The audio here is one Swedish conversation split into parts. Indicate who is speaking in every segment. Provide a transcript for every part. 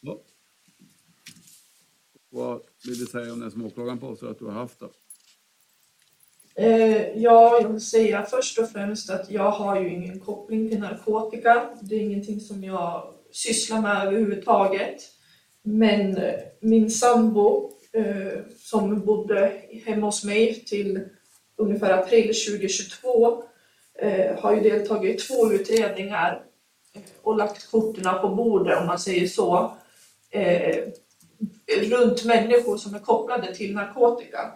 Speaker 1: Ja. Vad vill du säga om den som åklagaren påstår att du har haft då?
Speaker 2: eh, ja, jag vill säga först och främst att jag har ju ingen koppling till narkotika. Det är ingenting som jag sysslar med överhuvudtaget. Men eh, min sambo eh, som bodde hemma hos mig till ungefär april 2022 eh, har ju deltagit i två utredningar och lagt korten på bordet om man säger så. Eh, runt människor som är kopplade till narkotika.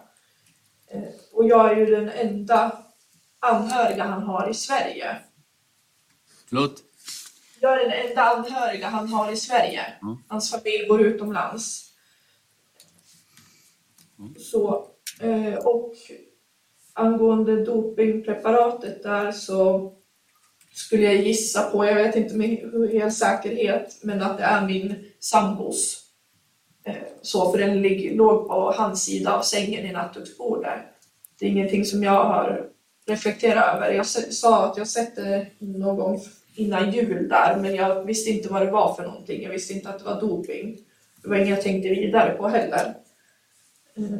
Speaker 2: Eh, Och jag är ju den enda anhöriga han har i Sverige.
Speaker 1: Förlåt?
Speaker 2: Jag är den enda anhöriga han har i Sverige.
Speaker 1: Mm.
Speaker 2: Hans familj bor utomlands. Så, eh, och angående dopingpreparatet där så skulle jag gissa på, jag vet inte med hu- hel säkerhet, men att det är min sambos. Eh, Så, för den lig- låg på hans sida av sängen i nattduksbordet. Det är ingenting som jag har reflekterat över. Jag s- sa att jag sett det någon gång innan jul där, men jag visste inte vad det var för någonting. Jag visste inte att det var doping. Det var inget jag tänkte vidare på heller. Mm.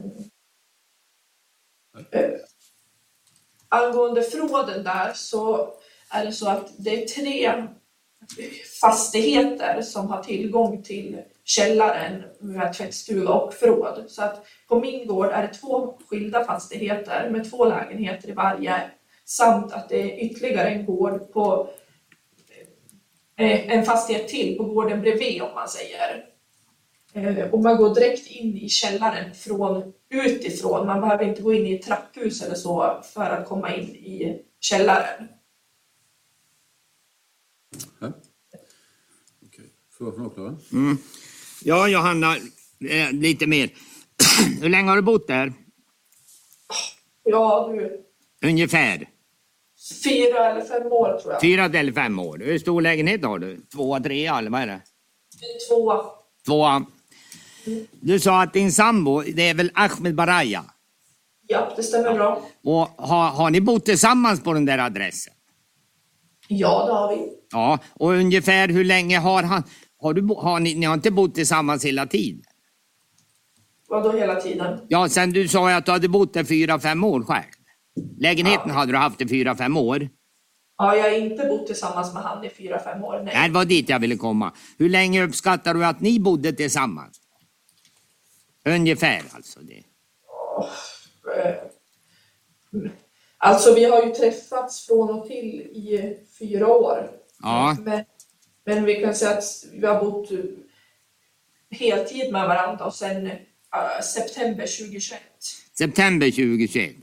Speaker 2: Eh, Angående fråden där så är det så att det är tre fastigheter som har tillgång till källaren med tvättstuga och förråd. Så att på min gård är det två skilda fastigheter med två lägenheter i varje samt att det är ytterligare en gård på eh, en fastighet till på gården bredvid om man säger. Eh, Och man går direkt in i källaren från utifrån. Man behöver inte gå in i ett trapphus eller så för att komma in i källaren.
Speaker 1: Ja. Okej. Fråga från åklagaren?
Speaker 3: Ja, Johanna, eh, lite mer. Hur länge har du bott där?
Speaker 2: Ja, du.
Speaker 3: Ungefär?
Speaker 2: Fyra eller fem år tror jag.
Speaker 3: Fyra eller fem år. Hur stor lägenhet har du? Tvåa, trea eller vad är det?
Speaker 2: Två.
Speaker 3: Tvåa. Du sa att din sambo, det är väl Ahmed Baraya?
Speaker 2: Ja, det stämmer bra.
Speaker 3: Och har, har ni bott tillsammans på den där adressen?
Speaker 2: Ja, det har vi.
Speaker 3: Ja, och ungefär hur länge har han... Har du, bo- har ni, ni har inte bott tillsammans hela tiden?
Speaker 2: Vadå hela tiden?
Speaker 3: Ja, sen du sa ju att du hade bott där fyra, fem år själv. Lägenheten
Speaker 2: Ja.
Speaker 3: hade du haft i fyra, fem år.
Speaker 2: Ja, jag har inte bott tillsammans med han i fyra, fem år. Nej.
Speaker 3: Nej, det var dit jag ville komma. Hur länge uppskattar du att ni bodde tillsammans? Ungefär alltså. Det.
Speaker 2: Eh, Alltså, vi har ju träffats från och till i fyra år.
Speaker 3: Ja.
Speaker 2: Men, men vi kan säga att vi har bott eh, heltid med varandra och sen eh, september 2021.
Speaker 3: September 2021.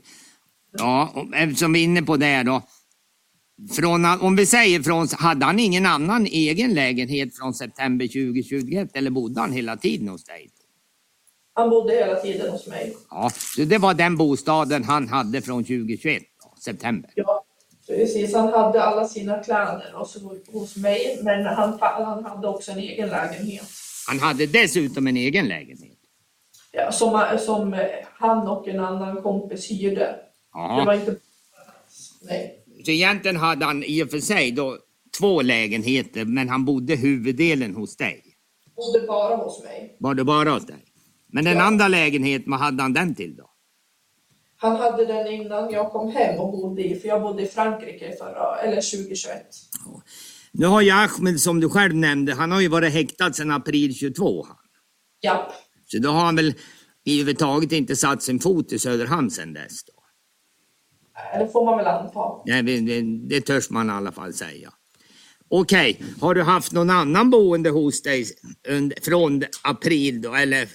Speaker 3: Ja, och eftersom vi är inne på det här då. Från, om vi säger från, hade han ingen annan egen lägenhet från september 2021 eller bodde han hela tiden hos dig?
Speaker 2: Han bodde hela tiden hos mig.
Speaker 3: Ja, så det var den bostaden han hade från 2021, då, september.
Speaker 2: Ja, precis. Han hade alla sina kläder och så hos mig, men han, han hade också en egen lägenhet.
Speaker 3: Han hade dessutom en egen lägenhet.
Speaker 2: Ja, som, som han och en annan kompis hyrde.
Speaker 3: Ja.
Speaker 2: Det var inte... Nej.
Speaker 3: Så egentligen hade han i och för sig då två lägenheter, men han bodde huvuddelen hos dig.
Speaker 2: Bodde bara hos mig.
Speaker 3: Var det bara hos dig? Men den
Speaker 2: Ja.
Speaker 3: andra lägenheten, vad hade han den till då?
Speaker 2: Han hade den innan jag kom hem och bodde i, för jag bodde i Frankrike förra, eller 2021.
Speaker 3: Nu har ju Ahmed, som du själv nämnde, han har ju varit häktad sedan april 22. han.
Speaker 2: Japp.
Speaker 3: Så då har han väl i överhuvudtaget inte satt sin fot i Söderhamn sedan dess. Då.
Speaker 2: Eh, Det får man väl anta.
Speaker 3: Nej, men det, det törs man i alla fall säga. Okej, har du haft någon annan boende hos dig under, från april då, eller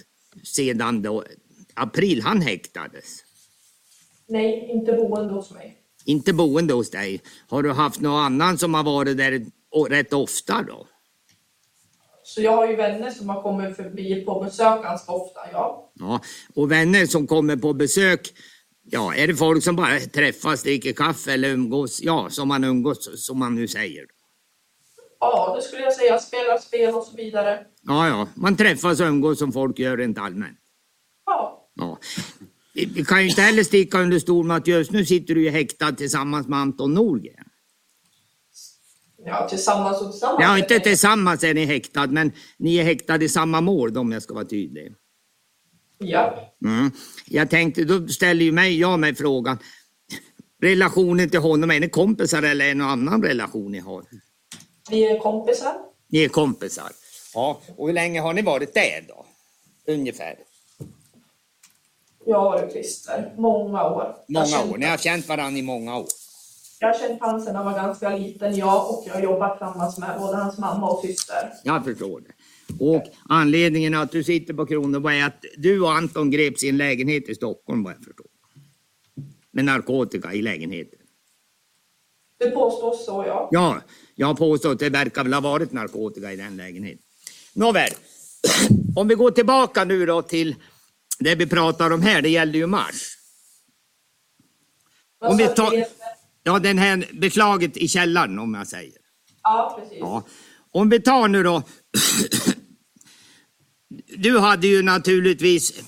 Speaker 3: sedan då april han häktades?
Speaker 2: Nej, inte boende hos mig.
Speaker 3: Inte boende hos dig. Har du haft någon annan som har varit där o- rätt ofta då?
Speaker 2: Så jag har ju vänner som har kommit förbi på besök ganska ofta, ja.
Speaker 3: Ja, och vänner som kommer på besök, ja, är det folk som bara träffas, dricker kaffe eller umgås, ja, som man umgås, som man nu säger.
Speaker 2: Ja, det skulle jag säga. Spelar spel och så vidare.
Speaker 3: Ja, ja, man träffas och umgås som folk gör rent allmänt.
Speaker 2: Ja,
Speaker 3: Ja. Vi vi kan ju inte heller sticka under stol med att just nu sitter du ju häktad tillsammans med Anton Norgren.
Speaker 2: ja tillsammans och tillsammans.
Speaker 3: Ja, inte tillsammans är ni häktad, men ni är häktad i samma mål om jag ska vara tydlig.
Speaker 2: Ja,
Speaker 3: Mm. Jag tänkte, då ställer ju mig, jag mig frågan, relationen till honom, är ni kompisar eller är det någon annan relation ni har?
Speaker 2: vi är kompisar.
Speaker 3: Ni är kompisar. Ja, och hur länge har ni varit där då? Ungefär.
Speaker 2: Jag har varit Christer många år. jag,
Speaker 3: Många
Speaker 2: har
Speaker 3: år.
Speaker 2: känt-
Speaker 3: Ni har känt varandra i många år.
Speaker 2: jag har känt honom sedan han var ganska liten, jag och jag har jobbat tillsammans med både hans mamma och syster.
Speaker 3: Jag förstår det. Och anledningen att du sitter på Kronoberg är att du och Anton greps i en lägenhet i Stockholm vad jag förstår. Med narkotika i lägenheten.
Speaker 2: Det påstås så, ja.
Speaker 3: Ja, jag påstår att det verkar väl ha varit narkotika i den lägenheten. Nåväl, om vi går tillbaka nu då till det vi pratar om här, det gällde ju mars.
Speaker 2: Vad
Speaker 3: Om vi
Speaker 2: sa du,
Speaker 3: tar-
Speaker 2: Peter?
Speaker 3: Ja, den här beslaget i källaren om jag säger.
Speaker 2: Ja, precis.
Speaker 3: Ja. Om vi tar nu då. Du hade ju naturligtvis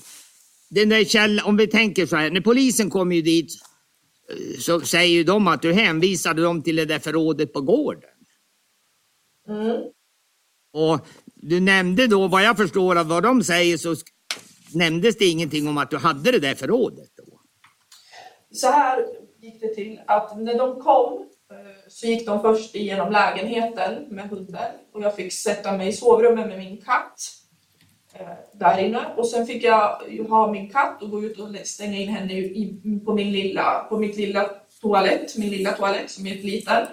Speaker 3: den där käll, om vi tänker så här, när polisen kom ju dit eh, så säger ju de att du hänvisade dem till det där förrådet på gården.
Speaker 2: Mm.
Speaker 3: Och du nämnde då, vad jag förstår av vad de säger så sk- nämndes det ingenting om att du hade det där förrådet då.
Speaker 2: Så här gick det till att när de kom eh, så gick de först igenom lägenheten med hunden och jag fick sätta mig i sovrummet med min katt eh, där inne och sen fick jag ju ha min katt och gå ut och stänga in henne i, på, min lilla, på mitt lilla toalett, min lilla toalett som är ett liten.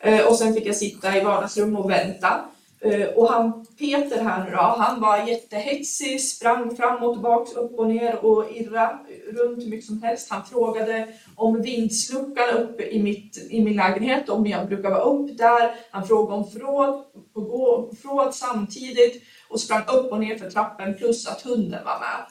Speaker 2: Eh, Och sen fick jag sitta i vardagsrum och vänta. Eh, Och han Peter här nu då, han var jättehetsig, sprang fram och tillbaks, upp och ner och irra runt hur mycket som helst. Han frågade om vindsluckan uppe i, mitt, i min lägenhet, om jag brukar vara upp där. Han frågade om förråd, på gå, förråd samtidigt och sprang upp och ner för trappen plus att hunden var med.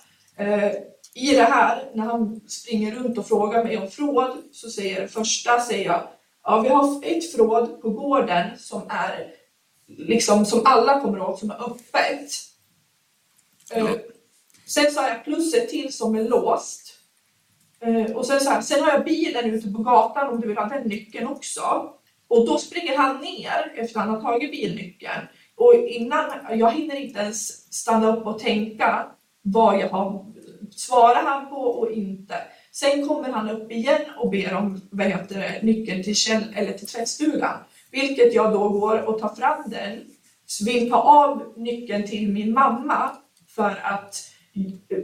Speaker 2: Eh, I det här, när han springer runt och frågar mig om förråd så säger jag det första, säger jag, ja vi har ett förråd på gården som är liksom som alla kommer åt, som är öppet. Eh,
Speaker 3: Ja.
Speaker 2: Sen så har jag plusset till som är låst. Eh, och sen så här, sen har jag bilen ute på gatan om du vill ha den nyckeln också. Och då springer han ner efter han har tagit bilnyckeln. Och innan, jag hinner inte ens stanna upp och tänka vad jag har, svarar han på och inte. Sen kommer han upp igen och ber om vad heter det, nyckeln till, käll, eller till tvättstugan. Vilket jag då går och tar fram den, vill ta av nyckeln till min mamma för att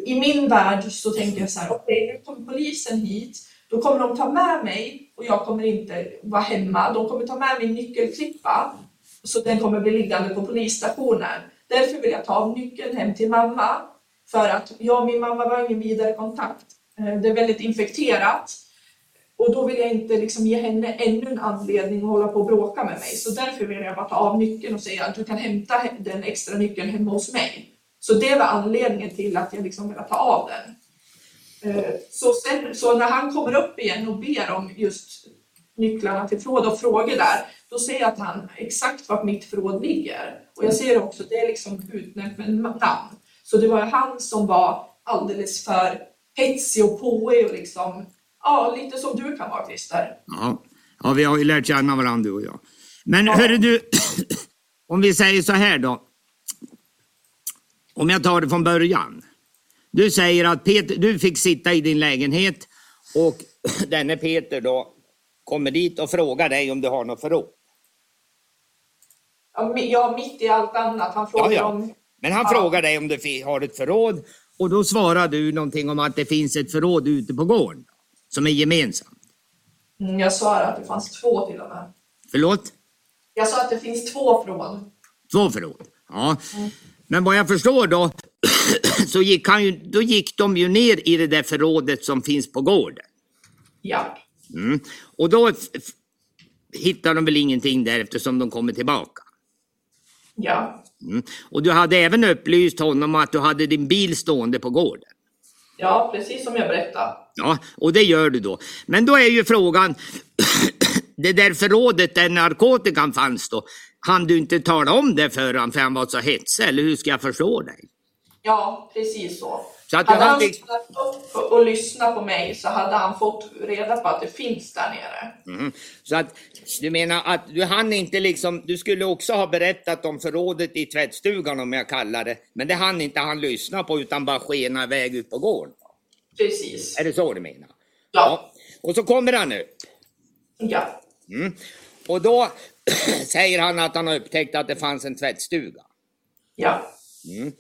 Speaker 2: i min värld så tänker jag så här, okej nu kommer polisen hit, då kommer de ta med mig och jag kommer inte vara hemma. De kommer ta med min nyckelklippa så den kommer bli liggande på polisstationen. Därför vill jag ta av nyckeln hem till mamma för att jag och min mamma var ingen vidare kontakt. Eh, Det är väldigt infekterat och då vill jag inte liksom ge henne ännu en anledning att hålla på och bråka med mig. Så därför vill jag bara ta av nyckeln och säga att du kan hämta he- den extra nyckeln hemma hos mig. Så det var anledningen till att jag liksom ville ta av den. Eh, Så, sen, så när han kommer upp igen och ber om just nycklarna till förråd och frågor där, då ser jag att han exakt var mitt förråd ligger. Och jag ser också, det är liksom utnämnt med namn. Så det var ju han som var alldeles för hetsig och påig och liksom, ja lite som du kan vara Christer.
Speaker 3: Ja, ja vi har ju lärt känna varandra du och jag. Men
Speaker 2: Ja.
Speaker 3: hörru du, om vi säger så här då. Om jag tar det från början. Du säger att Peter, du fick sitta i din lägenhet och denne Peter då kommer dit och frågar dig om du har något förråd.
Speaker 2: Ja, mi- Ja, mitt i allt annat. Han frågar
Speaker 3: Ja, ja.
Speaker 2: om
Speaker 3: Men han
Speaker 2: Ja.
Speaker 3: frågar dig om du fi- har ett förråd och då svarar du någonting om att det finns ett förråd ute på gården som är gemensamt.
Speaker 2: Mm, Jag sa att det fanns två till och med.
Speaker 3: Förlåt?
Speaker 2: Jag sa att det finns två förråd.
Speaker 3: Två förråd. Ja. Men vad jag förstår då, så gick, han ju, då gick de ju ner i det där förrådet som finns på gården.
Speaker 2: Ja.
Speaker 3: Mm. Och då f- f- hittar de väl ingenting där eftersom de kommer tillbaka.
Speaker 2: Ja,
Speaker 3: Mm. Och du hade även upplyst honom att du hade din bil stående på gården.
Speaker 2: ja precis som jag berättade.
Speaker 3: Ja, och det gör du då. Men då är ju frågan, det där förrådet där narkotikan fanns då, hann du inte tala om det för honom för han var så hetsig, eller hur ska jag förstå dig?
Speaker 2: Ja, precis så.
Speaker 3: Så att jag
Speaker 2: hade han
Speaker 3: hade-
Speaker 2: stannat upp och lyssnat på mig så hade han fått reda på att det finns där nere.
Speaker 3: Mhm. Så att du menar att du hann inte liksom, du skulle också ha berättat om förrådet i tvättstugan om jag kallar det, men det hann inte han lyssna på utan bara skena iväg ut på gården.
Speaker 2: Precis.
Speaker 3: Är det så du menar?
Speaker 2: Ja.
Speaker 3: Och så kommer han nu.
Speaker 2: Ja.
Speaker 3: Mm. Och då säger han att han har upptäckt att det fanns en tvättstuga.
Speaker 2: Ja.
Speaker 3: Mm.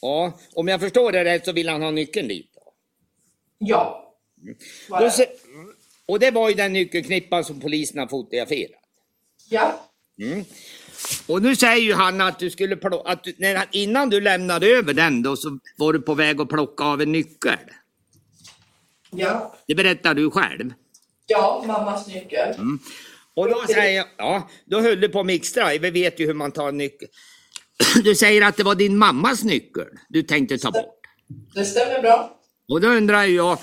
Speaker 3: Ja, om jag förstår det rätt så vill han ha nyckeln dit. Då.
Speaker 2: Ja. Var
Speaker 3: Mm. Då
Speaker 2: det?
Speaker 3: se- och det var ju den nyckelknippan som polisen har fotograferat.
Speaker 2: Ja.
Speaker 3: Och nu säger ju han att du skulle plo- att du, när, han- innan du lämnade över den då så var du på väg att plocka av en nyckel.
Speaker 2: Ja.
Speaker 3: Det berättar du själv.
Speaker 2: Ja, mammas nyckel.
Speaker 3: Mm. Och då säger jag, ja, då höll du på med extra. Vi vet ju hur man tar en nyckel. Du säger att det var din mammas nyckel du tänkte ta bort.
Speaker 2: Det stämmer bra.
Speaker 3: Och då undrar jag,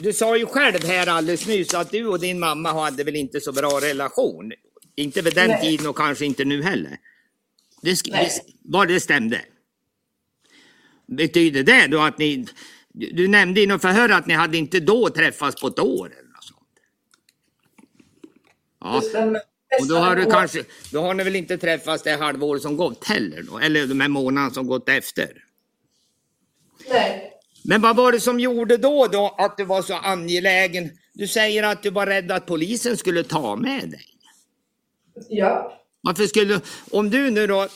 Speaker 3: du sa ju själv här alldeles nyss att du och din mamma hade väl inte så bra relation? Inte vid den
Speaker 2: Nej.
Speaker 3: tiden och kanske inte nu heller. Det sk-
Speaker 2: Nej.
Speaker 3: det- Vad det stämde? Betyder det då att ni, du du nämnde i något förhör att ni hade inte då träffats på ett år eller något sånt?
Speaker 2: Det
Speaker 3: Ja,
Speaker 2: stämmer.
Speaker 3: och då har du
Speaker 2: Nästan.
Speaker 3: kanske, då har ni väl inte träffats det halvår som gått heller då? Eller de här månaderna som gått efter?
Speaker 2: Nej.
Speaker 3: Men vad var det som gjorde då, då att du var så angelägen? Du säger att du var rädd att polisen skulle ta med dig.
Speaker 2: Ja.
Speaker 3: Varför skulle, om du nu då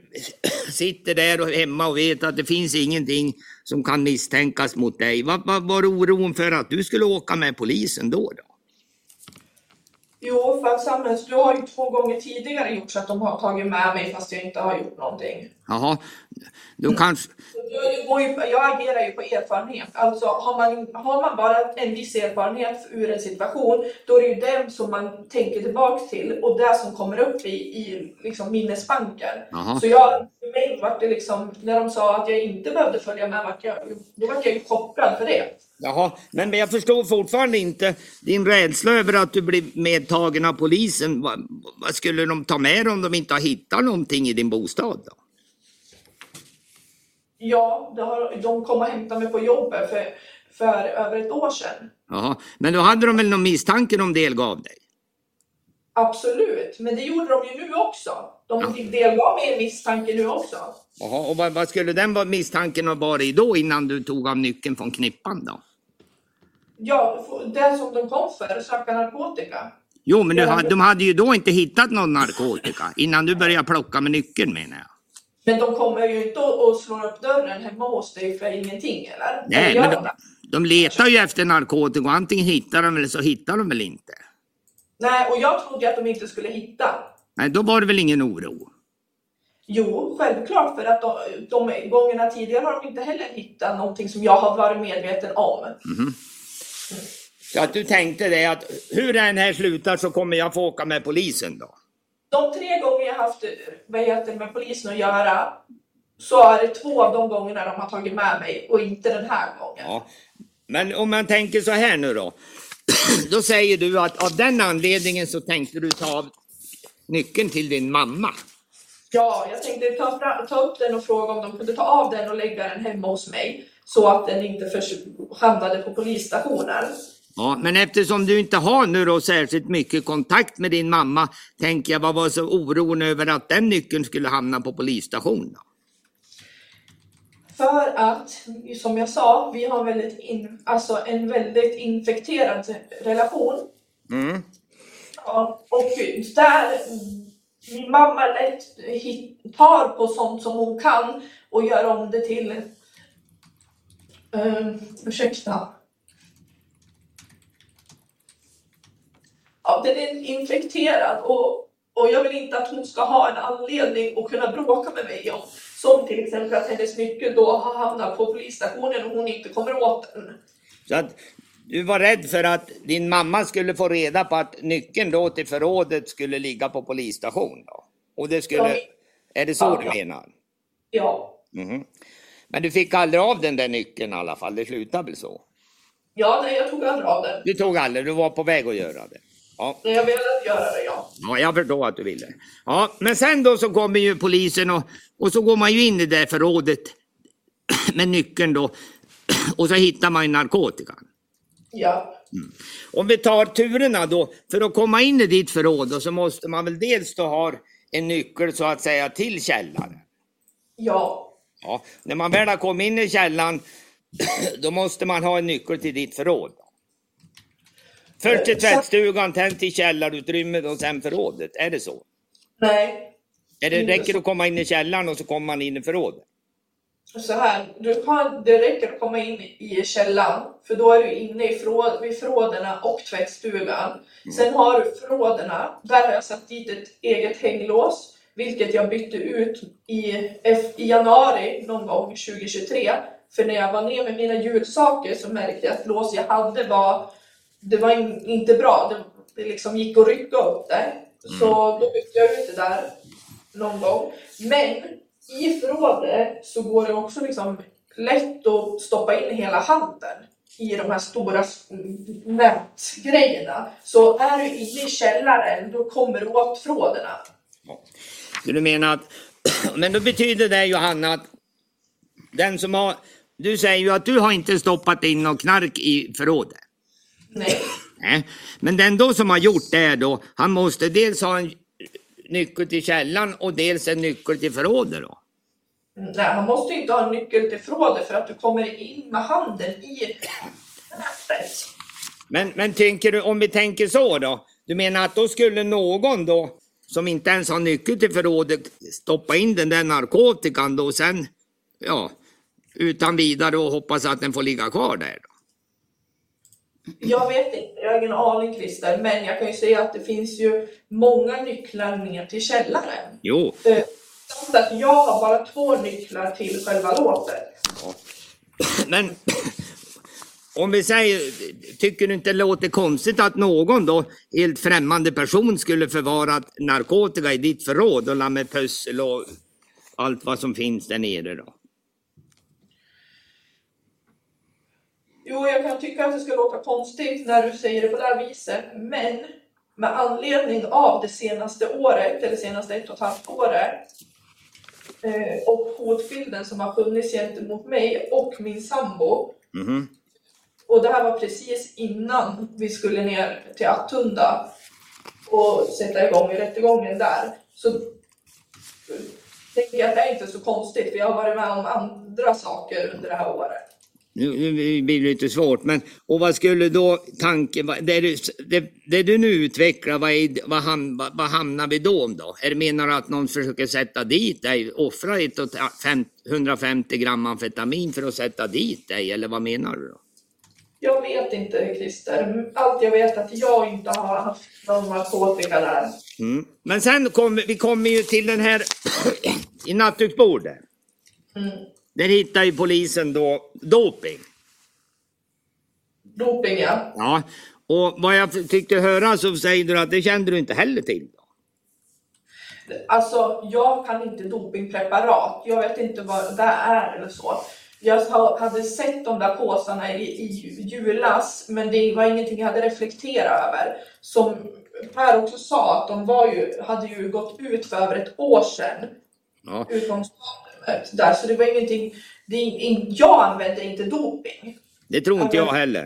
Speaker 3: sitter där och hemma och vet att det finns ingenting som kan misstänkas mot dig. Vad, vad var oron för att du skulle åka med polisen då? då?
Speaker 2: Jo, för att samhälls... du har ju två gånger tidigare gjort så att de har tagit med mig fast jag inte har gjort någonting.
Speaker 3: Jaha, då kanske...
Speaker 2: Jag, går ju, jag agerar ju på erfarenhet. Alltså har man, har man bara en viss erfarenhet ur en situation, då är det ju den som man tänker tillbaks till och det som kommer upp i, i liksom minnesbanken.
Speaker 3: Jaha.
Speaker 2: Så jag, för mig var det liksom, när de sa att jag inte behövde följa med, vart jag, då var jag ju chockad för det.
Speaker 3: Jaha, men men jag förstår fortfarande inte din rädsla över att du blir medtagen av polisen. Vad, vad skulle de ta med dig om de inte har hittat någonting i din bostad? Då?
Speaker 2: Ja, det har, de kom och hämtade mig på jobbet för, för över ett år sedan.
Speaker 3: Jaha, men då hade de väl någon misstanke de delgav dig?
Speaker 2: Absolut, men det gjorde de ju nu också. De fick delgav mig en misstanke nu också.
Speaker 3: Jaha, och vad, vad skulle den vara- misstanken ha varit då innan du tog av nyckeln från knippan då?
Speaker 2: Ja, f- det som de kom för, söka narkotika.
Speaker 3: Jo, men du,
Speaker 2: Ja,
Speaker 3: ha-
Speaker 2: men-
Speaker 3: de hade ju då inte hittat någon narkotika innan du började plocka med nyckeln menar jag.
Speaker 2: Men de kommer ju inte och och slår upp dörren hemma hos dig för ingenting, eller?
Speaker 3: Nej,
Speaker 2: eller
Speaker 3: men
Speaker 2: gör
Speaker 3: de,
Speaker 2: det?
Speaker 3: de letar ju efter narkotika och antingen hittar de eller så hittar de väl inte.
Speaker 2: Nej, och jag trodde att de inte skulle hitta.
Speaker 3: Nej, då var det väl ingen oro?
Speaker 2: Jo, självklart, för att de, de gångerna tidigare har de inte heller hittat någonting som jag har varit medveten om.
Speaker 3: Så att du tänkte det att hur den här slutar så kommer jag få åka med polisen då?
Speaker 2: De tre gånger jag haft vad heter, det, med polisen att göra så är det två av de gångerna de har tagit med mig och inte den här gången.
Speaker 3: Ja. Men om man tänker så här nu då. Då säger du att av den anledningen så tänkte du ta av nyckeln till din mamma.
Speaker 2: Ja, jag tänkte ta, fra- ta upp den och fråga om de kunde ta av den och lägga den hemma hos mig så att den inte förs- hamnade på polisstationen.
Speaker 3: Ja, men eftersom du inte har nu då särskilt mycket kontakt med din mamma, tänker jag vad var så oron över att den nyckeln skulle hamna på polisstationen? Då?
Speaker 2: För att, som jag sa, vi har väldigt in, alltså en väldigt infekterad relation.
Speaker 3: Mm.
Speaker 2: Ja, och där min mamma lätt hit- tar på sånt som hon kan och gör om det till... Uh, ursäkta. Ja, den är infekterad och, och jag vill inte att hon ska ha en anledning att kunna bråka med mig om. Som till exempel att hennes nyckel då har hamnat på polisstationen och hon inte kommer åt den.
Speaker 3: Så att du var rädd för att din mamma skulle få reda på att nyckeln då till förrådet skulle ligga på polisstationen. Då. Och det skulle
Speaker 2: Ja.
Speaker 3: Är det så
Speaker 2: Ja,
Speaker 3: du
Speaker 2: ja.
Speaker 3: menar?
Speaker 2: Ja,
Speaker 3: Mhm. Men du fick aldrig av den där nyckeln i alla fall, det slutade väl så?
Speaker 2: ja nej, jag tog aldrig av den.
Speaker 3: Du tog aldrig, du var på väg att göra det. Ja,
Speaker 2: När jag velat göra det, ja.
Speaker 3: ja jag förstår att du ville. Ja, men sen då så kommer ju polisen och, och så går man ju in i det där förrådet med nyckeln då och så hittar man ju narkotikan.
Speaker 2: Ja,
Speaker 3: Om vi tar turerna då, för att komma in i ditt förråd då, så måste man väl dels då ha en nyckel så att säga till källaren.
Speaker 2: ja,
Speaker 3: Ja, när man väl har kommit in i källaren, då måste man ha en nyckel till ditt förråd. Först till
Speaker 2: Eh, så-
Speaker 3: tvättstugan, sen till källarutrymmet och sen förrådet. Är det så?
Speaker 2: nej.
Speaker 3: Är det,
Speaker 2: Mm.
Speaker 3: räcker det att komma in i källaren och så kommer man in i förrådet?
Speaker 2: Så här, du kan, det räcker att komma in i källaren för då är du inne i förråd, vid förråderna och tvättstugan. Sen har du förråderna, där har jag satt dit ett eget hänglås vilket jag bytte ut i, F- i januari någon gång 2023. För när jag var ner med mina julsaker så märkte jag att lås jag hade var, det var in, inte bra. Det, det liksom gick att rycka upp det. Så då bytte jag ut det där någon gång. Men i förrådet så går det också liksom lätt att stoppa in hela handen i de här stora s- nätgrejerna. Så är du inne i källaren, då kommer du åt förråderna.
Speaker 3: Så du menar att... Men då betyder det Johanna att den som har... Du säger ju att du har inte stoppat in någon knark i förrådet.
Speaker 2: Nej,
Speaker 3: Nej. Men den då som har gjort det då, han måste dels ha en nyckel till källaren och dels en nyckel till förrådet då.
Speaker 2: nej han måste ju inte ha en nyckel till förrådet för att du kommer in med handen i nätet.
Speaker 3: Men, men tänker du, om vi tänker så då, du menar att då skulle någon då som inte ens har nyckel till förrådet stoppa in den där narkotikan då och sen, ja, utan vidare och hoppas att den får ligga kvar där då?
Speaker 2: Jag vet inte, jag har ingen aning Christer, men jag kan ju säga att det finns ju många nycklar ner till källaren.
Speaker 3: Jo,
Speaker 2: Eh, samt att jag har bara två nycklar till själva låset.
Speaker 3: men om vi säger, tycker du inte det låter konstigt att någon då, helt främmande person skulle förvara narkotika i ditt förråd och la med pussel och allt vad som finns där nere då?
Speaker 2: Jo, jag kan tycka att det ska låta konstigt när du säger det på det här viset, men med anledning av det senaste året, eller senaste ett och ett halvt året, eh, och hotbilden som har funnits gentemot mig och min sambo.
Speaker 3: Mhm.
Speaker 2: Och det här var precis innan vi skulle ner till Attunda och sätta igång rättegången där. Så eh, tänker jag att det är inte så konstigt, för jag har varit med om andra saker under det här året.
Speaker 3: Nu nu blir det lite svårt, men och vad skulle då tanken vad- det, du, det, det du nu utvecklar, vad, är, vad, ham, vad, vad hamnar vi då om då? Är det menar du att någon försöker sätta dit dig, offra ett och ta- fem- 150 gram amfetamin för att sätta dit dig, eller vad menar du då?
Speaker 2: Jag vet inte Christer. Allt jag vet är att jag inte har haft någon narkotika där.
Speaker 3: Mm. Men sen kommer vi kommer ju till den här i nattduksbordet.
Speaker 2: Mm.
Speaker 3: Där hittar ju polisen då doping.
Speaker 2: Doping ja.
Speaker 3: Ja, och vad jag tyckte höra så säger du att det kände du inte heller till. Då.
Speaker 2: Alltså jag kan inte dopingpreparat. Jag vet inte vad det är eller så. Jag ha- hade sett de där påsarna i, i ju- julas men det var ingenting jag hade reflekterat över. Som Per också sa att de var ju, hade ju gått ut för över ett år sedan.
Speaker 3: Ja.
Speaker 2: Utgångsdatumet där så det var ingenting. Det, är in, jag använde inte doping.
Speaker 3: Det tror inte
Speaker 2: Ja,
Speaker 3: jag
Speaker 2: men-
Speaker 3: heller.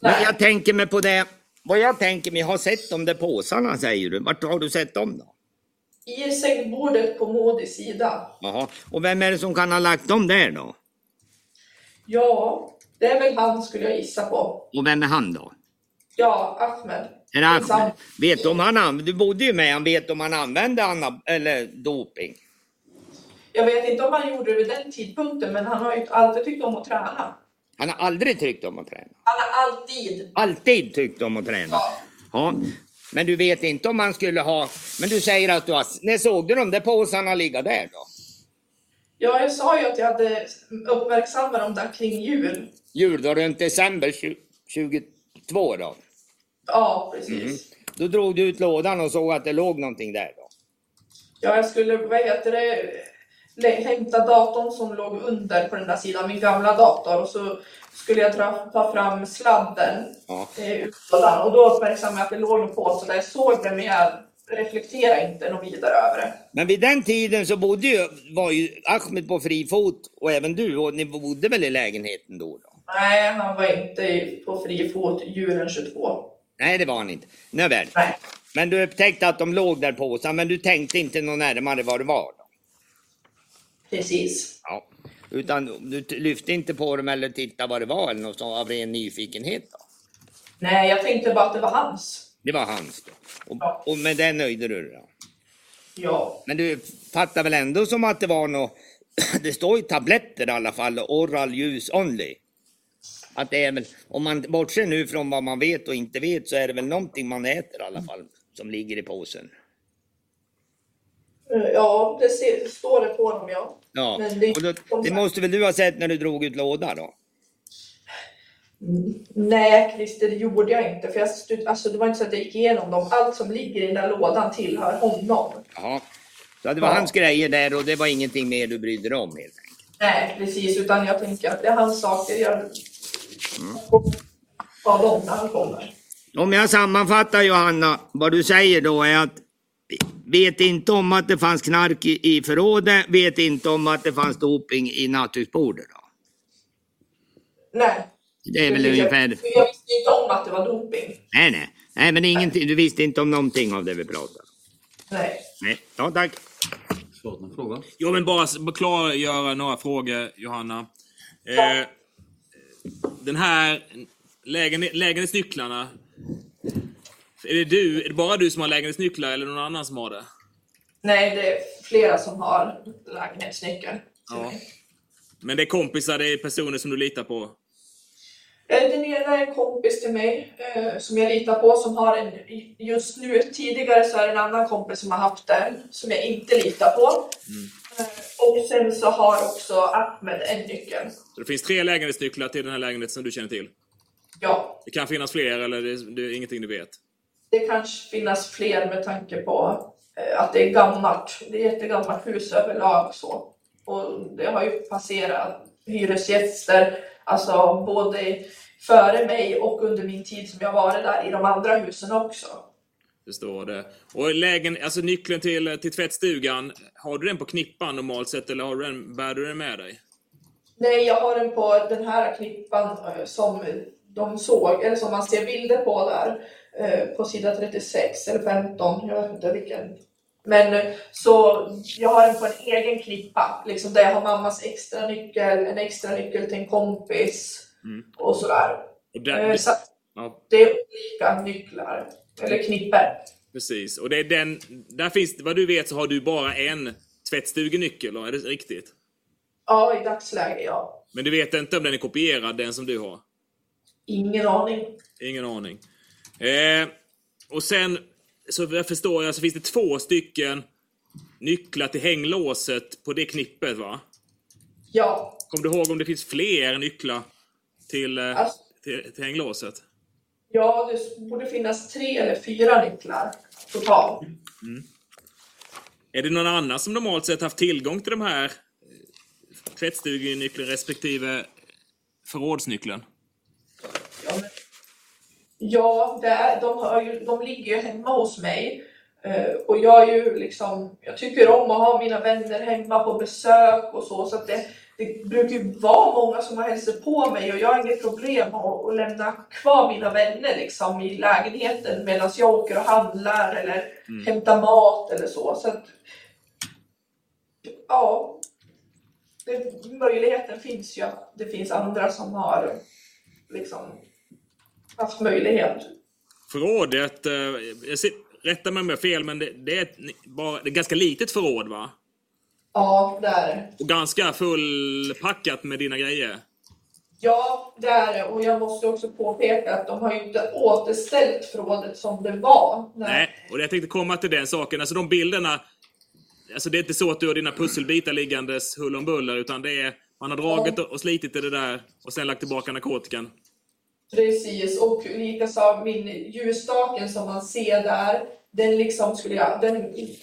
Speaker 3: Men
Speaker 2: Nej.
Speaker 3: jag tänker mig på det. Vad jag tänker mig, jag har sett de där påsarna säger du. Vart har du sett dem då?
Speaker 2: I sängbordet på Modis sida.
Speaker 3: Jaha. Och vem är det som kan ha lagt dem där då?
Speaker 2: Ja, det är väl han skulle jag gissa på.
Speaker 3: Och vem är han då?
Speaker 2: Ja, Ahmed.
Speaker 3: Är det
Speaker 2: Min sam-
Speaker 3: han? Vet du om han använde, du bodde ju med han, vet du om han använde ana, eller doping?
Speaker 2: Jag vet inte om han gjorde det vid den tidpunkten, men han har ju alltid tyckt om att träna.
Speaker 3: Han har aldrig tyckt om att träna.
Speaker 2: Han har alltid...
Speaker 3: Alltid tyckt om att träna.
Speaker 2: Ja.
Speaker 3: Ja. Men du vet inte om han skulle ha, men du säger att du har, när såg du de där påsarna ligga där då?
Speaker 2: ja, jag sa ju att jag hade uppmärksammat dem där kring jul.
Speaker 3: Jul då, runt december 20, 22 då?
Speaker 2: Ja, precis.
Speaker 3: Mm. Då drog du ut lådan och såg att det låg någonting där. Då.
Speaker 2: Ja, jag skulle, vad heter det, lä- hämta datorn som låg under på den där sidan, min gamla dator. Och så skulle jag tra- ta fram sladden
Speaker 3: Ja.
Speaker 2: eh, ur lådan. Och då uppmärksammade jag att det låg en påse där jag såg det, men jag reflekterade inte något vidare över det.
Speaker 3: Men vid den tiden så bodde ju, var ju Ahmed på fri fot och även du och ni bodde väl i lägenheten då? då?
Speaker 2: Nej, han var inte på fri fot julen 22.
Speaker 3: Nej, det var han inte. Nåväl.
Speaker 2: Nej.
Speaker 3: Men du upptäckte att de låg där påsar, men du tänkte inte något närmare vad det var? Då.
Speaker 2: Precis.
Speaker 3: Ja. Utan du t- lyfte inte på dem eller tittade vad det var eller något sånt, av ren nyfikenhet? Då.
Speaker 2: Nej, jag tänkte bara att det var hans.
Speaker 3: Det var hans. Då.
Speaker 2: Ja.
Speaker 3: Och, och med det nöjde du dig? då?
Speaker 2: Ja.
Speaker 3: Men du fattar väl ändå som att det var något... Det står ju tabletter i alla fall, oral use only. Att det är väl, om man bortser nu från vad man vet och inte vet så är det väl någonting man äter i alla fall som ligger i påsen.
Speaker 2: Eh, Ja, det ser, står det på honom, ja.
Speaker 3: Ja.
Speaker 2: Men det-
Speaker 3: Och då, det måste väl du ha sett när du drog ut lådan då?
Speaker 2: Mm. Nej, Christer, det gjorde jag inte. För jag stud- alltså, det var inte så att jag gick igenom dem. Allt som ligger i den där lådan tillhör honom.
Speaker 3: Jaha. Så det var
Speaker 2: Ja.
Speaker 3: hans grejer där och det var ingenting mer du brydde dig om helt enkelt.
Speaker 2: Nej, precis. Utan jag tänker att det är hans saker. Jag
Speaker 3: Mm.
Speaker 2: tar dem när han kommer.
Speaker 3: Om jag sammanfattar Johanna, vad du säger då är att vet inte om att det fanns knark i, i förrådet, vet inte om att det fanns doping i nattduksbordet. Då.
Speaker 2: Nej.
Speaker 3: Det är väl
Speaker 2: Precis, jag-
Speaker 3: ungefär...
Speaker 2: för Jag visste ju inte om att det var doping.
Speaker 3: Nej, nej. nej men ingenting, du visste inte om någonting av det vi pratade om.
Speaker 2: Nej.
Speaker 3: Nej. Ja, tack.
Speaker 4: Svaret på frågan.
Speaker 5: Jag vill bara s- bara klargöra några frågor, Johanna. Eh, den här lägen, lägenhetsnycklarna. Är det, du, är det bara du som har lägenhetsnycklar eller någon annan som har det?
Speaker 2: Nej, det är flera som har lägenhetsnyckeln.
Speaker 5: Ja. Men det är kompisar, det är personer som du litar på?
Speaker 2: Eh, Den ena är en kompis till mig eh, som jag litar på som har en, just nu, tidigare så är det en annan kompis som har haft den som jag inte litar på. Eh, och sen så har också Ahmed en nyckel.
Speaker 5: Så det finns tre lägenhetsnycklar till den här lägenheten som du känner till?
Speaker 2: Ja,
Speaker 5: Det kan finnas fler eller det, det är ingenting du vet?
Speaker 2: det kanske finns fler med tanke på eh, att det är gammalt. Det är ett jättegammalt hus överlag så. Och det har ju passerat hyresgäster, alltså både före mig och under min tid som jag varit där i de andra husen också.
Speaker 5: Det står det. Och lägen, alltså nyckeln till, till tvättstugan, har du den på knippan normalt sett eller har du den, bär du den med dig?
Speaker 2: Nej, jag har den på den här klippan eh, som de såg, eller som man ser bilder på där, eh, på sida 36 eller 15, jag vet inte vilken. Men eh, så jag har den på en egen klippa, liksom där jag har mammas extra nyckel, en extra nyckel till en kompis och sådär.
Speaker 5: Och där,
Speaker 2: Eh, Så
Speaker 5: ja,
Speaker 2: det är olika nycklar, eller knipper.
Speaker 5: Precis, och det är den, där finns, vad du vet så har du bara en tvättstugenyckel, är det riktigt?
Speaker 2: Ja, i dagsläget ja.
Speaker 5: Men du vet inte om den är kopierad, den som du har?
Speaker 2: Ingen aning.
Speaker 5: Ingen aning. Eh, och sen, så jag förstår jag, så finns det två stycken nycklar till hänglåset på det knippet va?
Speaker 2: Ja,
Speaker 5: Kommer du ihåg om det finns fler nycklar till, eh,
Speaker 2: Alltså-
Speaker 5: till, till hänglåset?
Speaker 2: ja det borde finnas tre eller fyra nycklar totalt.
Speaker 5: Är det någon annan som normalt sett haft tillgång till de här eh, tvättstugenyckeln respektive förrådsnyckeln?
Speaker 2: Ja, men- Ja, det är, de, har ju, de ligger ju hemma hos mig. Eh, och jag är ju liksom, jag tycker om att ha mina vänner hemma på besök och så. Så att det, det brukar ju vara många som har hälsat på mig och jag har inget problem att, att lämna kvar mina vänner liksom, i lägenheten medan jag åker och handlar eller hämtar mat eller så. så att, ja, det, möjligheten finns ju att det finns andra som har liksom haft möjlighet.
Speaker 5: Förrådet, eh, jag ser, rätta mig om jag har fel, men det, det, är ett, ni- bara, det är ett ganska litet förråd va?
Speaker 2: Ja, det är det.
Speaker 5: Och ganska fullpackat med dina grejer.
Speaker 2: Ja, det är det. Och jag måste också påpeka att de har ju inte återställt förrådet som det var. när-
Speaker 5: Nej, och jag tänkte komma till den saken. Alltså de bilderna, alltså det är inte så att du har dina pusselbitar liggandes hull om buller, utan det är man har dragit och och slitit i det där och sen lagt tillbaka narkotikan.
Speaker 2: Precis, och likaså min ljusstaken som man ser där den liksom skulle jag, den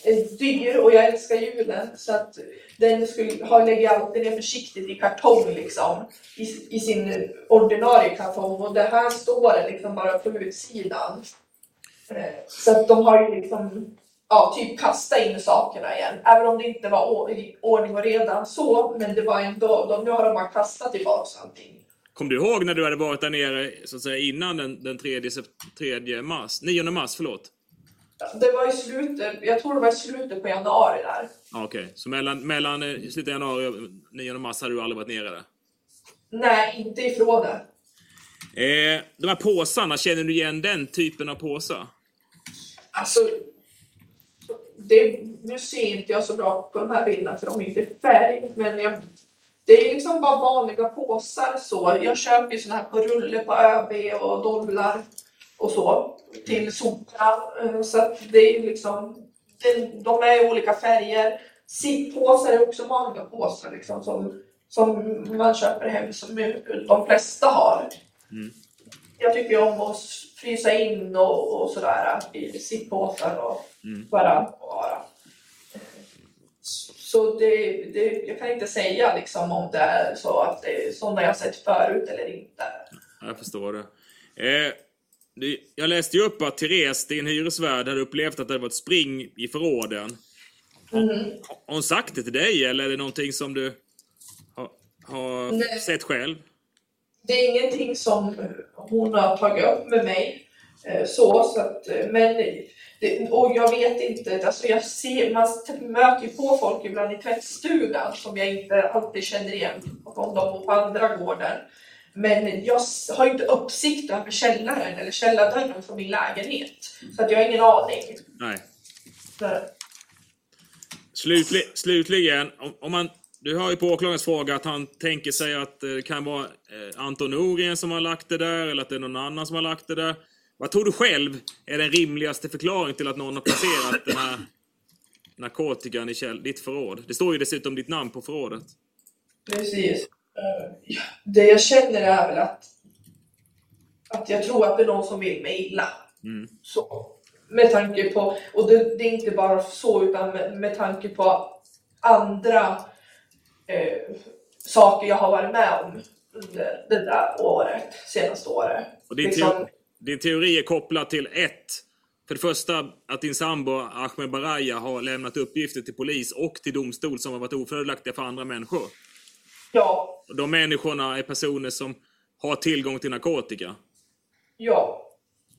Speaker 2: är dyr och jag älskar julen så att den skulle ha lägger jag alltid ner försiktigt i kartong liksom i, i sin ordinarie kartong och det här står det liksom bara på utsidan. Eh, Så att de har ju liksom ja, typ kasta in sakerna igen. Även om det inte var å- i ordning och reda så, men det var ändå, de, nu har de bara kastat tillbaks allting.
Speaker 5: Kom du ihåg när du hade varit där nere så att säga, innan den, den 3, sep- 3 mars? 9 mars, förlåt.
Speaker 2: Det var i slutet, jag tror det var i slutet på januari där.
Speaker 5: Ja, Okej, så mellan, mellan eh, slutet av januari och 9 mars hade du aldrig varit nere där?
Speaker 2: Nej, inte ifrån det.
Speaker 5: Eh, de här påsarna, känner du igen den typen av påsar?
Speaker 2: Alltså, det, nu ser inte jag så bra på de här bilderna för de är inte i färg, men jag, det är liksom bara vanliga påsar så. Jag köper ju sådana här på rulle på ÖB och dollar och så till soporna. Eh, Så att det är ju liksom, det, de är i olika färger. Sittpåsar är också vanliga påsar liksom som, som man köper hem som ju de flesta har jag tycker ju om att frysa in och, och sådär i sittpåsar och bara vara. Så det, det, jag kan inte säga liksom om det är så att det är sådana jag sett förut eller inte.
Speaker 5: Ja, Jag förstår det. Eh, det- jag läste ju upp att Therese, din hyresvärd, hade upplevt att det var ett spring i förråden. Har hon sagt det till dig eller är det någonting som du har, har
Speaker 2: Nej.
Speaker 5: sett själv?
Speaker 2: Det är ingenting som hon har tagit upp med mig. eh, Så, så att, eh, men, det, och jag vet inte, alltså jag ser, man möter ju på folk ibland i tvättstugan som jag inte alltid känner igen, och om de bor på andra gården. Men jag s- har ju inte uppsikt över källaren eller källardörren från min lägenhet. Så att jag har ingen aning.
Speaker 5: Nej.
Speaker 2: Så-
Speaker 5: Slutli, slutligen, om, om man, du hör ju på åklagarens fråga att han tänker sig att eh, det kan vara eh, Anton Norén som har lagt det där, eller att det är någon annan som har lagt det där. Vad tror du själv är den rimligaste förklaringen till att någon har placerat den här narkotikan i käll, ditt förråd? Det står ju dessutom ditt namn på förrådet.
Speaker 2: Precis. Eh, ja, Det jag känner är väl att, att jag tror att det är någon som vill mig illa. Så, med tanke på, och det, det är inte bara så utan med, med tanke på andra eh, saker jag har varit med om under det där året, senaste året.
Speaker 5: Och din,
Speaker 2: Liksom-
Speaker 5: teo- din teori är kopplad till ett. För det första att din sambo Ahmed Baraya har lämnat uppgifter till polis och till domstol som har varit ofördelaktiga för andra människor.
Speaker 2: ja,
Speaker 5: Och De människorna är personer som har tillgång till narkotika.
Speaker 2: ja,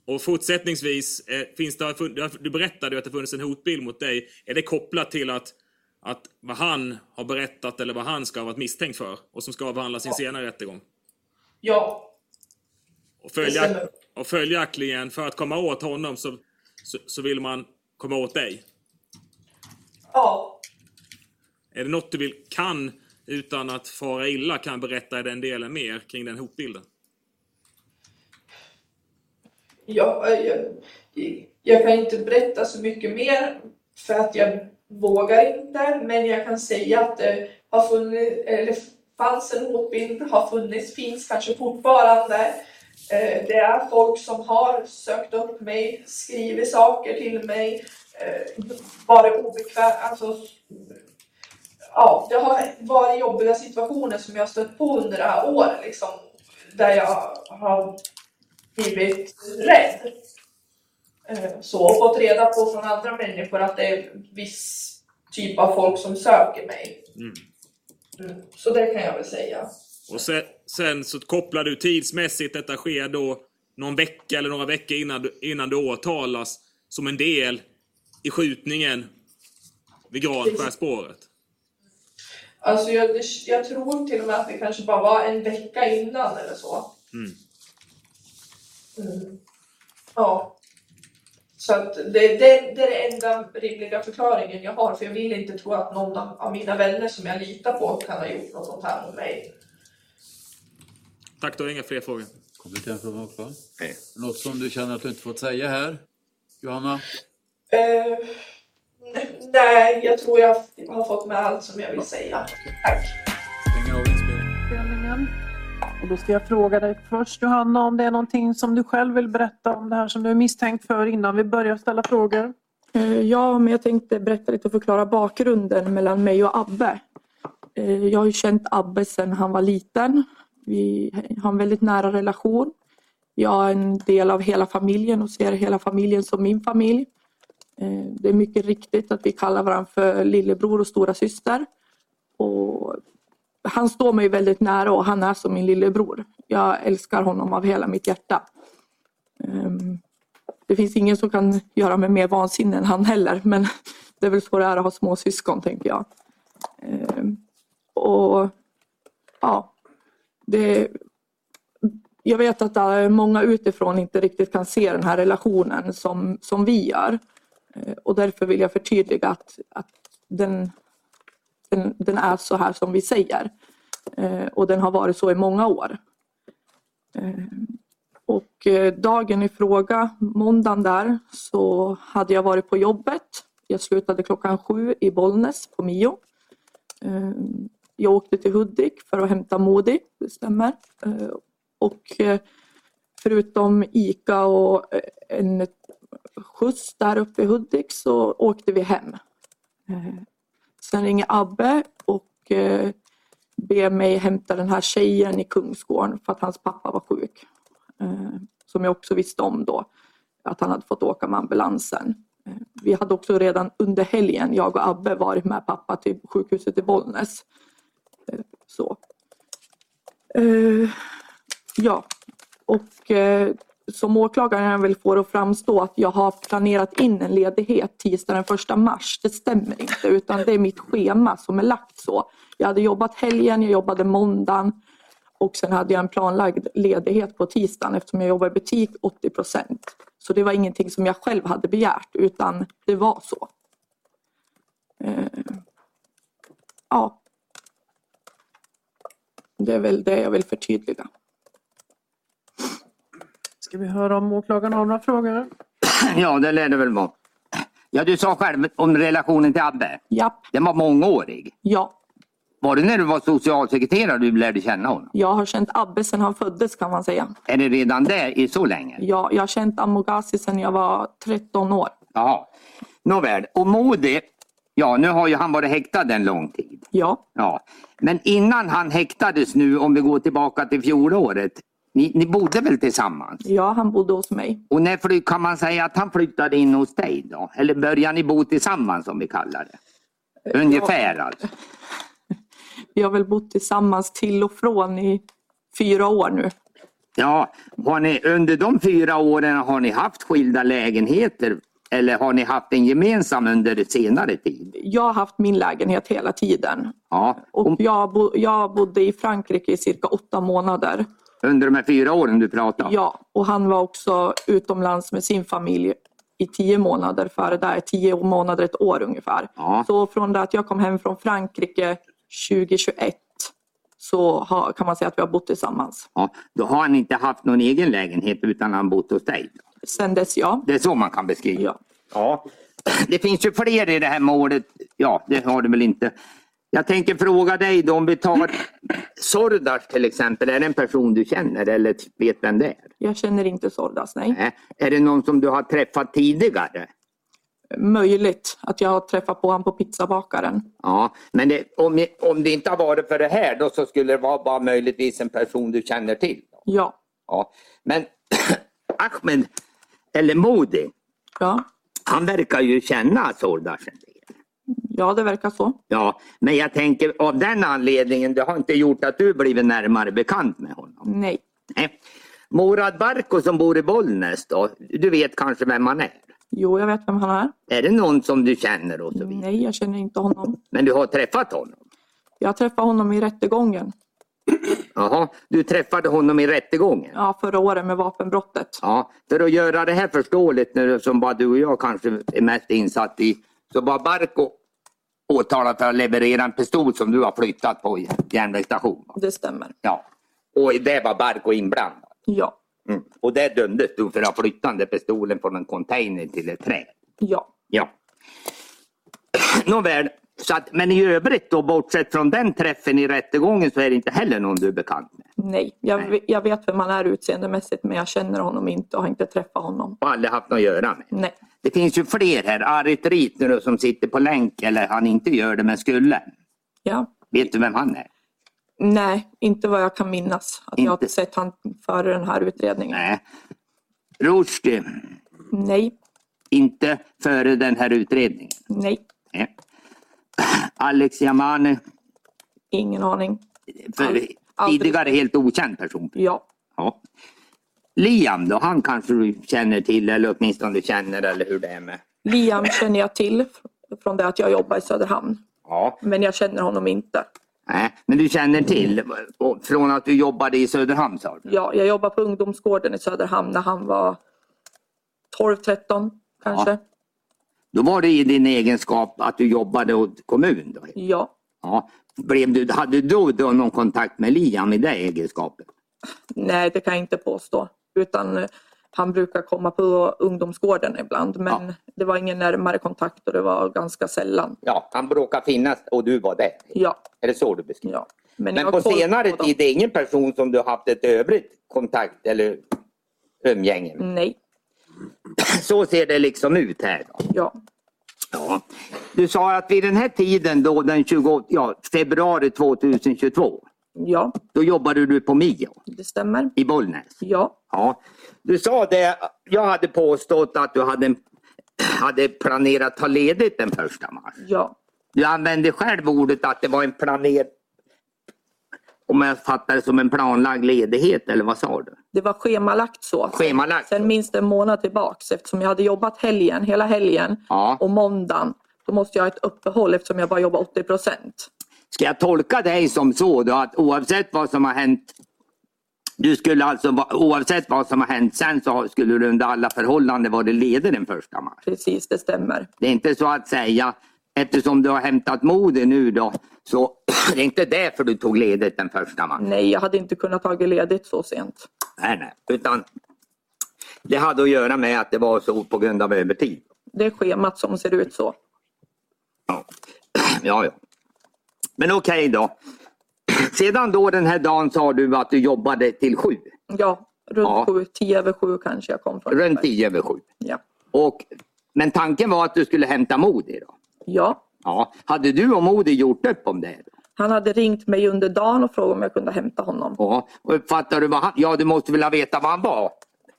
Speaker 5: Och fortsättningsvis, eh, finns det, har fun- det har- du berättade ju att det funnits en hotbild mot dig. Är det kopplat till att, att vad han har berättat eller vad han ska ha varit misstänkt för och som ska avhandlas i en senare rättegång?
Speaker 2: ja.
Speaker 5: Och,
Speaker 2: Det
Speaker 5: följak,
Speaker 2: stämmer.
Speaker 5: och följaktligen, för att komma åt honom så, så, så vill man komma åt dig.
Speaker 2: ja.
Speaker 5: Är det något du vill, kan, utan att fara illa, kan berätta i den delen mer kring den hotbilden?
Speaker 2: Ja, jag, jag kan inte berätta så mycket mer för att jag vågar inte, men jag kan säga att det har funnits, eller fanns en hotbild, har funnits, finns kanske fortfarande. Eh, Det är folk som har sökt upp mig, skrivit saker till mig, eh, varit obekväm, alltså ja, det har varit jobbiga situationer som jag har stött på under det här året liksom, där jag har blivit rädd. Eh, Så, och fått reda på från andra människor att det är viss typ av folk som söker mig. Mm, Så det kan jag väl säga.
Speaker 5: Och sen, sen så kopplar du tidsmässigt, detta sker då någon vecka eller några veckor innan du, innan du åtalas som en del i skjutningen vid Granskärspåret.
Speaker 2: Alltså jag, det- jag tror till och med att det kanske bara var en vecka innan eller så. Mm. Ja. Så att det, det, det är den enda rimliga förklaringen jag har för jag vill inte tro att någon av av mina vänner som jag litar på kan ha gjort något sånt här med mig.
Speaker 5: Tack, då har jag inga fler frågor.
Speaker 1: Kompletterande fråga också.
Speaker 6: Nej.
Speaker 1: Något som du känner att du inte fått säga här? Johanna?
Speaker 2: Eh, n- nej, jag tror jag har fått med allt som jag vill säga. Tack.
Speaker 1: Stänger av inspelningen.
Speaker 7: inspelningen. Och då ska jag fråga dig först Johanna om det är någonting som du själv vill berätta om det här som du är misstänkt för innan vi börjar ställa frågor. Eh, Ja, men jag tänkte berätta lite och förklara bakgrunden mellan mig och Abbe. Eh, Jag har ju känt Abbe sedan han var liten. Vi har en väldigt nära relation. Jag är en del av hela familjen och ser hela familjen som min familj. Eh, Det är mycket riktigt att vi kallar varandra för lillebror och stora syster. Och han står mig väldigt nära och han är som min lillebror. Jag älskar honom av hela mitt hjärta. Ehm, det finns ingen som kan göra mig mer vansinnig än han heller. Men det är väl så det är att ha småsyskon tänker jag. Ehm, och ja, det, jag vet att eh, många utifrån inte riktigt kan se den här relationen som, som vi gör. Eh, och därför vill jag förtydliga att, att den, den, den är så här som vi säger. Eh, och den har varit så i många år. Ehm, och eh, dagen i fråga, måndagen där, så hade jag varit på jobbet. Jag slutade klockan sju i Bollnäs på Mio. Eh, Jag åkte till Hudik för att hämta Modi, det stämmer. Eh, Och eh, förutom Ica och eh, en skjuts där uppe i Hudik så åkte vi hem. Eh, Sen ringer Abbe och eh, ber mig hämta den här tjejen i Kungsgården för att hans pappa var sjuk eh, som jag också visste om då, att han hade fått åka med ambulansen. Eh, vi hade också redan under helgen, jag och Abbe, varit med pappa till sjukhuset i Bollnäs. Eh, så. Eh, ja, och eh, som åklagaren vill få det att framstå att jag har planerat in en ledighet tisdag den 1 mars. Det stämmer inte utan det är mitt schema som är lagt så. Jag hade jobbat helgen, jag jobbade måndagen och sen hade jag en planlagd ledighet på tisdagen eftersom jag jobbar i butik 80 procent. Så det var ingenting som jag själv hade begärt utan det var så. Eh, ja. Det är väl det jag vill förtydliga.
Speaker 8: Ska vi höra om åklagaren har några frågor?
Speaker 3: Ja, det lär det väl vara. Ja, du sa själv om relationen till Abbe.
Speaker 7: Japp,
Speaker 3: Den var mångårig.
Speaker 7: ja.
Speaker 3: Var det när du var socialsekreterare du lärde känna honom?
Speaker 7: Jag har känt Abbe sedan han föddes kan man säga.
Speaker 3: Är det redan det i så länge?
Speaker 7: Ja, jag har känt Amoghasi sedan jag var 13 år.
Speaker 3: Jaha. Nåväl, och Modi, ja nu har ju han varit häktad en lång tid.
Speaker 7: Ja,
Speaker 3: Ja. Men innan han häktades nu, om vi går tillbaka till fjolåret, ni, ni bodde väl tillsammans?
Speaker 7: ja han bodde hos mig.
Speaker 3: Och när fly, kan man säga att han flyttade in hos dig då? Eller började ni bo tillsammans som vi kallar det? Ungefär alltså.
Speaker 7: Vi har väl bott tillsammans till och från i fyra år nu.
Speaker 3: Ja, har ni, under de fyra åren har ni haft skilda lägenheter eller har ni haft en gemensam under senare tid?
Speaker 7: jag har haft min lägenhet hela tiden.
Speaker 3: Ja,
Speaker 7: Och
Speaker 3: och
Speaker 7: jag, bo, jag bodde i Frankrike i cirka åtta månader.
Speaker 3: under de här fyra åren du pratar om?
Speaker 7: Ja, och han var också utomlands med sin familj i tio månader före där, tio månader, ett år ungefär.
Speaker 3: Ja.
Speaker 7: Så från det att jag kom hem från Frankrike 2021 så har, kan man säga att vi har bott tillsammans.
Speaker 3: Ja, då har han inte haft någon egen lägenhet utan han bott hos dig.
Speaker 7: Sen dess ja.
Speaker 3: Det är så man kan beskriva.
Speaker 7: ja.
Speaker 3: Ja. Det finns ju fler i det här målet. Ja, det har du väl inte. Jag tänker fråga dig då om vi tar Sordas till exempel. Är det en person du känner eller vet vem det är?
Speaker 7: Jag känner inte Sordas, nej.
Speaker 3: Nej. Är det någon som du har träffat tidigare?
Speaker 7: Möjligt att jag har träffat på honom på pizzabakaren.
Speaker 3: Ja, men det, om, om det inte har varit för det här då så skulle det vara bara möjligtvis en person du känner till. Då.
Speaker 7: Ja.
Speaker 3: Ja. Men Ahmed, eller Modi,
Speaker 7: Ja.
Speaker 3: han verkar ju känna Sordas en del.
Speaker 7: ja, det verkar så.
Speaker 3: Ja, men jag tänker av den anledningen, det har inte gjort att du blivit närmare bekant med honom.
Speaker 7: Nej.
Speaker 3: Nej. Morad Barko som bor i Bollnäs då, du vet kanske vem han är?
Speaker 7: Jo, jag vet vem han är.
Speaker 3: Är det någon som du känner och så vidare?
Speaker 7: Nej, jag känner inte honom.
Speaker 3: Men du har träffat honom?
Speaker 7: Jag träffade honom i rättegången
Speaker 3: Jaha, du träffade honom i rättegången?
Speaker 7: ja, förra året med vapenbrottet.
Speaker 3: Ja, för att göra det här förståeligt nu som bara du och jag kanske är mest insatt i, så var Barko åtalad för att leverera en pistol som du har flyttat på järnvägsstation. va?
Speaker 7: Det stämmer.
Speaker 3: Ja, och i det var Barko inblandad.
Speaker 7: Ja,
Speaker 3: Mm. Och där dömdes du för att ha flyttat den där pistolen från en container till ett träd.
Speaker 7: ja,
Speaker 3: Ja. Nåväl, så att, men i övrigt då, bortsett från den träffen i rättegången så är det inte heller någon du är bekant med.
Speaker 7: nej. Jag,
Speaker 3: Nej.
Speaker 7: ve- jag vet vem han är utseendemässigt men jag känner honom inte och har inte träffat honom.
Speaker 3: Och aldrig haft något att göra med.
Speaker 7: Nej,
Speaker 3: Det finns ju fler här. Arit Ritner som sitter på länk, eller han inte gör det men skulle.
Speaker 7: Ja.
Speaker 3: Vet du vem han är?
Speaker 7: Nej, inte vad jag kan minnas. Att jag har
Speaker 3: Inte.
Speaker 7: sett han före den här utredningen.
Speaker 3: Nej. Rushdie,
Speaker 7: Nej,
Speaker 3: inte före den här utredningen.
Speaker 7: nej,
Speaker 3: Nej. Alex Yamane,
Speaker 7: ingen aning.
Speaker 3: för
Speaker 7: Aldrig. Aldrig.
Speaker 3: tidigare helt okänd person.
Speaker 7: Ja,
Speaker 3: Ja. Liam då, han kanske du känner till eller åtminstone du känner eller hur det är med.
Speaker 7: Liam känner jag till från det att jag jobbar i Söderhamn.
Speaker 3: Ja.
Speaker 7: Men jag känner honom inte.
Speaker 3: Nej, men du känner till och från att du jobbade i Söderhamn sa du?
Speaker 7: Ja, jag jobbar på ungdomsgården i Söderhamn när han var 12-13 kanske. Ja.
Speaker 3: Då var det i din egenskap att du jobbade åt kommun. Då. Ja. Blev du, hade du då, då någon kontakt med Liam i den egenskapen?
Speaker 7: Nej, det kan jag inte påstå. Utan eh, han brukar komma på ungdomsgården ibland. Men det var ingen närmare kontakt och det var ganska sällan.
Speaker 3: Ja, han bråkar finnas och du var där.
Speaker 7: Ja,
Speaker 3: Är det så du beskriver?
Speaker 7: ja. jag
Speaker 3: Men
Speaker 7: har
Speaker 3: på
Speaker 7: koll
Speaker 3: senare
Speaker 7: dem.
Speaker 3: tid, det är ingen person som du haft ett övrigt kontakt eller umgänge med.
Speaker 7: Nej,
Speaker 3: Så ser det liksom ut här. Då.
Speaker 7: ja.
Speaker 3: Ja. Du sa att vid den här tiden då, den 28, ja, februari 2022,
Speaker 7: Ja,
Speaker 3: då jobbade du på Mio
Speaker 7: det stämmer.
Speaker 3: i Bollnäs.
Speaker 7: Ja,
Speaker 3: Ja. Du sa det, jag hade påstått att du hade, hade planerat ta ledigt den första mars.
Speaker 7: ja,
Speaker 3: Du använde själv ordet att det var en planer... Om jag fattar det som en planlagd ledighet eller vad sa du?
Speaker 7: det var schemalagt så.
Speaker 3: Schemalagt?
Speaker 7: Sen minst en månad tillbaks eftersom jag hade jobbat helgen, hela helgen
Speaker 3: Ja.
Speaker 7: och måndagen. Då måste jag ha ett uppehåll eftersom jag bara jobbar 80 procent.
Speaker 3: Ska jag tolka dig som så då att oavsett vad som har hänt du skulle alltså, va- oavsett vad som har hänt sen så skulle du under alla förhållanden vara ledig den första mars.
Speaker 7: Precis, det stämmer.
Speaker 3: Det är inte så att säga, eftersom du har hämtat modet nu då, så det är inte därför du tog ledigt den första mars.
Speaker 7: Nej, jag hade inte kunnat ta ledigt så sent.
Speaker 3: Nej, nej. Utan det hade att göra med att det var så på grund av övertid.
Speaker 7: Det är schemat som ser ut så.
Speaker 3: Ja, ja. ja. Men okej då. Sedan då den här dagen sa du att du jobbade till sju,
Speaker 7: Ja, runt
Speaker 3: Ja.
Speaker 7: sju, tio över sju kanske jag kom från.
Speaker 3: runt tio över sju.
Speaker 7: Ja.
Speaker 3: Och, men tanken var att du skulle hämta Modi då?
Speaker 7: ja,
Speaker 3: Ja. Hade du och Modi gjort upp om det? Då?
Speaker 7: han hade ringt mig under dagen och frågat om jag kunde hämta honom.
Speaker 3: Ja. Och Uppfattar du vad han... Ja, du måste väl ha vetat vad han var?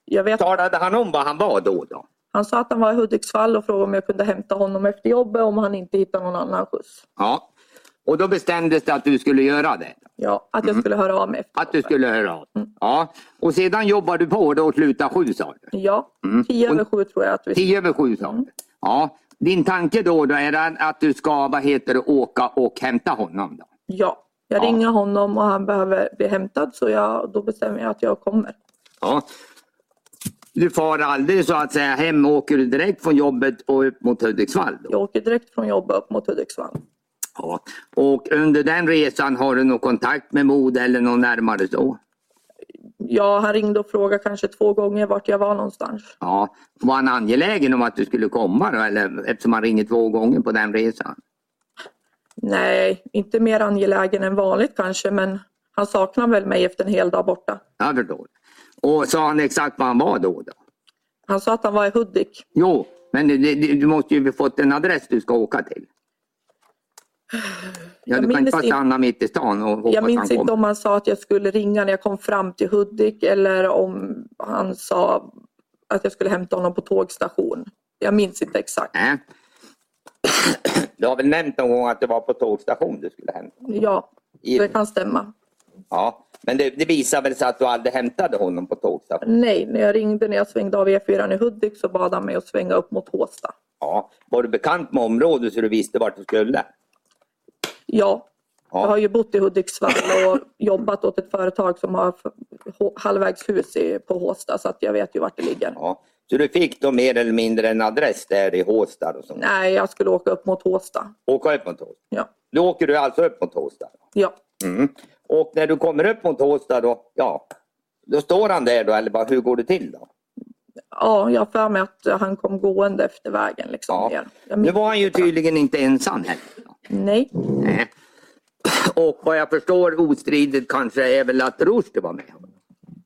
Speaker 7: Jag vet,
Speaker 3: Talade han om vad han var då? då?
Speaker 7: han sa att han var i Hudiksvall och frågade om jag kunde hämta honom efter jobbet om han inte hittade någon annan skjuts.
Speaker 3: Ja. Och då bestämdes det att du skulle göra det?
Speaker 7: Ja, att jag skulle höra av mig efter
Speaker 3: Mm. Att du
Speaker 7: jobbet.
Speaker 3: skulle höra av Ja. Och sedan jobbar du på då och slutar sju sa du?
Speaker 7: Ja, tio över sju tror jag att vi...
Speaker 3: Mm. Tio över sju sa du? Ja. Din tanke då, då är den att du ska vad heter det, åka och hämta honom? då?
Speaker 7: Ja, jag
Speaker 3: Ja.
Speaker 7: ringer honom och han behöver bli hämtad så jag, då bestämmer jag att jag kommer.
Speaker 3: Ja. Du far aldrig så att säga hem, åker du direkt från jobbet och upp mot Hudiksvall? Då?
Speaker 7: Jag åker direkt från jobbet upp mot Hudiksvall.
Speaker 3: Ja. Och under den resan har du någon kontakt med Mod eller någon närmare så?
Speaker 7: Ja, han ringde och frågade kanske två gånger vart jag var någonstans.
Speaker 3: Ja. Var han angelägen om att du skulle komma då, eller, eftersom han ringer två gånger på den resan?
Speaker 7: Nej, inte mer angelägen än vanligt kanske men han saknar väl mig efter en hel dag borta.
Speaker 3: Jag förstår. Och sa han exakt var han var då? då?
Speaker 7: Han sa att han var i Hudik.
Speaker 3: Jo, men det- det- du måste ju fått en adress du ska åka till. Ja,
Speaker 7: Jag
Speaker 3: du kan inte
Speaker 7: minns
Speaker 3: bara
Speaker 7: in-
Speaker 3: stanna mitt i stan och hoppas
Speaker 7: Jag
Speaker 3: han
Speaker 7: minns inte
Speaker 3: kommer.
Speaker 7: om han sa att jag skulle ringa när jag kom fram till Hudik eller om han sa att jag skulle hämta honom på tågstation. Jag minns inte exakt.
Speaker 3: Nej. Du har väl nämnt någon gång att det var på tågstation du skulle hämta?
Speaker 7: Ja,
Speaker 3: I-
Speaker 7: det kan stämma.
Speaker 3: Ja, men det, det visar väl sig att du aldrig hämtade honom på tågstation?
Speaker 7: Nej, när jag ringde när jag svängde av E4 i Hudik så bad han mig att svänga upp mot Håsta.
Speaker 3: Ja. Var du bekant med området så du visste vart du skulle?
Speaker 7: Ja,
Speaker 3: Ja.
Speaker 7: jag har ju bott i Hudiksvall och jobbat åt ett företag som har f- h- halvvägshus i, på Håsta så att jag vet ju vart det ligger.
Speaker 3: Ja. Så du fick då mer eller mindre en adress där i Håstad och sånt?
Speaker 7: Nej, jag skulle åka upp mot Håsta.
Speaker 3: Åka upp mot Håstad?
Speaker 7: Ja,
Speaker 3: Då åker du alltså upp mot Håstad?
Speaker 7: ja.
Speaker 3: Mm. Och när du kommer upp mot Håstad då, ja, då står han där då eller bara, hur går det till då?
Speaker 7: ja jag har för mig att han kom gående efter vägen. Liksom,
Speaker 3: Ja.
Speaker 7: ner. Jag
Speaker 3: Nu
Speaker 7: minns-
Speaker 3: var han ju tydligen inte ensam heller.
Speaker 7: Nej,
Speaker 3: Nej. Och vad jag förstår ostridigt kanske är väl att Rushdie var med.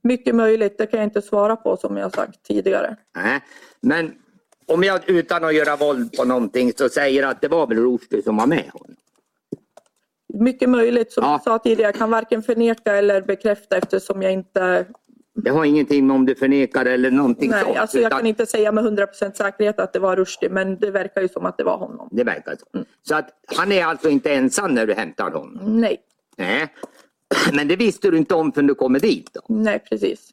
Speaker 7: mycket möjligt. Det kan jag inte svara på som jag sagt tidigare.
Speaker 3: Nej. Men om jag utan att göra våld på någonting så säger att det var väl Rushdie som var med honom.
Speaker 7: Mycket möjligt. Som
Speaker 3: Ja.
Speaker 7: jag sa tidigare, jag kan varken förneka eller bekräfta eftersom jag inte...
Speaker 3: Det har ingenting med om du förnekar eller någonting sånt.
Speaker 7: Nej, alltså jag
Speaker 3: utan
Speaker 7: kan inte säga med 100% säkerhet att det var Rushdie, men det verkar ju som att det var honom.
Speaker 3: Det verkar så. Så att han är alltså inte ensam när du hämtar honom?
Speaker 7: Nej,
Speaker 3: Nej. Men det visste du inte om förrän du kommer dit då?
Speaker 7: nej precis.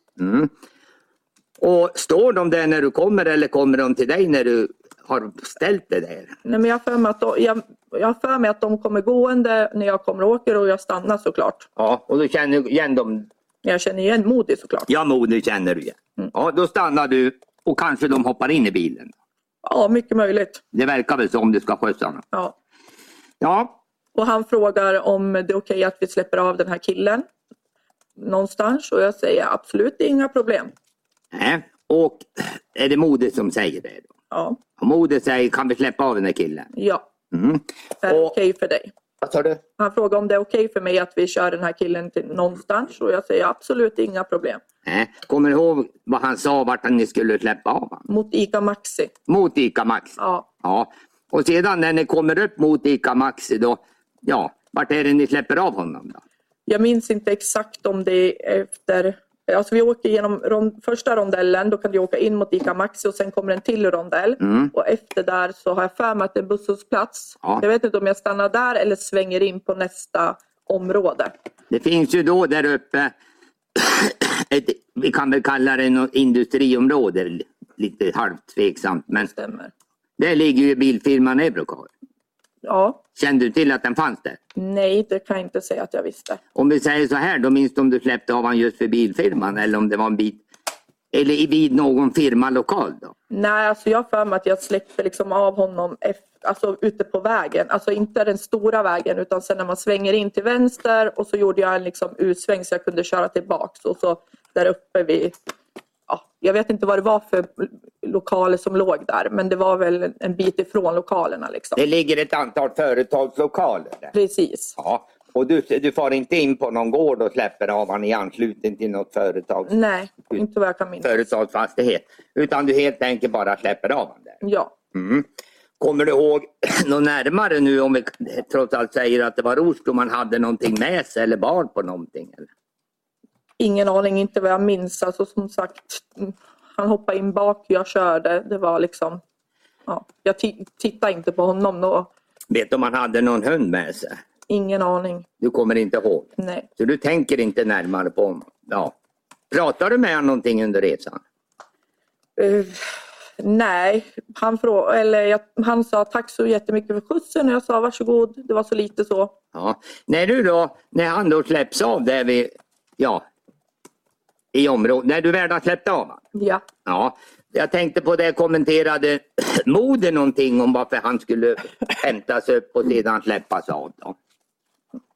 Speaker 3: Och står de där när du kommer eller kommer de till dig när du har ställt det där?
Speaker 7: Nej, men jag har för mig att de, jag, jag har för mig att de kommer gående när jag kommer och åker och jag stannar såklart.
Speaker 3: Ja, och då känner du igen dem.
Speaker 7: Men jag känner igen Modi såklart.
Speaker 3: Ja, moder känner du igen. Ja, då stannar du och kanske de hoppar in i bilen.
Speaker 7: Ja, mycket möjligt.
Speaker 3: Det verkar väl som om du ska skjutsa honom.
Speaker 7: Ja.
Speaker 3: Ja,
Speaker 7: Och han frågar om det är okej att vi släpper av den här killen någonstans och jag säger absolut det är inga problem.
Speaker 3: nej. och är det moder som säger det? Då?
Speaker 7: Ja,
Speaker 3: Och moder säger, kan vi släppa av den här killen?
Speaker 7: ja.
Speaker 3: Mm.
Speaker 7: Är det
Speaker 3: Och-
Speaker 7: okej för dig?
Speaker 3: Vad sa du?
Speaker 7: Han frågar om det är okej för mig att vi kör den här killen till någonstans och jag säger absolut inga problem.
Speaker 3: Nej. Kommer du ihåg vad han sa, vart ni skulle släppa av honom?
Speaker 7: Mot ICA Maxi.
Speaker 3: Mot ICA Maxi.
Speaker 7: Ja,
Speaker 3: Ja, och sedan när ni kommer upp mot ICA Maxi då, ja, vart är det ni släpper av honom då?
Speaker 7: jag minns inte exakt om det är efter... Alltså vi åker genom rond, första rondellen, då kan du åka in mot ICA Maxi och sen kommer en till rondell. Och efter där så har jag för mig att det är en busshållplats.
Speaker 3: Ja.
Speaker 7: Jag vet inte om jag stannar där eller svänger in på nästa område.
Speaker 3: Det finns ju då där uppe, ett, vi kan väl kalla det något industriområde, lite halvt tveksamt, men
Speaker 7: Stämmer.
Speaker 3: där ligger ju bilfirman Eurocar.
Speaker 7: Ja,
Speaker 3: Kände du till att den fanns där?
Speaker 7: nej det kan jag inte säga att jag visste.
Speaker 3: Om vi säger så här, då minns du om du släppte av honom just för bilfirman eller om det var en bit, eller i vid någon firmalokal då?
Speaker 7: Nej, alltså jag har för mig att jag släppte liksom av honom efter, alltså ute på vägen. Alltså inte den stora vägen utan sen när man svänger in till vänster och så gjorde jag en liksom utsväng så jag kunde köra tillbaks och så där uppe vid ja, jag vet inte vad det var för lokaler som låg där men det var väl en bit ifrån lokalerna liksom.
Speaker 3: Det ligger ett antal företagslokaler där.
Speaker 7: Precis.
Speaker 3: Ja, och du, du far inte in på någon gård och släpper av han i anslutning till något företag,
Speaker 7: Nej, inte vad jag kan minnas.
Speaker 3: företagsfastighet. Utan du helt enkelt bara släpper av han där.
Speaker 7: Ja.
Speaker 3: Mm. Kommer du ihåg något närmare nu om vi trots allt säger att det var Rushdie om han hade någonting med sig eller bar på någonting? Eller?
Speaker 7: Ingen aning, inte vad jag minns. Alltså som sagt, mm, han hoppade in bak, jag körde. Det var liksom... Ja, jag ti- tittade inte på honom då.
Speaker 3: Vet du om han hade någon hund med sig?
Speaker 7: Ingen aning.
Speaker 3: Du kommer inte ihåg.
Speaker 7: Nej.
Speaker 3: Så du tänker inte närmare på honom? Ja. Pratar du med honom någonting under resan?
Speaker 7: Eh, nej, han, frå- eller jag, han sa tack så jättemycket för skjutsen och jag sa varsågod. Det var så lite så.
Speaker 3: Ja. När du då, när han då släpps av där vi, ja, i området, när du väl har släppt av han.
Speaker 7: Ja.
Speaker 3: Ja, jag tänkte på det, kommenterade moder någonting om varför han skulle hämtas upp och sedan släppas av då.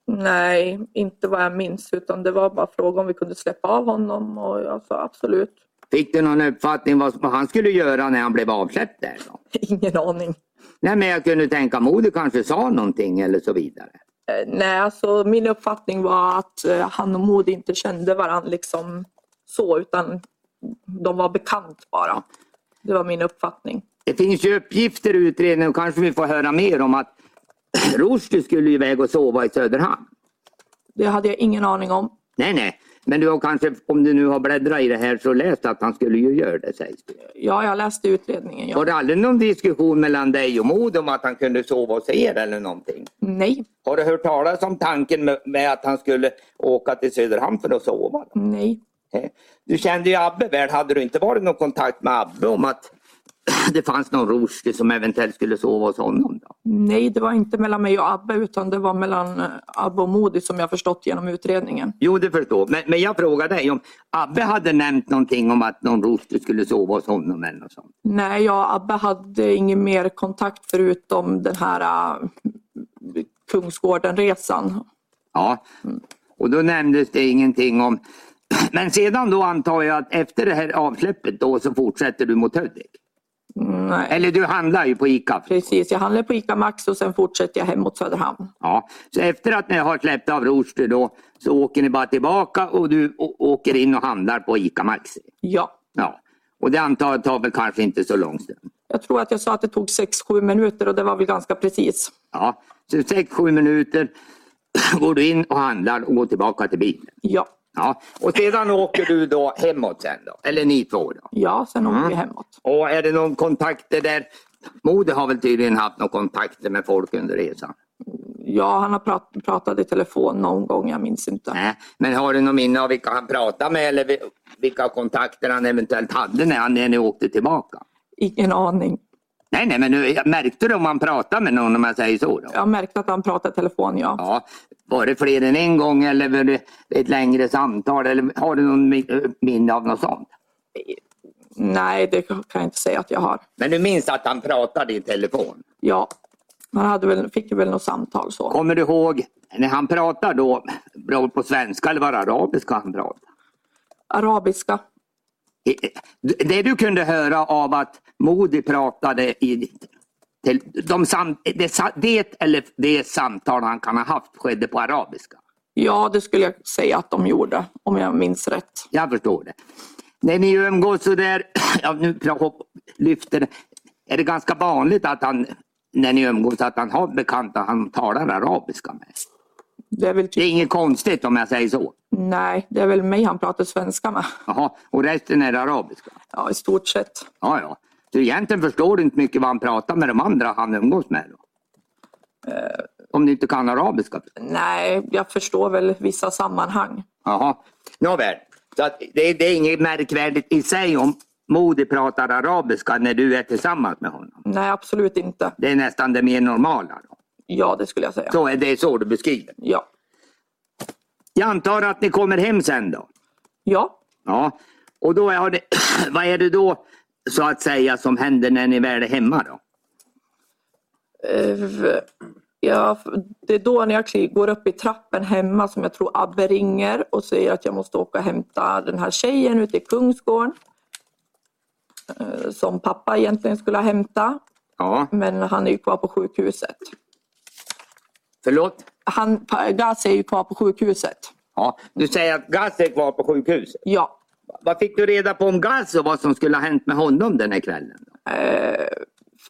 Speaker 7: Nej, inte vad jag minns utan det var bara fråga om vi kunde släppa av honom och jag sa absolut.
Speaker 3: Fick du någon uppfattning vad vad han skulle göra när han blev avsläppt där då?
Speaker 7: Ingen aning.
Speaker 3: Nej, men jag kunde tänka moder kanske sa någonting eller så vidare.
Speaker 7: Eh, Nej, alltså min uppfattning var att eh, han och Modi inte kände varandra liksom så utan de var bekant bara. Det var min uppfattning.
Speaker 3: Det finns ju uppgifter i utredningen, och kanske vi får höra mer om att Rushdie skulle ju iväg och sova i Söderhamn.
Speaker 7: Det hade jag ingen aning om.
Speaker 3: Nej, nej. Men du har kanske, om du nu har bläddrat i det här, så läst att han skulle ju göra det sägs det.
Speaker 7: Ja, jag läste utredningen. Ja.
Speaker 3: Var det aldrig någon diskussion mellan dig och Mod om att han kunde sova hos er eller någonting?
Speaker 7: Nej,
Speaker 3: Har du hört talas om tanken med, med att han skulle åka till Söderhamn för att sova?
Speaker 7: nej.
Speaker 3: Eh, Du kände ju Abbe väl. Hade du inte varit någon kontakt med Abbe om att det fanns någon Rushdie som eventuellt skulle sova hos honom? Då?
Speaker 7: Nej, det var inte mellan mig och Abbe utan det var mellan eh, Abbe och Modi som jag förstått genom utredningen.
Speaker 3: Jo, det förstår men, men jag frågar dig om Abbe hade nämnt någonting om att någon Rushdie skulle sova hos honom eller något sånt.
Speaker 7: Nej, jag och Abbe hade ingen mer kontakt förutom den här eh, Kungsgården-resan.
Speaker 3: Ja, och då nämndes det ingenting om... Men sedan då antar jag att efter det här avsläppet då så fortsätter du mot Hudik?
Speaker 7: Nej.
Speaker 3: Eller du handlar ju på ICA.
Speaker 7: Precis, jag handlar på ICA Maxi och sen fortsätter jag hem mot Söderhamn.
Speaker 3: Ja, så efter att ni har släppt av Rushdie då så åker ni bara tillbaka och du å- åker in och handlar på ICA Maxi.
Speaker 7: Ja,
Speaker 3: Ja, och det antar jag tar väl kanske inte så lång stund.
Speaker 7: Jag tror att jag sa att det tog 6-7 minuter och det var väl ganska precis.
Speaker 3: Ja, så 6-7 minuter går du in och handlar och går tillbaka till bilen.
Speaker 7: Ja,
Speaker 3: Ja, och sedan åker du då hemåt sen då, eller ni två då.
Speaker 7: ja sen åker
Speaker 3: Mm.
Speaker 7: vi hemåt.
Speaker 3: Och är det någon kontakter där? Mode har väl tydligen haft några kontakter med folk under resan?
Speaker 7: Ja, han har prat, pratat i telefon någon gång, jag minns inte.
Speaker 3: Nej, men har du någon minne av vilka han pratade med eller vi- vilka kontakter han eventuellt hade när, han, när ni åkte tillbaka?
Speaker 7: Ingen aning.
Speaker 3: Nej, nej, men nu, jag märkte du om han pratade med någon om jag säger så? Då?
Speaker 7: Jag märkte att han pratade i telefon, ja.
Speaker 3: Ja, var det fler än en gång eller var det ett längre samtal? Eller har du någon mi- minne av något sånt?
Speaker 7: Nej, det kan jag inte säga att jag har.
Speaker 3: Men du minns att han pratade i telefon?
Speaker 7: Ja, han hade väl, fick väl något samtal så.
Speaker 3: Kommer du ihåg när han pratar då? Bra på svenska eller var det arabiska han pratar?
Speaker 7: Arabiska.
Speaker 3: Det du kunde höra av att Modi pratade i till, de sam, det, sa- det eller det samtal han kan ha haft skedde på arabiska.
Speaker 7: Ja, det skulle jag säga att de gjorde, om jag minns rätt.
Speaker 3: Jag förstår det. När ni umgås så där, ja, nu pra- hopp- lyfter är det ganska vanligt att han, när ni umgås, att han har bekanta han talar arabiska med.
Speaker 7: Det är väl
Speaker 3: Det
Speaker 7: typ,
Speaker 3: är inget konstigt om jag säger så.
Speaker 7: nej, det är väl mig han pratar svenska med.
Speaker 3: Jaha, och resten är arabiska.
Speaker 7: Ja, i stort sett.
Speaker 3: Ja, ja. Så egentligen förstår du inte mycket vad han pratar med de andra han umgås med? Då. Eh, Om du inte kan arabiska.
Speaker 7: Nej, jag förstår väl vissa sammanhang.
Speaker 3: Jaha. Nåväl, så att det, det är inget märkvärdigt i sig om Modi pratar arabiska när du är tillsammans med honom.
Speaker 7: Nej, absolut inte.
Speaker 3: Det är nästan det mer normala. Då.
Speaker 7: Ja, det skulle jag säga.
Speaker 3: Så är det så du beskriver.
Speaker 7: Ja.
Speaker 3: Jag antar att ni kommer hem sen då?
Speaker 7: Ja.
Speaker 3: Ja. Och då är det, vad är det då så att säga som händer när ni väl är hemma då?
Speaker 7: Eh, ja, det är då när jag kli- går upp i trappen hemma som jag tror Abbe ringer och säger att jag måste åka och hämta den här tjejen ute i Kungsgården. Eh, Som pappa egentligen skulle ha hämtat,
Speaker 3: Ja,
Speaker 7: men han är ju kvar på sjukhuset.
Speaker 3: förlåt?
Speaker 7: Han, pa- Gazi är ju kvar på sjukhuset.
Speaker 3: Ja, du säger att Gaz är kvar på sjukhuset.
Speaker 7: Ja,
Speaker 3: Vad fick du reda på om Gaz och vad som skulle ha hänt med honom den här kvällen?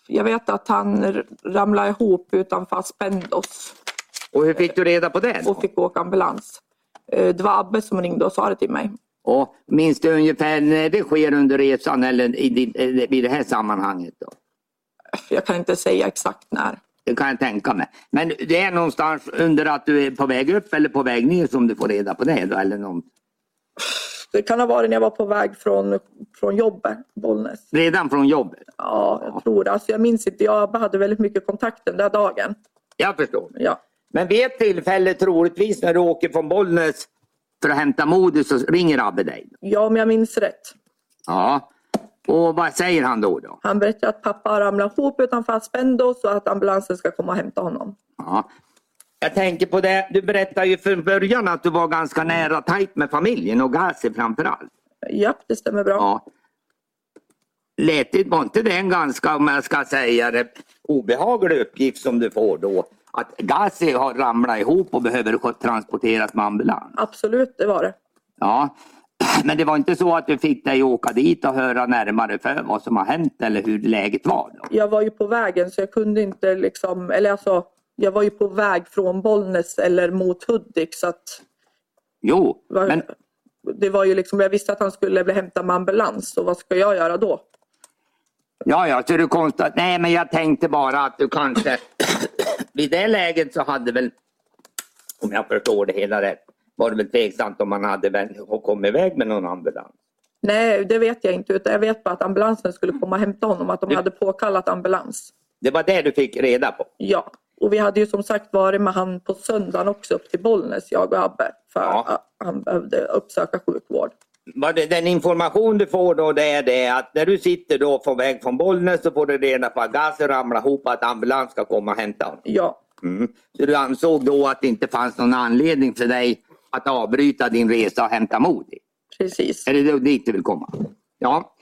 Speaker 7: jag vet att han r- ramlade ihop utanför Spendos
Speaker 3: Och hur fick du reda på det?
Speaker 7: och
Speaker 3: Då?
Speaker 7: fick åka ambulans. Eh, Det var Abbe som ringde och sa det till mig.
Speaker 3: Och minns du ungefär när det sker under resan eller i, din- eh, i det här sammanhanget? Då?
Speaker 7: Jag kan inte säga exakt när.
Speaker 3: Det kan jag tänka mig. Men det är någonstans under att du är på väg upp eller på väg ner som du får reda på det? Då, eller någon...
Speaker 7: Det kan ha varit när jag var på väg från, från jobbet, Bollnäs.
Speaker 3: Redan från jobbet?
Speaker 7: Ja, jag tror det. Alltså jag minns inte. Jag hade väldigt mycket kontakt den där dagen.
Speaker 3: Jag förstår.
Speaker 7: Ja,
Speaker 3: Men vid ett tillfälle troligtvis när du åker från Bollnäs för att hämta Modi så ringer Abbe dig? Då.
Speaker 7: ja om jag minns rätt.
Speaker 3: Ja. Och vad säger han då? då?
Speaker 7: Han berättade att pappa ramlade ihop utanför Aspendos och att ambulansen ska komma och hämta honom.
Speaker 3: Ja. Jag tänker på det, du berättade ju från början att du var ganska nära tajt med familjen och Gazi framförallt.
Speaker 7: Japp, det stämmer bra.
Speaker 3: Ja. Lät det, var inte det en ganska, om jag ska säga det, obehaglig uppgift som du får då? Att Gazi har ramlat ihop och behöver transporteras med ambulans.
Speaker 7: Absolut, det var det.
Speaker 3: Ja. Men det var inte så att du fick dig åka dit och höra närmare för vad som har hänt eller hur läget var? Då?
Speaker 7: Jag var ju på vägen så jag kunde inte liksom, eller alltså, jag var ju på väg från Bollnäs eller mot Hudik så att
Speaker 3: Jo,
Speaker 7: var,
Speaker 3: men
Speaker 7: det var ju liksom, jag visste att han skulle bli hämtad med ambulans och vad ska jag göra då?
Speaker 3: Ja, ja, så du konstat... Nej, men jag tänkte bara att du kanske... Vid det läget så hade väl, om jag förstår det hela rätt, var det väl tveksamt om man hade väl kommit iväg med någon ambulans.
Speaker 7: Nej, det vet jag inte. Utan jag vet bara att ambulansen skulle komma och hämta honom. Att de hade påkallat ambulans.
Speaker 3: Det var det du fick reda på.
Speaker 7: Ja. Och vi hade ju som sagt varit med han på söndagen också upp till Bollnäs, jag och Abbe. För
Speaker 3: Ja.
Speaker 7: att han behövde uppsöka sjukvård.
Speaker 3: Var det, den information du får då det är det att när du sitter då på väg från Bollnäs så får du reda på att gasen ramlar ihop och att ambulans ska komma och hämta honom.
Speaker 7: Ja,
Speaker 3: Mm. Så du ansåg då att det inte fanns någon anledning för dig att avbryta din resa och hämta Modi?
Speaker 7: precis.
Speaker 3: Är det då dit du vill komma? Ja.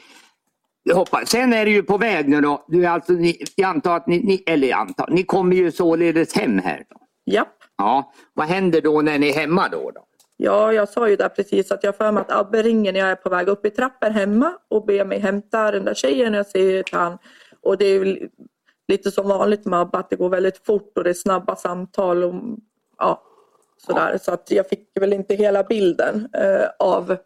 Speaker 3: Jag hoppas. Sen är du ju på väg nu då. Du är alltså, ni, jag antar att ni, ni, eller jag antar, ni kommer ju således hem här. Då.
Speaker 7: Japp.
Speaker 3: Ja. Vad händer då när ni är hemma då? då?
Speaker 7: Ja, jag sa ju där precis att jag får mig att Abbe ringer när jag är på väg upp i trappen hemma och ber mig hämta den där tjejen. Jag säger till han, Och det är väl lite som vanligt med Abbe, att det går väldigt fort och det är snabba samtal. Och, ja, sådär. Så att jag fick väl inte hela bilden eh, av...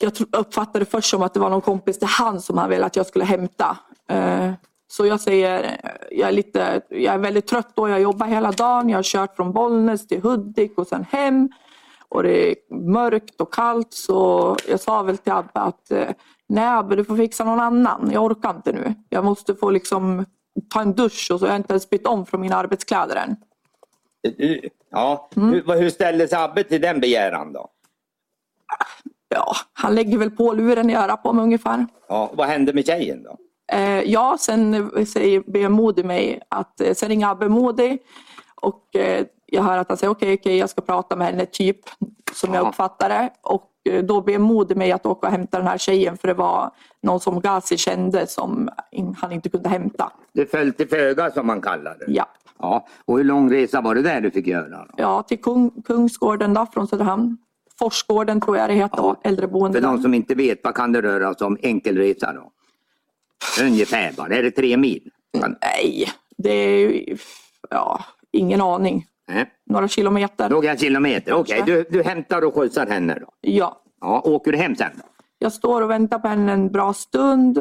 Speaker 7: Jag tro- uppfattade först som att det var någon kompis till han som han ville att jag skulle hämta. Eh, så jag säger, eh, jag är, lite, jag är väldigt trött då, jag jobbar hela dagen. Jag har kört från Bollnäs till Hudik och sen hem. Och det är mörkt och kallt så jag sa väl till Abbe att eh, nej Abbe du får fixa någon annan. Jag orkar inte nu. Jag måste få liksom ta en dusch och så jag har inte ens bytt om från mina arbetskläder än.
Speaker 3: Du, ja. Hur, vad- hur ställde sig Abbe till den begäran då?
Speaker 7: Ja, han lägger väl på luren i örat på mig ungefär.
Speaker 3: Ja, vad hände med tjejen då?
Speaker 7: Eh, ja, sen eh, säger, ber Modi mig att, eh, sen ringer Abbe Modi och eh, jag hör att han säger okej, okej, jag ska prata med henne, typ, som jag
Speaker 3: Ja.
Speaker 7: uppfattar det. Och eh, då ber Modi mig att åka och hämta den här tjejen för det var någon som Gazi kände som in, han inte kunde hämta.
Speaker 3: Du föll till föga som man kallar det.
Speaker 7: Ja,
Speaker 3: ja. Och hur lång resa var det där du fick göra? Då?
Speaker 7: ja till Kung, Kungsgården då, från Söderhamn. Forsgården tror jag det heter,
Speaker 3: Ja.
Speaker 7: äldreboende.
Speaker 3: För
Speaker 7: där.
Speaker 3: de som inte vet, vad kan det röra sig om enkelresa då? Ungefär bara, är det tre mil? Kan-
Speaker 7: Nej, det är ju, ja, ingen aning.
Speaker 3: Nej.
Speaker 7: Några kilometer.
Speaker 3: Några kilometer, okej. Du, du hämtar och skjutsar henne då?
Speaker 7: Ja.
Speaker 3: Ja, åker du hem sen? Då?
Speaker 7: Jag står och väntar på henne en bra stund.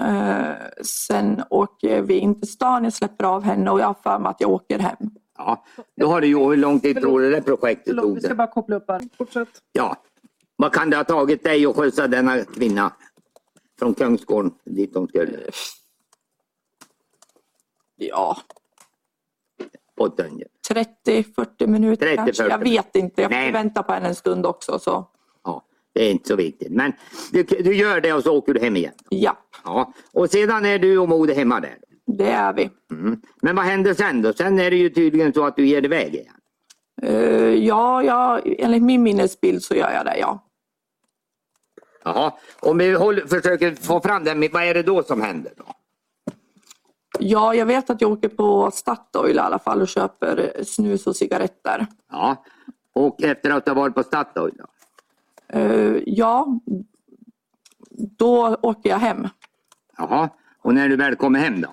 Speaker 7: Eh, sen åker vi in till stan, jag släpper av henne och jag har för mig att jag åker hem.
Speaker 3: Ja, då har du ju, hur lång tid
Speaker 8: Förlåt.
Speaker 3: tror du det projektet
Speaker 8: Förlåt,
Speaker 3: tog?
Speaker 8: vi ska
Speaker 3: det?
Speaker 8: bara koppla upp här. Fortsätt.
Speaker 3: Ja. Vad kan det ha tagit dig att skjutsa denna kvinna från Kungsgården dit hon skulle?
Speaker 7: Ja,
Speaker 3: Åt Dönje.
Speaker 7: 30-40 minuter
Speaker 3: 30-40
Speaker 7: kanske. Jag vet inte, jag
Speaker 3: Nej.
Speaker 7: får vänta på henne en stund också. Så.
Speaker 3: Ja, det är inte så viktigt. Men du, du gör det och så åker du hem igen.
Speaker 7: Ja,
Speaker 3: Ja. Och sedan är du och Mode hemma där.
Speaker 7: det är vi.
Speaker 3: Mm. Men vad händer sen då? Sen är det ju tydligen så att du ger dig iväg igen.
Speaker 7: Eh, ja, ja, enligt min minnesbild så gör jag det, ja.
Speaker 3: Jaha, om vi håller, försöker få fram den, vad är det då som händer? då?
Speaker 7: Ja, jag vet att jag åker på Statoil i alla fall och köper snus och cigaretter.
Speaker 3: Ja, och efter att du har varit på Statoil då?
Speaker 7: Eh, ja, då åker jag hem.
Speaker 3: Jaha, och när du väl kommer hem då?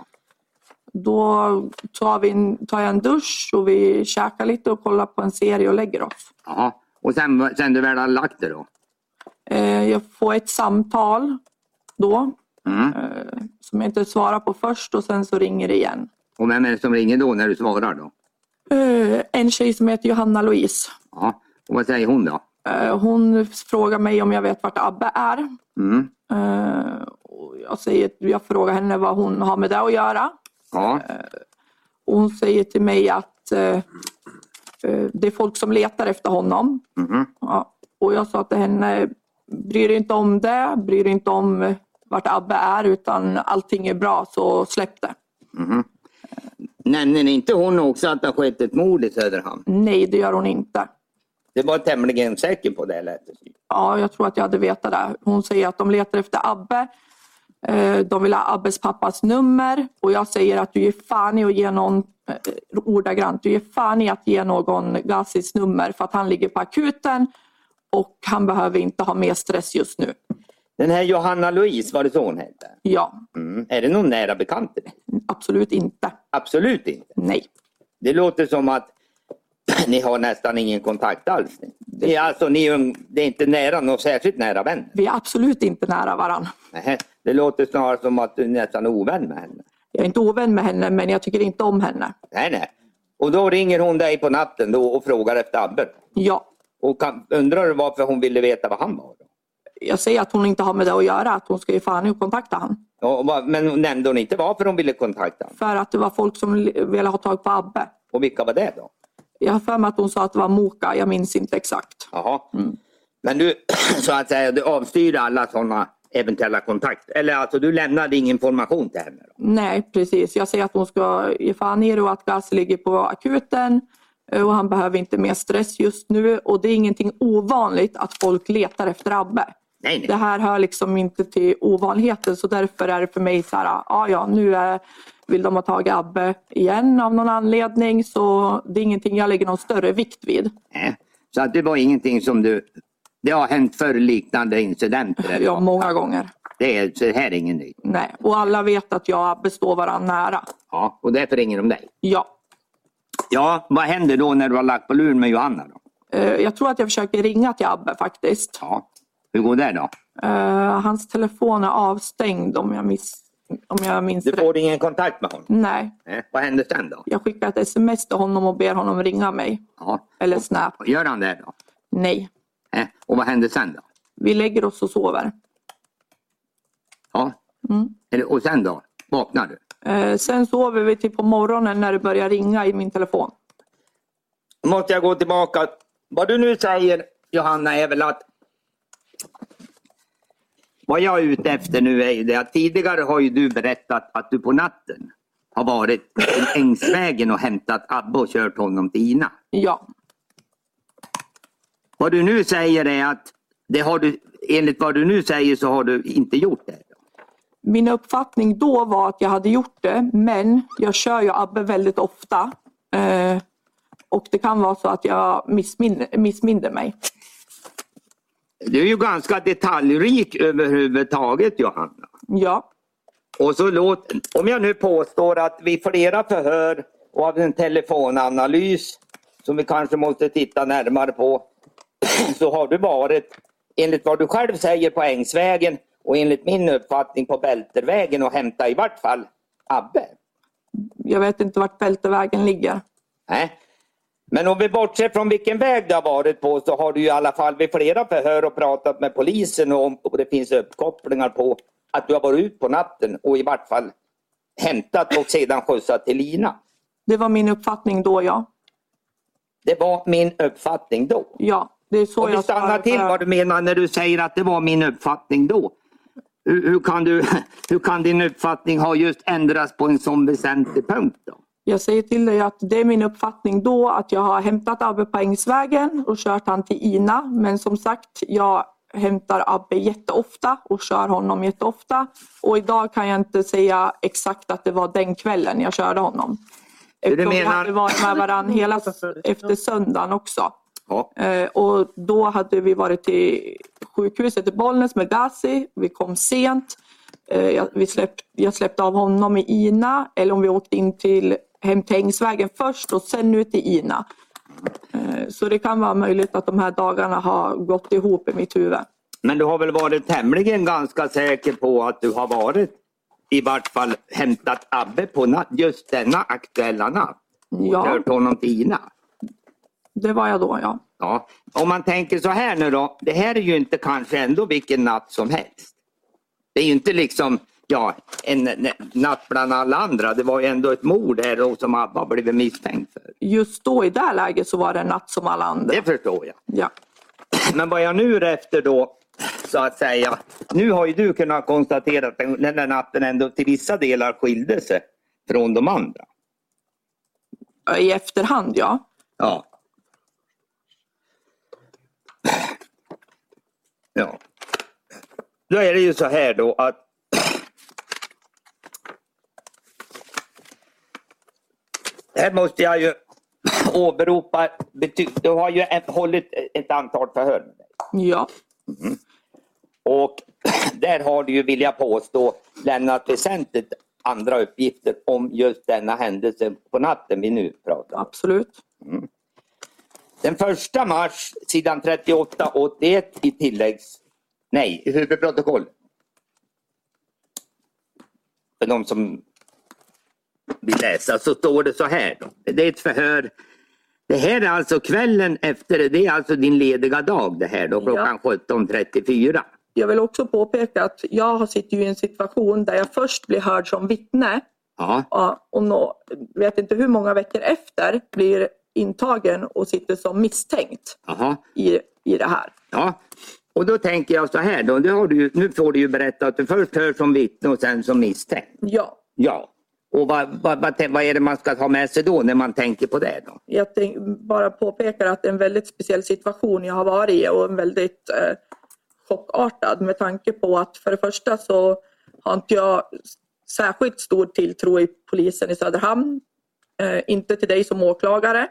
Speaker 7: Då tar, vi en, tar jag en dusch och vi käkar lite och kollar på en serie och lägger oss.
Speaker 3: Jaha, och sen, sen du väl har lagt dig då?
Speaker 7: Eh, jag får ett samtal då
Speaker 3: Mm.
Speaker 7: eh, som jag inte svarar på först och sen så ringer det igen.
Speaker 3: Och vem är det som ringer då när du svarar då?
Speaker 7: Eh, en tjej som heter Johanna Louise.
Speaker 3: Ja, och vad säger hon då?
Speaker 7: Eh, hon frågar mig om jag vet vart Abbe är.
Speaker 3: Mm.
Speaker 7: Eh, och jag, säger, jag frågar henne vad hon har med det att göra.
Speaker 3: Ja,
Speaker 7: Och hon säger till mig att eh, eh, det är folk som letar efter honom.
Speaker 3: mhm.
Speaker 7: Ja. Och jag sa till henne, bry dig inte om det, bry dig inte om vart Abbe är utan allting är bra så släpp det.
Speaker 3: Nämner inte hon också att det har skett ett mord i Söderhamn?
Speaker 7: Nej, det gör hon inte.
Speaker 3: Det var tämligen säker på det lät det som.
Speaker 7: Ja, jag tror att jag hade vetat det. Hon säger att de letar efter Abbe. Eh, De vill ha Abbes pappas nummer och jag säger att du ger fan i att ge någon, eh, ordagrant, du ger fan i att ge någon Gazis nummer för att han ligger på akuten och han behöver inte ha mer stress just nu.
Speaker 3: Den här Johanna Louise, var det så hon hette?
Speaker 7: Ja,
Speaker 3: Mm. Är det någon nära bekant till dig?
Speaker 7: absolut inte.
Speaker 3: Absolut inte.
Speaker 7: Nej.
Speaker 3: Det låter som att ni har nästan ingen kontakt alls. ni. Det är, alltså, ni är, ung- det är inte nära, någon särskilt nära vän.
Speaker 7: Vi är absolut inte nära varandra.
Speaker 3: Nähä. Det låter snarare som att du nästan är ovän med henne.
Speaker 7: Jag är inte ovän med henne men jag tycker inte om henne.
Speaker 3: Nej, nej. Och då ringer hon dig på natten då och frågar efter Abbe.
Speaker 7: Ja,
Speaker 3: Och kan, undrar du varför hon ville veta vad han var? Då?
Speaker 7: jag säger att hon inte har med det att göra, att hon ska ge fan i att kontakta honom.
Speaker 3: Ja, och vad- men nämnde hon inte varför hon ville kontakta honom?
Speaker 7: För att det var folk som li- ville ha tag på Abbe.
Speaker 3: Och vilka var det då?
Speaker 7: Jag har för mig att hon sa att det var Moka, jag minns inte exakt.
Speaker 3: Jaha. Men du, så att säga, du avstyrde alla sådana eventuella kontakter. Eller alltså, du lämnade ingen information till henne? Då.
Speaker 7: Nej precis, jag säger att hon ska ge fan i det och att Gazi ligger på akuten eh, och han behöver inte mer stress just nu och det är ingenting ovanligt att folk letar efter Abbe.
Speaker 3: Nej, nej.
Speaker 7: Det här hör liksom inte till ovanligheten så därför är det för mig så här, ja ja nu är, vill de ha tag i Abbe igen av någon anledning så det är ingenting jag lägger någon större vikt vid.
Speaker 3: Nej. Så att det var ingenting som du... Det har hänt förr liknande incidenter? eller
Speaker 7: Ja,
Speaker 3: vad?
Speaker 7: många gånger.
Speaker 3: Det, är, så det här är ingen ny.
Speaker 7: Nej. Och alla vet att jag och Abbe står varandra nära.
Speaker 3: Ja, och därför ringer de dig.
Speaker 7: Ja.
Speaker 3: Ja, vad händer då när du har lagt på luren med Johanna? Då?
Speaker 7: Eh, Jag tror att jag försöker ringa till Abbe faktiskt.
Speaker 3: Ja. Hur går det då?
Speaker 7: Eh, Hans telefon är avstängd om jag, miss, om jag minns
Speaker 3: Du
Speaker 7: rätt.
Speaker 3: får ingen kontakt med honom?
Speaker 7: Nej,
Speaker 3: Nej. Vad händer sen då?
Speaker 7: jag skickar ett sms till honom och ber honom ringa mig.
Speaker 3: Ja.
Speaker 7: Eller snap.
Speaker 3: Och Gör han det då?
Speaker 7: Nej.
Speaker 3: Nej. Och vad händer sen då?
Speaker 7: Vi lägger oss och sover.
Speaker 3: Ja. Eller, och sen då? Vaknar du?
Speaker 7: Eh, Sen sover vi till på morgonen när det börjar ringa i min telefon.
Speaker 3: måste jag gå tillbaka. Vad du nu säger Johanna är väl att vad jag är ute efter nu är ju det att tidigare har ju du berättat att du på natten har varit till Ängsvägen och hämtat Abbe och kört honom till Ina.
Speaker 7: Ja,
Speaker 3: Vad du nu säger är att det har du, enligt vad du nu säger så har du inte gjort det.
Speaker 7: Min uppfattning då var att jag hade gjort det men jag kör ju Abbe väldigt ofta. Eh, och det kan vara så att jag missminner, missminner mig.
Speaker 3: Du är ju ganska detaljrik överhuvudtaget Johanna.
Speaker 7: Ja,
Speaker 3: Och så låt, om jag nu påstår att vid flera förhör och av en telefonanalys som vi kanske måste titta närmare på så har du varit, enligt vad du själv säger, på Ängsvägen och enligt min uppfattning på Bältervägen och hämta i vart fall Abbe.
Speaker 7: jag vet inte vart Bältevägen ligger.
Speaker 3: Nej. Men om vi bortser från vilken väg du har varit på så har du i alla fall vid flera förhör och pratat med polisen och om och det finns uppkopplingar på att du har varit ut på natten och i vart fall hämtat och sedan skjutsat till Lina.
Speaker 7: Det var min uppfattning då ja.
Speaker 3: Det var min uppfattning då.
Speaker 7: Ja, det är så
Speaker 3: Om vi
Speaker 7: jag
Speaker 3: stannar
Speaker 7: svarar
Speaker 3: till
Speaker 7: för-
Speaker 3: vad du menar när du säger att det var min uppfattning då. Hur, hur, kan, du, hur kan din uppfattning ha just ändrats på en sån väsentlig punkt? då?
Speaker 7: Jag säger till dig att det är min uppfattning då att jag har hämtat Abbe på Ängsvägen och kört han till Ina. Men som sagt, jag hämtar Abbe jätteofta och kör honom jätteofta. Och idag kan jag inte säga exakt att det var den kvällen jag körde honom. Eftersom vi
Speaker 3: menar-
Speaker 7: hade varit med varandra hela s- efter söndagen också.
Speaker 3: Ja.
Speaker 7: Eh, och då hade vi varit till sjukhuset i Bollnäs med Dazi. Vi kom sent. Eh, jag, vi släpp, jag släppte av honom i Ina eller om vi åkte in till hem till Ängsvägen först och sen ut till Ina. Eh, så det kan vara möjligt att de här dagarna har gått ihop i mitt huvud.
Speaker 3: Men du har väl varit tämligen ganska säker på att du har varit i vart fall hämtat Abbe på natt, just denna aktuella natt och
Speaker 7: Ja.
Speaker 3: kört honom till Ina.
Speaker 7: Det var jag då ja.
Speaker 3: Ja. Om man tänker så här nu då. Det här är ju inte kanske ändå vilken natt som helst. Det är ju inte liksom ja, en en natt bland alla andra. Det var ju ändå ett mord här då som Abba blivit misstänkt för.
Speaker 7: Just då i det här läget så var det en natt som alla andra.
Speaker 3: Det förstår jag.
Speaker 7: Ja.
Speaker 3: Men vad jag nu är efter då, så att säga. Nu har ju du kunnat konstatera att den den där natten ändå till vissa delar skilde sig från de andra.
Speaker 7: I efterhand ja.
Speaker 3: Ja. Ja. Då är det ju så här då att Här måste jag ju åberopa bety- Du har ju ett- hållit ett antal förhör med dig.
Speaker 7: Ja.
Speaker 3: Och där har du ju, vill jag påstå, lämnat väsentligt andra uppgifter om just denna händelse på natten vi nu pratar om.
Speaker 7: Absolut.
Speaker 3: Den 1 mars, sidan 38-81 i tilläggs... Nej, i huvudprotokollet. För de som vill läsa så står det så här. Då. Det är ett förhör. Det här är alltså kvällen efter, det är alltså din lediga dag det här då, klockan 17.34.
Speaker 7: Jag vill också påpeka att jag har sitter ju i en situation där jag först blir hörd som vittne
Speaker 3: Ja,
Speaker 7: ja, och nå, vet inte hur många veckor efter blir intagen och sitter som misstänkt
Speaker 3: aha.
Speaker 7: i, i det här.
Speaker 3: Ja, och då tänker jag så här då. Det har du, ju- nu får du ju berätta att du först hör som vittne och sen som misstänkt.
Speaker 7: Ja,
Speaker 3: Ja. Och vad, vad, vad, vad är det man ska ha med sig då när man tänker på det? då?
Speaker 7: jag tänk, bara påpekar att det är en väldigt speciell situation jag har varit i och en väldigt eh, chockartad med tanke på att för det första så har inte jag särskilt stor tilltro i polisen i Söderhamn. Eh, inte till dig som åklagare.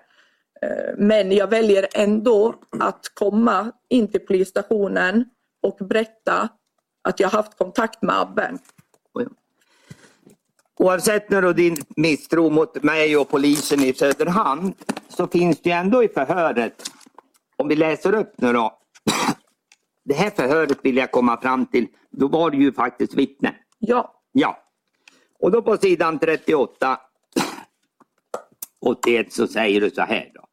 Speaker 7: Eh, men jag väljer ändå att komma in till polisstationen och berätta att jag haft kontakt med Abbe.
Speaker 3: Oavsett nu då din misstro mot mig och polisen i Söderhamn så finns det ju ändå i förhöret, om vi läser upp nu då. Det här förhöret vill jag komma fram till, då var du ju faktiskt vittne.
Speaker 7: Ja,
Speaker 3: Ja. Och då på sidan 38, 81 så säger du så här då.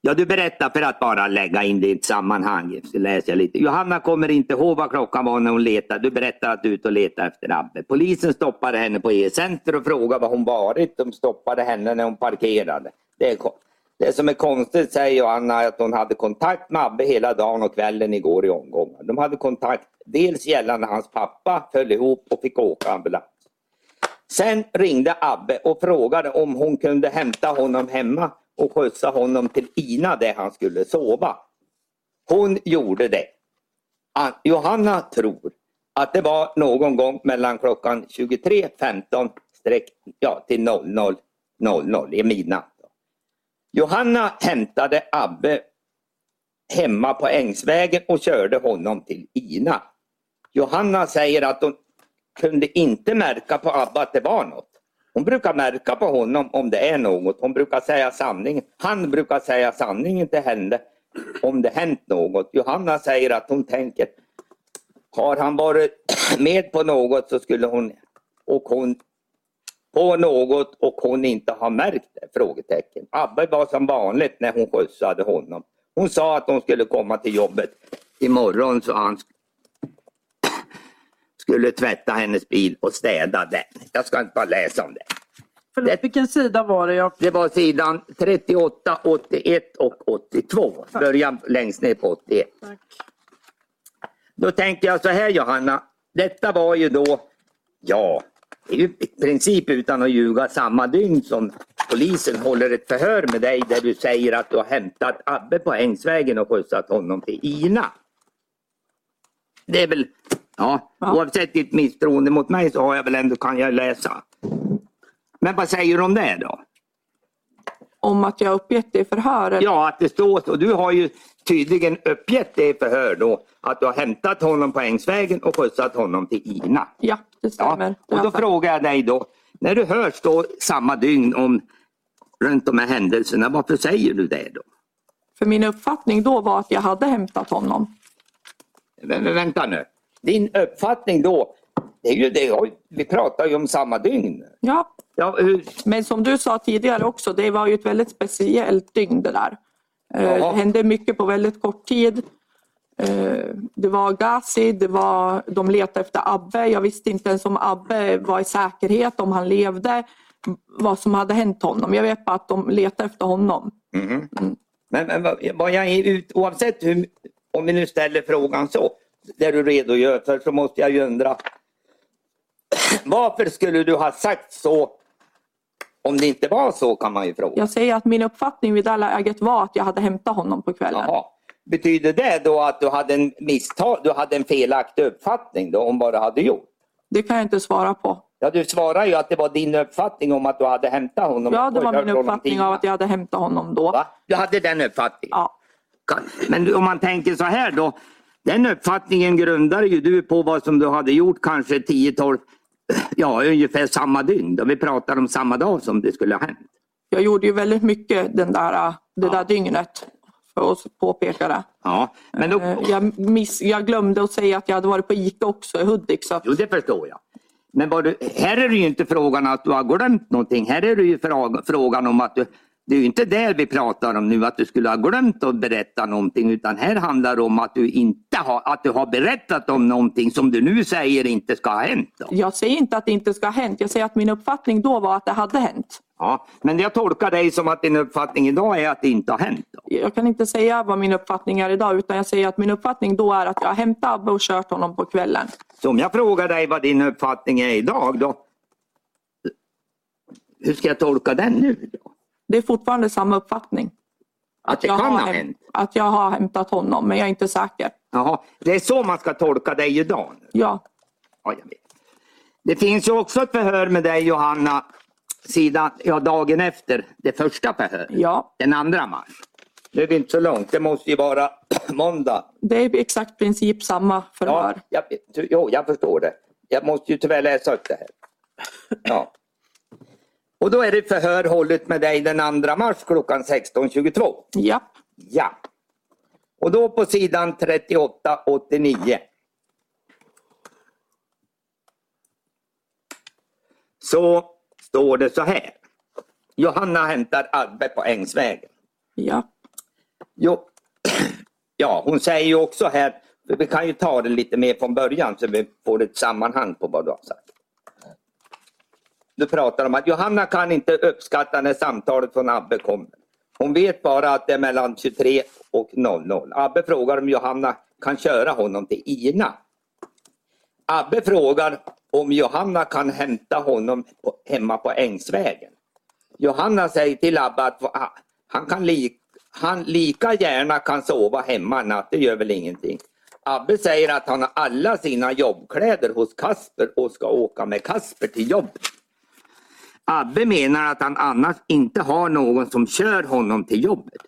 Speaker 3: Ja, du berättar för att bara lägga in det i ett sammanhang. Så läser jag lite. Johanna kommer inte ihåg vad klockan var när hon letade. Du berättar att du är ute och letar efter Abbe. Polisen stoppade henne på E-center och frågade var hon varit. De stoppade henne när hon parkerade. Det, är, ko- det som är konstigt säger Johanna är att hon hade kontakt med Abbe hela dagen och kvällen igår i omgångar. De hade kontakt dels gällande hans pappa, föll ihop och fick åka ambulans. Sen ringde Abbe och frågade om hon kunde hämta honom hemma och skjutsa honom till Ina där han skulle sova. Hon gjorde det. An- Johanna tror att det var någon gång mellan klockan 23.15 streck- ja, till 00.00 i midnatt. Johanna hämtade Abbe hemma på Ängsvägen och körde honom till Ina. Johanna säger att hon kunde inte märka på Abba att det var något. Hon brukar märka på honom om det är något. Hon brukar säga sanningen. Han brukar säga sanningen till henne om det hänt något. Johanna säger att hon tänker, har han varit med på något så skulle hon, och hon på något och hon inte har märkt det? Frågetecken. Abbe var som vanligt när hon skjutsade honom. Hon sa att hon skulle komma till jobbet imorgon så han skulle tvätta hennes bil och städa den. Jag ska inte bara läsa om det.
Speaker 8: Förlåt,
Speaker 3: Det-
Speaker 8: vilken sida var det? Jag...
Speaker 3: Det var sidan 38, 81 och 82. Början längst ner på 81.
Speaker 8: Tack.
Speaker 3: Då tänkte jag så här Johanna, detta var ju då, ja, det är ju i princip utan att ljuga samma dygn som polisen håller ett förhör med dig där du säger att du har hämtat Abbe på Ängsvägen och skjutsat honom till Ina. Det är väl, ja,
Speaker 7: Ja.
Speaker 3: oavsett ditt misstroende mot mig så har jag väl ändå, kan jag läsa. Men vad säger du om det då?
Speaker 7: om att jag uppgett det i förhöret.
Speaker 3: Ja, att det står så. Du har ju tydligen uppgett det i förhör då, att du har hämtat honom på Ängsvägen och skjutsat honom till Ina.
Speaker 7: Ja, det stämmer.
Speaker 3: Ja,
Speaker 7: Det har
Speaker 3: och då
Speaker 7: jag sagt.
Speaker 3: frågar jag dig då, när du hörs då samma dygn om runt de här händelserna, varför säger du det då?
Speaker 7: För min uppfattning då var att jag hade hämtat honom.
Speaker 3: Vä- vä- vänta nu. Din uppfattning då, det är ju det, oj, vi pratar ju om samma dygn.
Speaker 7: Ja,
Speaker 3: Ja, hur,
Speaker 7: men som du sa tidigare också, det var ju ett väldigt speciellt dygn det där. Eh,
Speaker 3: Jaha.
Speaker 7: Det hände mycket på väldigt kort tid. Eh, Det var Ghazi, det var, de letade efter Abbe. Jag visste inte ens om Abbe var i säkerhet, om han levde, vad som hade hänt honom. Jag vet bara att de letade efter honom.
Speaker 3: Men, men vad- vad jag är ut, oavsett hur, om vi nu ställer frågan så, där du redogör för, så måste jag ju undra. Varför skulle du ha sagt så om det inte var så kan man ju fråga.
Speaker 7: Jag säger att min uppfattning vid det här läget var att jag hade hämtat honom på kvällen.
Speaker 3: Jaha. Betyder det då att du hade en misstag, du hade en felaktig uppfattning då om vad du hade gjort?
Speaker 7: Det kan jag inte svara på.
Speaker 3: Ja, du svarar ju att det var din uppfattning om att du hade hämtat honom.
Speaker 7: Ja, det
Speaker 3: och
Speaker 7: var
Speaker 3: kört
Speaker 7: min
Speaker 3: honom
Speaker 7: uppfattning
Speaker 3: till-
Speaker 7: av att jag hade hämtat honom då.
Speaker 3: Va? Du hade den uppfattningen?
Speaker 7: Ja,
Speaker 3: Kan- Men om man tänker så här då. Den uppfattningen grundar ju du på vad som du hade gjort kanske 10-12, ja ungefär samma dygn. Då vi pratar om samma dag som det skulle ha hänt.
Speaker 7: jag gjorde ju väldigt mycket den där, äh, det
Speaker 3: Ja.
Speaker 7: där dygnet. För att påpeka det.
Speaker 3: Ja, men då,
Speaker 7: Eh, Jag, miss, jag glömde att säga att jag hade varit på Ica också i Hudik. Så att,
Speaker 3: jo det förstår jag. Men vad du, här är det ju inte frågan att du har glömt någonting. Här är det ju fra- frågan om att du, det är ju inte det vi pratar om nu, att du skulle ha glömt att berätta någonting. Utan här handlar det om att du inte har, att du har berättat om någonting som du nu säger inte ska ha hänt. Då.
Speaker 7: jag säger inte att det inte ska ha hänt. Jag säger att min uppfattning då var att det hade hänt.
Speaker 3: Ja, men jag tolkar dig som att din uppfattning idag är att det inte har hänt. Då.
Speaker 7: Jag kan inte säga vad min uppfattning är idag utan jag säger att min uppfattning då är att jag har hämtat Abbe och kört honom på kvällen.
Speaker 3: Så om jag frågar dig vad din uppfattning är idag då. Hur ska jag tolka den nu? Då?
Speaker 7: Det är fortfarande samma uppfattning.
Speaker 3: Att det
Speaker 7: jag
Speaker 3: kan
Speaker 7: har
Speaker 3: ha
Speaker 7: häm-
Speaker 3: hänt?
Speaker 7: Att jag har hämtat honom men jag är inte säker.
Speaker 3: Jaha, det är så man ska tolka dig idag? Nu.
Speaker 7: Ja,
Speaker 3: Ja, jag vet. Det finns ju också ett förhör med dig Johanna, sidan, ja, dagen efter det första förhöret.
Speaker 7: ja.
Speaker 3: Den andra mars. Nu är det inte så långt, det måste ju vara måndag.
Speaker 7: Det är exakt princip samma
Speaker 3: Ja,
Speaker 7: förhör.
Speaker 3: jag, jo, jag förstår det. Jag måste ju tyvärr läsa upp det här. Ja. Och då är det förhör hållet med dig den 2 mars klockan 16.22.
Speaker 7: Japp.
Speaker 3: Ja. Och då på sidan 38-89. Så står det så här. Johanna hämtar Abbe på Ängsvägen.
Speaker 7: Japp.
Speaker 3: Jo, ja, hon säger ju också här, för vi kan ju ta det lite mer från början så vi får ett sammanhang på vad du har sagt. Du pratar om att Johanna kan inte uppskatta när samtalet från Abbe kommer. Hon vet bara att det är mellan 23 och 00. Abbe frågar om Johanna kan köra honom till Ina. Abbe frågar om Johanna kan hämta honom på- hemma på Ängsvägen. Johanna säger till Abbe att va- han, kan li, han lika gärna kan sova hemma en natt, det gör väl ingenting. Abbe säger att han har alla sina jobbkläder hos Kasper och ska åka med Kasper till jobbet. Abbe menar att han annars inte har någon som kör honom till jobbet.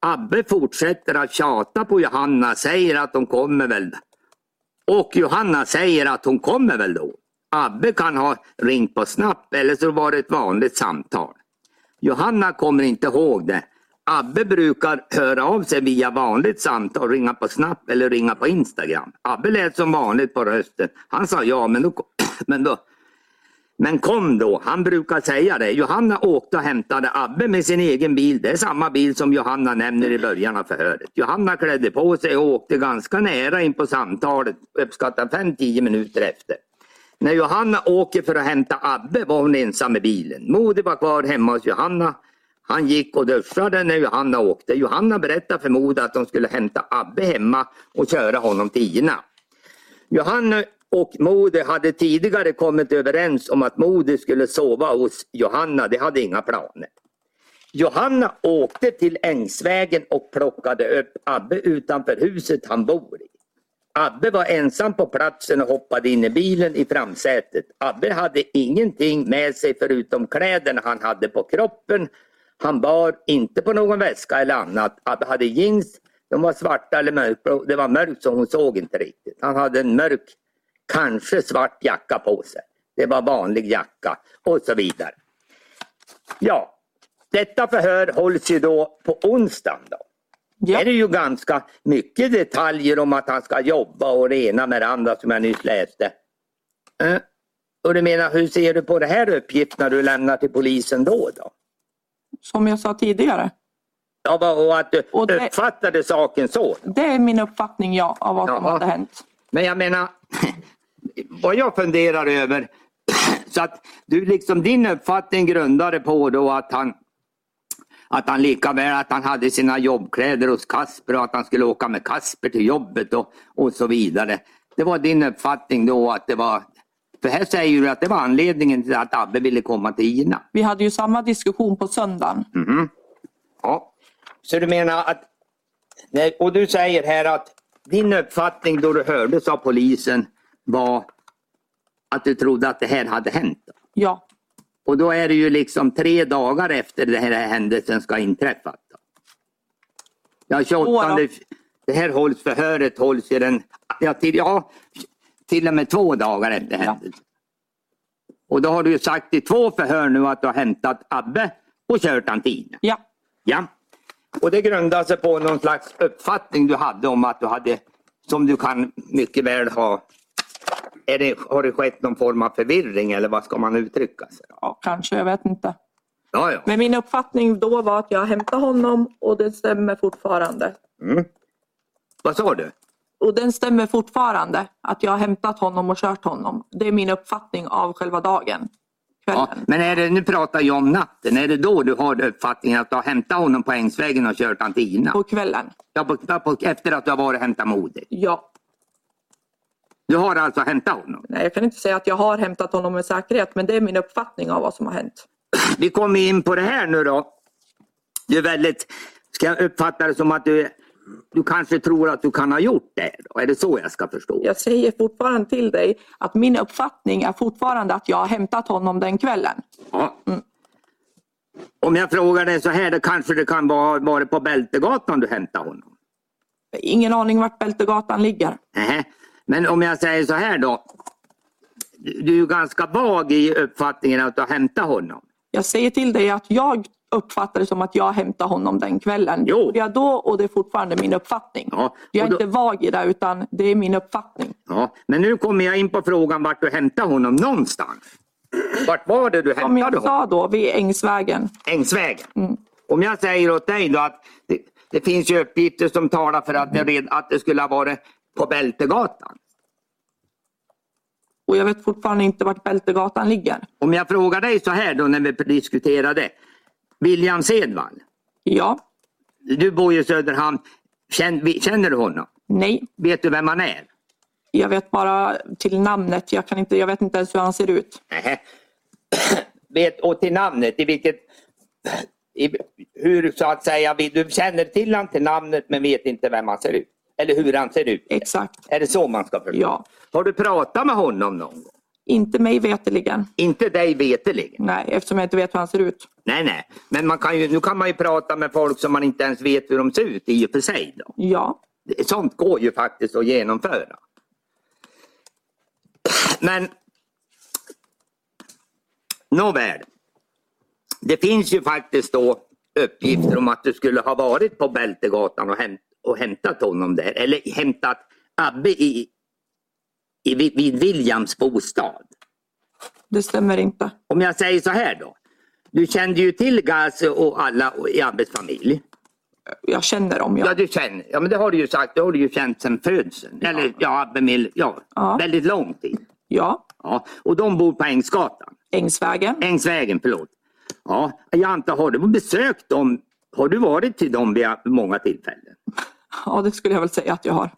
Speaker 3: Abbe fortsätter att tjata på Johanna, säger att hon kommer väl. Och Johanna säger att hon kommer väl då. Abbe kan ha ringt på snabbt eller så var det ett vanligt samtal. Johanna kommer inte ihåg det. Abbe brukar höra av sig via vanligt samtal, ringa på Snap eller ringa på Instagram. Abbe lät som vanligt på rösten. Han sa ja, men, då, men, då, men kom då. Han brukar säga det. Johanna åkte och hämtade Abbe med sin egen bil. Det är samma bil som Johanna nämner i början av förhöret. Johanna klädde på sig och åkte ganska nära in på samtalet, uppskattat 5-10 minuter efter. När Johanna åker för att hämta Abbe var hon ensam i bilen. Modi var kvar hemma hos Johanna. Han gick och duschade när Johanna åkte. Johanna berättade för Modi att de skulle hämta Abbe hemma och köra honom till Ina. Johanna och Modi hade tidigare kommit överens om att Modi skulle sova hos Johanna. De hade inga planer. Johanna åkte till Ängsvägen och plockade upp Abbe utanför huset han bor i. Abbe var ensam på platsen och hoppade in i bilen i framsätet. Abbe hade ingenting med sig förutom kläderna han hade på kroppen. Han bar inte på någon väska eller annat. Abbe hade jeans, de var svarta eller mörkblå. Det var mörkt så hon såg inte riktigt. Han hade en mörk, kanske svart jacka på sig. Det var vanlig jacka och så vidare. Ja, detta förhör hålls ju då på onsdagen. Då.
Speaker 7: Ja.
Speaker 3: Är det ju ganska mycket detaljer om att han ska jobba och det ena med det andra som jag nyss läste. Eh, Och du menar, hur ser du på det här uppgifterna du lämnar till polisen då? då?
Speaker 7: Som jag sa tidigare.
Speaker 3: Ja, va- och att du
Speaker 7: Och det-
Speaker 3: uppfattade saken så.
Speaker 7: Det är min uppfattning ja, av vad som
Speaker 3: Jaha.
Speaker 7: hade hänt.
Speaker 3: Men jag menar, vad jag funderar över, så att du liksom din uppfattning grundade på då att han att han lika väl att han hade sina jobbkläder hos Kasper och att han skulle åka med Kasper till jobbet och, och så vidare. Det var din uppfattning då att det var, för här säger du att det var anledningen till att Abbe ville komma till Ina.
Speaker 7: Vi hade ju samma diskussion på söndagen.
Speaker 3: Mm. Ja. Så du menar att, nej, och du säger här att din uppfattning då du hördes av polisen var att du trodde att det här hade hänt.
Speaker 7: Ja,
Speaker 3: Och då är det ju liksom tre dagar efter den här händelsen ska ha inträffat. då. Ja, 28,
Speaker 7: Två då.
Speaker 3: det här hålls, förhöret hålls ju den, ja, till, ja, till och med två dagar efter händelsen. Och då har du ju sagt i två förhör nu att du har hämtat Abbe och kört han till Ina.
Speaker 7: ja,
Speaker 3: Ja. Och det grundar sig på någon slags uppfattning du hade om att du hade, som du kan mycket väl ha, är det, har det skett någon form av förvirring eller vad ska man uttrycka sig? då?
Speaker 7: ja kanske. Jag vet inte.
Speaker 3: Ja, ja.
Speaker 7: Men min uppfattning då var att jag hämtade honom och det stämmer fortfarande.
Speaker 3: Vad sa du?
Speaker 7: Och den stämmer fortfarande. Att jag har hämtat honom och kört honom. Det är min uppfattning av själva dagen.
Speaker 3: Ja,
Speaker 7: Kvällen.
Speaker 3: men är det, nu pratar jag om natten. Är det då du har uppfattningen att du har hämtat honom på Ängsvägen och kört han till Ina?
Speaker 7: På kvällen.
Speaker 3: Ja, på, på, efter att du har varit och hämtat modet.
Speaker 7: Ja.
Speaker 3: Du har alltså hämtat honom?
Speaker 7: Nej, jag kan inte säga att jag har hämtat honom med säkerhet men det är min uppfattning av vad som har hänt.
Speaker 3: vi kommer in på det här nu då. Du är väldigt, ska jag uppfatta det som att du, du kanske tror att du kan ha gjort det? Då? Är det så jag ska förstå?
Speaker 7: Jag säger fortfarande till dig att min uppfattning är fortfarande att jag har hämtat honom den kvällen.
Speaker 3: Ja. Om jag frågar dig så här, då kanske det kan vara varit på Bältegatan du hämtade honom?
Speaker 7: Ingen aning vart Bältegatan ligger.
Speaker 3: Nähä. Men om jag säger så här då. Du du är ju ganska vag i uppfattningen att du har hämtat honom.
Speaker 7: Jag säger till dig att jag uppfattar det som att jag hämtade honom den kvällen.
Speaker 3: Jo.
Speaker 7: Det gjorde jag då och det är fortfarande min uppfattning.
Speaker 3: Ja,
Speaker 7: Jag är
Speaker 3: och då-
Speaker 7: inte vag i det utan det är min uppfattning.
Speaker 3: Ja, men nu kommer jag in på frågan vart du hämtade honom någonstans. Vart var det du
Speaker 7: Som
Speaker 3: hämtade
Speaker 7: jag
Speaker 3: honom?
Speaker 7: sa då, vid Ängsvägen.
Speaker 3: Ängsvägen. Om jag säger åt dig då att det, det finns ju uppgifter som talar för att det, red, att det skulle ha varit på Bältegatan.
Speaker 7: Och jag vet fortfarande inte vart Bältegatan ligger.
Speaker 3: Om jag frågar dig så här då när vi diskuterade. William Sedvall,
Speaker 7: Ja,
Speaker 3: du bor ju i Söderhamn. Känner, känner du honom?
Speaker 7: nej.
Speaker 3: Vet du vem han är?
Speaker 7: Jag vet bara till namnet. Jag, kan inte, jag vet inte ens hur han ser ut.
Speaker 3: Nähä. Vet, och till namnet, i vilket... I, hur så att säga, vi- du känner till han till namnet men vet inte vem han ser ut. Eller hur han ser ut.
Speaker 7: Exakt.
Speaker 3: Är det så man ska förstå?
Speaker 7: Ja.
Speaker 3: Har du pratat med honom någon gång?
Speaker 7: Inte mig veterligen.
Speaker 3: Inte dig veterligen.
Speaker 7: Nej, eftersom jag inte vet hur han ser ut.
Speaker 3: Nej, nej. Men man kan ju, nu kan man ju prata med folk som man inte ens vet hur de ser ut i och för sig. Då.
Speaker 7: Ja,
Speaker 3: Det- Sånt går ju faktiskt att genomföra. Men nåväl. Det finns ju faktiskt då uppgifter om att du skulle ha varit på Bältegatan och, hämt, och hämtat honom där. Eller hämtat Abbe i, i, vid vid Williams bostad.
Speaker 7: det stämmer inte.
Speaker 3: Om jag säger så här då. Du kände ju till Gas och alla i Abbes familj.
Speaker 7: Jag känner dem.
Speaker 3: Ja,
Speaker 7: Ja.
Speaker 3: du känner. Ja, men det har du ju sagt. Det har du ju känt sedan födseln. Eller ja, Bemil, ja,
Speaker 7: Ja.
Speaker 3: väldigt lång tid.
Speaker 7: ja,
Speaker 3: Ja, och de bor på Ängsgatan.
Speaker 7: Ängsvägen.
Speaker 3: Ängsvägen, förlåt. Ja, jag antar, har du besökt dem? Har du varit till dem vid många tillfällen?
Speaker 7: Ja, det skulle jag väl säga att jag har.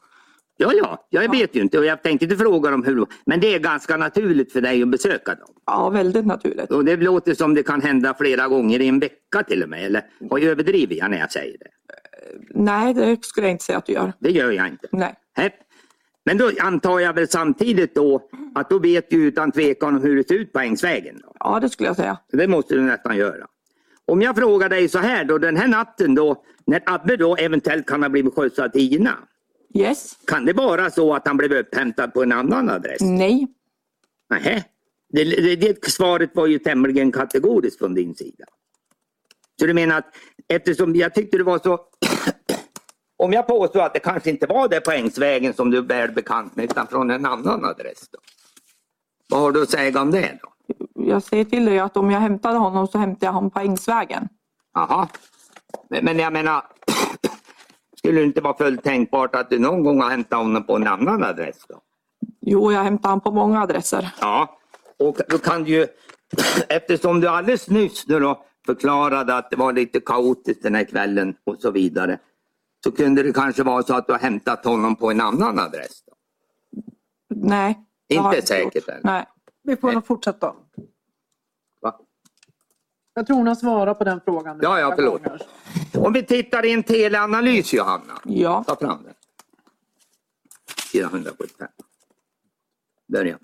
Speaker 3: Ja, ja, jag vet ju inte och jag tänkte inte fråga dem hur Men det är ganska naturligt för dig att besöka dem.
Speaker 7: Ja, väldigt naturligt.
Speaker 3: Och det låter som det kan hända flera gånger i en vecka till och med. Eller har jag överdrivit jag när jag säger det?
Speaker 7: Nej, det skulle jag inte säga att du gör.
Speaker 3: Det gör jag inte.
Speaker 7: Nej.
Speaker 3: Nej. Men då antar jag väl samtidigt då att då vet du utan tvekan hur det ser ut på Ängsvägen. Då.
Speaker 7: Ja, det skulle jag säga.
Speaker 3: Så Det måste du nästan göra. Om jag frågar dig så här då, den här natten då, när Abbe då eventuellt kan ha blivit skjutsad till Gina.
Speaker 7: Yes.
Speaker 3: Kan det vara så att han blev upphämtad på en annan adress?
Speaker 7: Nej.
Speaker 3: Nähä. Det, det, det svaret var ju tämligen kategoriskt från din sida. Så du menar att eftersom jag tyckte det var så... Om jag påstår att det kanske inte var det på Ängsvägen som du är väl bekant med utan från en annan adress. Då. Vad har du att säga om det? då?
Speaker 7: Jag säger till dig att om jag hämtade honom så hämtade jag honom på Ängsvägen.
Speaker 3: Jaha. Men, men jag menar... Skulle det inte vara fullt tänkbart att du någon gång har hämtat honom på en annan adress? då?
Speaker 7: Jo, jag hämtade honom på många adresser.
Speaker 3: Ja, och då kan du ju, eftersom du alldeles nyss nu då förklarade att det var lite kaotiskt den här kvällen och så vidare. Så kunde det kanske vara så att du har hämtat honom på en annan adress. Då.
Speaker 7: Nej. det har
Speaker 3: Inte
Speaker 7: jag
Speaker 3: säkert
Speaker 7: gjort.
Speaker 3: än.
Speaker 7: Nej.
Speaker 8: Vi får nog fortsätta.
Speaker 3: Va?
Speaker 8: Jag tror hon har svarat på den frågan. nu.
Speaker 3: Ja, ja, förlåt. Om vi tittar i en teleanalys Johanna.
Speaker 7: Ja.
Speaker 3: Ta fram den. Sidan 175. Börja.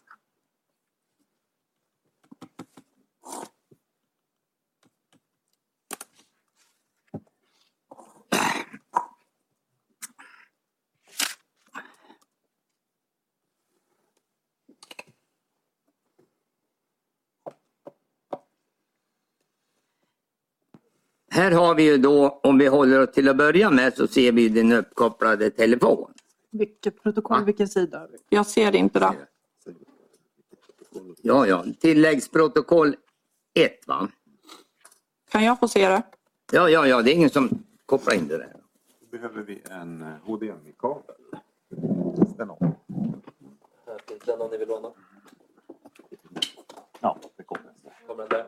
Speaker 3: Här har vi ju då, om vi håller oss till att börja med, så ser vi din uppkopplade telefon.
Speaker 8: Vilket protokoll, vilken sida?
Speaker 7: Jag ser inte det.
Speaker 3: Ja, ja. Tilläggsprotokoll 1 va?
Speaker 7: Kan jag få se det?
Speaker 3: Ja, ja, ja. Det är ingen som kopplar in det där.
Speaker 9: behöver vi en eh, HDMI-kabel. Den om.
Speaker 10: Här finns den om ni vill låna.
Speaker 9: Ja, det kommer.
Speaker 10: Kommer den där?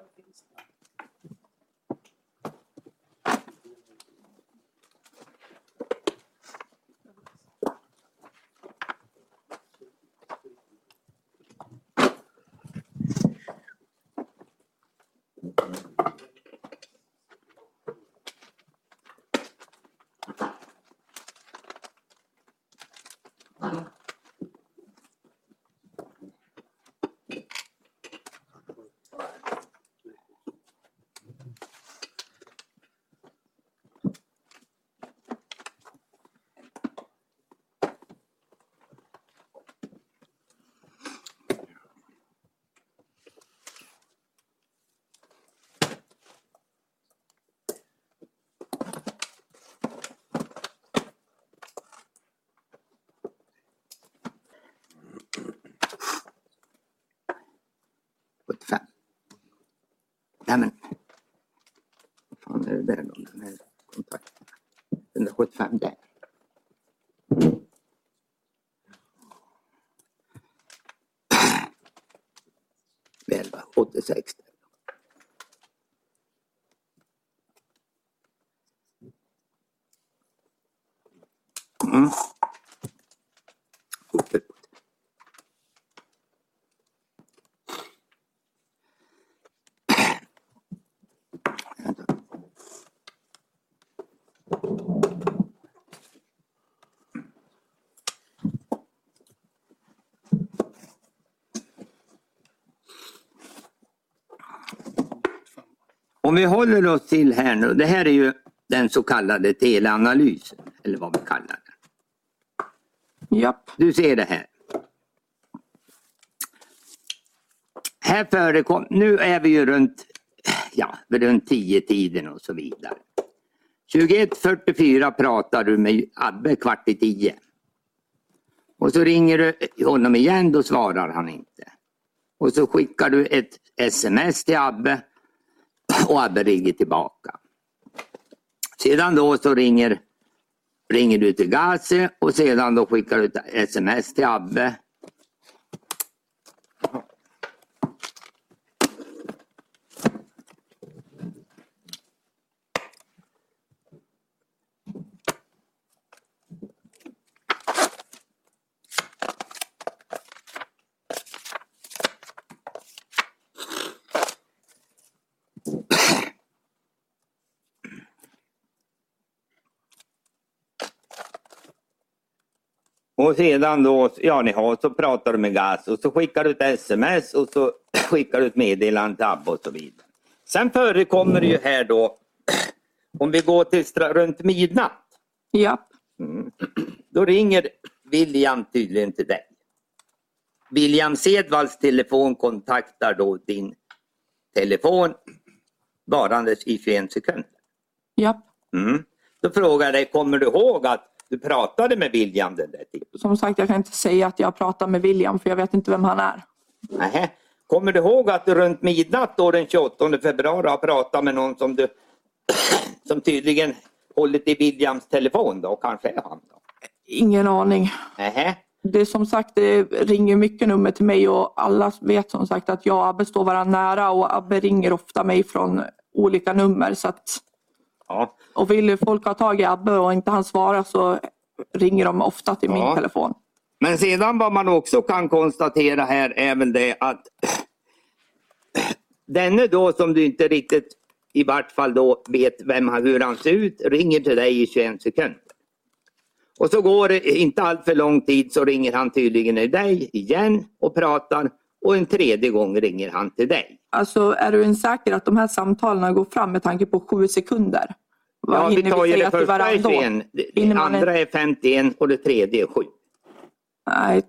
Speaker 3: fan är det där då? Den här kontakten. 175 där. Elva, 86. Mm. Om vi håller oss till här nu. Det här är ju den så kallade teleanalysen. Eller vad vi kallar den.
Speaker 7: Japp.
Speaker 3: Du ser det här. Här förekom, nu är vi ju runt, ja, runt 10-tiden och så vidare. 21.44 pratar du med Abbe kvart i 10. Och så ringer du honom igen, då svarar han inte. Och så skickar du ett sms till Abbe och Abbe ringer tillbaka. Sedan då så ringer ringer du till Gazi och sedan då skickar du ett sms till Abbe. Och sedan då, ja ni har, så pratar du med Gas och så skickar du ett sms och så skickar du ett meddelande till Abbe och så vidare. Sen förekommer det ju här då, om vi går till stra- runt midnatt,
Speaker 7: Japp.
Speaker 3: Mm. då ringer William tydligen till dig. William Sedvalls telefon kontaktar då din telefon varandes i 21 sekunder.
Speaker 7: Japp.
Speaker 3: Mm. Då frågar jag dig, kommer du ihåg att du pratade med William den där tiden?
Speaker 7: Som sagt, jag kan inte säga att jag pratar med William för jag vet inte vem han är.
Speaker 3: Nähä. Kommer du ihåg att du runt midnatt då den 28 februari har pratat med någon som du som tydligen hållit i Williams telefon då, kanske är han då?
Speaker 7: Ingen aning.
Speaker 3: Nähä.
Speaker 7: Det är som sagt, det ringer mycket nummer till mig och alla vet som sagt att jag och Abbe står varandra nära och Abbe ringer ofta mig från olika nummer. Så att,
Speaker 3: Ja.
Speaker 7: och vill folk ha tag i Abbe och inte han svarar så ringer de ofta till min
Speaker 3: Ja.
Speaker 7: telefon.
Speaker 3: Men sedan vad man också kan konstatera här är väl det att denne då som du inte riktigt i vart fall då vet vem han, hur han ser ut ringer till dig i 21 sekunder. Och så går det inte allt för lång tid så ringer han tydligen till dig igen och pratar och en tredje gång ringer han till dig.
Speaker 7: Alltså är du ens säker att de här samtalen går fram med tanke på sju sekunder? Vad
Speaker 3: Ja, vi
Speaker 7: hinner
Speaker 3: tar ju
Speaker 7: säga
Speaker 3: det
Speaker 7: till
Speaker 3: första är
Speaker 7: varandra då?
Speaker 3: 21, det- det
Speaker 7: Hinner man
Speaker 3: andra är 51 och det tredje är 7.
Speaker 7: Nej,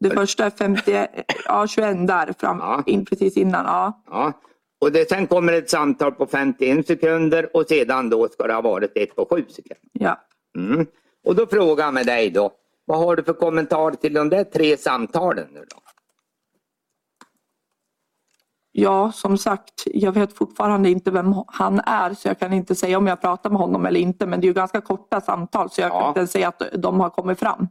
Speaker 7: det första är 50, ja, 21 där fram, in, precis innan. Ja.
Speaker 3: Ja. Och det, sen kommer ett samtal på 51 sekunder och sedan då ska det ha varit ett på 7 sekunder.
Speaker 7: Ja.
Speaker 3: Mm. Och då frågar jag med dig då, vad har du för kommentar till de där tre samtalen nu då?
Speaker 7: ja, som sagt, jag vet fortfarande inte vem han är så jag kan inte säga om jag pratar med honom eller inte. Men det är ju ganska korta samtal så jag kan inte ens säga att de har kommit fram.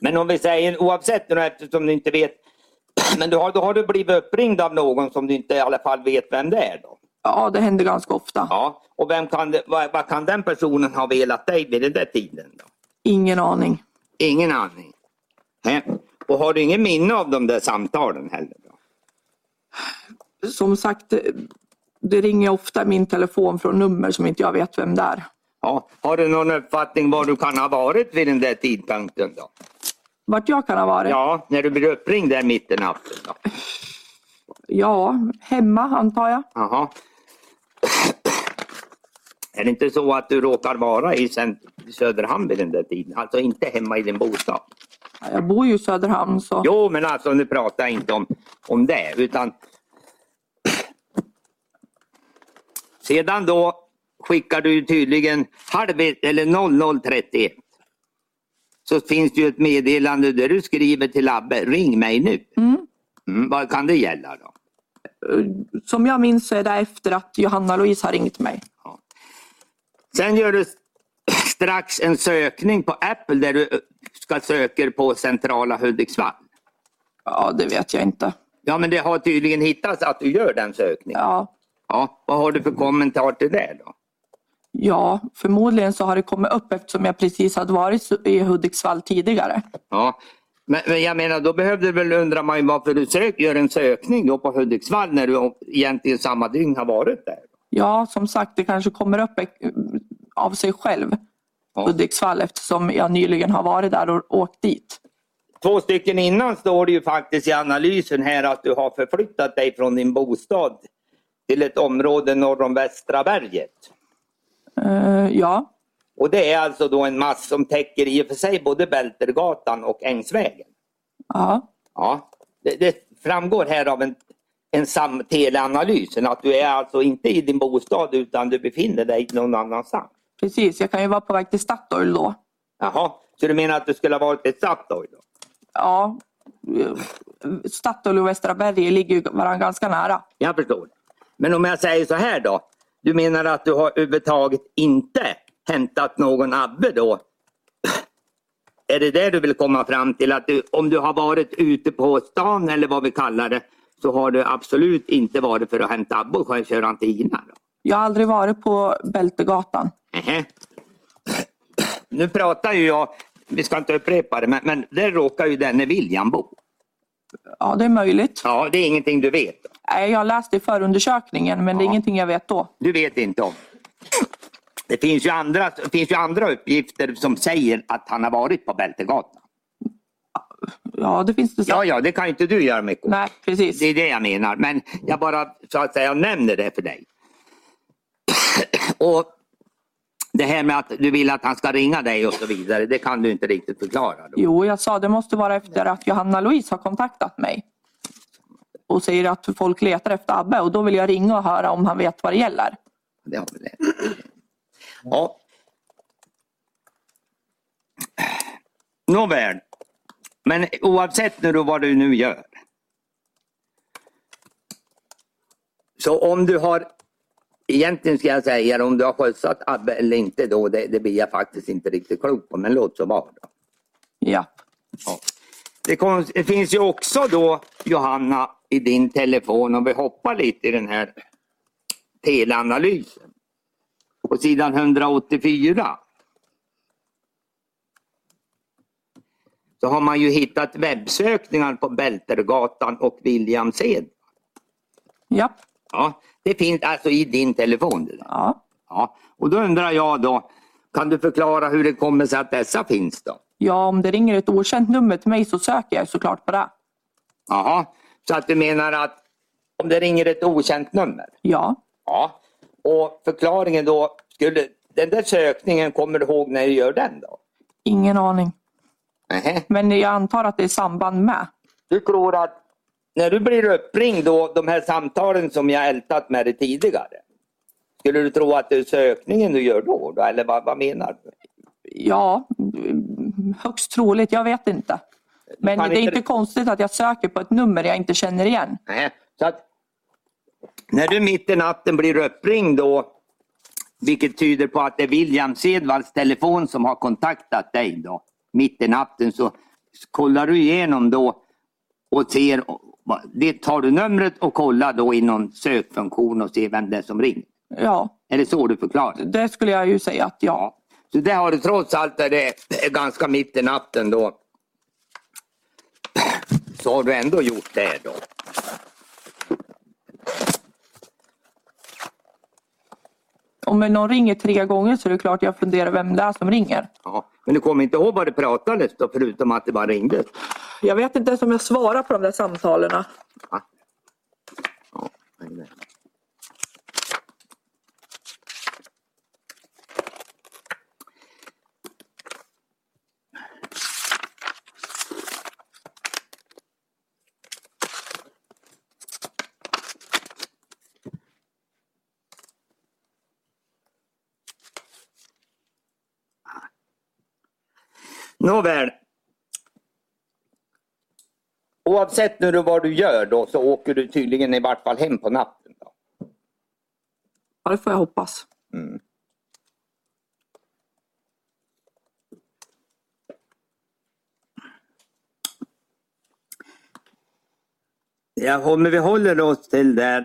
Speaker 3: Men om vi säger oavsett nu eftersom du inte vet, men du har, då har du blivit uppringd av någon som du inte i alla fall vet vem det är då?
Speaker 7: Ja, det händer ganska ofta.
Speaker 3: Ja, och vem kan, det- vad, vad kan den personen ha velat dig vid den där tiden? Då?
Speaker 7: Ingen aning.
Speaker 3: Ingen aning. Nej. Och har du ingen minne av de där samtalen heller? Då?
Speaker 7: Som sagt, det ringer ofta i min telefon från nummer som inte jag vet vem det är.
Speaker 3: Ja, har du någon uppfattning var du kan ha varit vid den där tidpunkten då?
Speaker 7: Vart jag kan ha varit?
Speaker 3: Ja, när du blir uppringd där mitt i natten då?
Speaker 7: ja hemma antar jag.
Speaker 3: Jaha. Är det inte så att du råkar vara i cent- Söderhamn vid den där tiden? Alltså inte hemma i din bostad?
Speaker 7: Jag bor ju i Söderhamn så
Speaker 3: Jo, men alltså nu pratar jag inte om, om det utan Sedan då skickar du tydligen halv ett- eller 00.31. Så finns det ju ett meddelande där du skriver till Abbe, ring mig nu. Mm, vad kan det gälla då?
Speaker 7: som jag minns så är det efter att Johanna Louise har ringt mig.
Speaker 3: Sen gör du s- strax en sökning på Apple där du eh, ska söka på centrala Hudiksvall.
Speaker 7: Ja, det vet jag inte.
Speaker 3: Ja, men det har tydligen hittats att du gör den sökningen.
Speaker 7: Ja.
Speaker 3: ja vad har du för kommentar till det då?
Speaker 7: Ja, förmodligen så har det kommit upp eftersom jag precis hade varit i Hudiksvall tidigare.
Speaker 3: Ja. Men, men jag menar, då behövde väl undra man ju varför du sök, gör en sökning då på Hudiksvall när du egentligen samma dygn har varit där.
Speaker 7: Ja, som sagt, det kanske kommer upp eh, av sig själv, Hudiksvall, eftersom jag nyligen har varit där och åkt dit.
Speaker 3: Två stycken innan står det ju faktiskt i analysen här att du har förflyttat dig från din bostad till ett område norr om Västra berget.
Speaker 7: Eh, ja,
Speaker 3: Och det är alltså då en mast som täcker i och för sig både Bältergatan och Ängsvägen.
Speaker 7: ja,
Speaker 3: Ja, det, det framgår här av en, en sam- teleanalysen att du är alltså inte i din bostad utan du befinner dig någon annanstans.
Speaker 7: precis. Jag kan ju vara på väg till Statoil då.
Speaker 3: Jaha, så du menar att du skulle ha varit i Statoil? då?
Speaker 7: Ja, eh, Statoil och Västra Berge ligger ju varandra ganska nära.
Speaker 3: Jag förstår. Men om jag säger så här då. Du menar att du har överhuvudtaget inte hämtat någon Abbe då? Är det det du vill komma fram till? Att du, om du har varit ute på stan eller vad vi kallar det så har du absolut inte varit för att hämta Abbe och köra han till Ina? Då?
Speaker 7: Jag har aldrig varit på Bältegatan.
Speaker 3: Nähä. Nu pratar ju jag, vi ska inte upprepa det, men, men där råkar ju denne William bo.
Speaker 7: Ja, det är möjligt.
Speaker 3: Ja, det är ingenting du vet.
Speaker 7: Nej, jag läste i förundersökningen men det är ingenting jag vet då.
Speaker 3: Du vet inte om. Det finns ju andra, det finns ju andra uppgifter som säger att han har varit på Bältegatan.
Speaker 7: Ja, det finns det.
Speaker 3: Ja, ja, det kan ju inte du göra mycket åt.
Speaker 7: Nej, precis.
Speaker 3: Det är det jag menar. Men jag bara så att säga nämner det för dig. Och Det här med att du vill att han ska ringa dig och så vidare, det kan du inte riktigt förklara. Då.
Speaker 7: Jo, jag sa det måste vara efter att Johanna Louise har kontaktat mig och säger att folk letar efter Abbe och då vill jag ringa och höra om han vet vad det gäller.
Speaker 3: Det har vi det. Ja. Nåväl. Men oavsett nu då vad du nu gör. Så om du har, egentligen ska jag säga om du har skjutsat Abbe eller inte då, det, det blir jag faktiskt inte riktigt klok på, men låt så vara. Då.
Speaker 7: Ja.
Speaker 3: Det, kom, det finns ju också då Johanna i din telefon om vi hoppar lite i den här teleanalysen. På sidan 184. Så har man ju hittat webbsökningar på Bältergatan och William Sed.
Speaker 7: Ja.
Speaker 3: Ja, det finns alltså i din telefon. Det där.
Speaker 7: Ja.
Speaker 3: Ja, och då undrar jag då, kan du förklara hur det kommer sig att dessa finns då?
Speaker 7: ja, om det ringer ett okänt nummer till mig så söker jag såklart på det.
Speaker 3: Jaha, så att du menar att om det ringer ett okänt nummer?
Speaker 7: Ja.
Speaker 3: Ja. Och förklaringen då, skulle, den där sökningen, kommer du ihåg när du gör den då?
Speaker 7: Ingen aning.
Speaker 3: Nähä.
Speaker 7: Men jag antar att det är i samband med.
Speaker 3: Du tror att när du blir uppringd då, de här samtalen som jag ältat med dig tidigare. Skulle du tro att det är sökningen du gör då? då eller vad, vad menar du?
Speaker 7: Ja, mm, högst troligt. Jag vet inte. Men det
Speaker 3: Kan
Speaker 7: är
Speaker 3: inte-
Speaker 7: inte konstigt att jag söker på ett nummer jag inte känner igen.
Speaker 3: Nej, så att när du mitt i natten blir uppringd då, vilket tyder på att det är William Sedvalls telefon som har kontaktat dig då, mitt i natten, så kollar du igenom då och ser, det tar du numret och kollar då inom sökfunktion och ser vem det är som ringer.
Speaker 7: Ja,
Speaker 3: Är det så du förklarar?
Speaker 7: det skulle jag ju säga att ja.
Speaker 3: Så det har du trots allt där det är ganska mitt i natten då. Så har du ändå gjort det då.
Speaker 7: Om någon ringer tre gånger så är det klart jag funderar vem det är som ringer.
Speaker 3: Ja, men du kommer inte ihåg vad det pratades då förutom att det bara ringdes?
Speaker 7: Jag vet inte ens om jag svarar på de där samtalen.
Speaker 3: Ja, men det- Nåväl. Oavsett nu då vad du gör då så åker du tydligen i vart fall hem på natten. Då.
Speaker 7: Ja, det får jag hoppas.
Speaker 3: ja, om vi håller oss till där,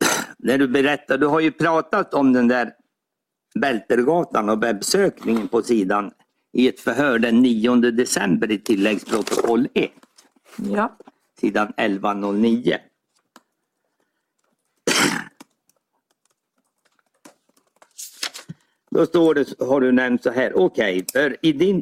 Speaker 3: när du berättar, du har ju pratat om den där Bältergatan och webbsökningen på sidan i ett förhör den 9 december i tilläggsprotokoll 1,
Speaker 7: Ja.
Speaker 3: sidan 1109. Då står det, har du nämnt så här, okej, för i din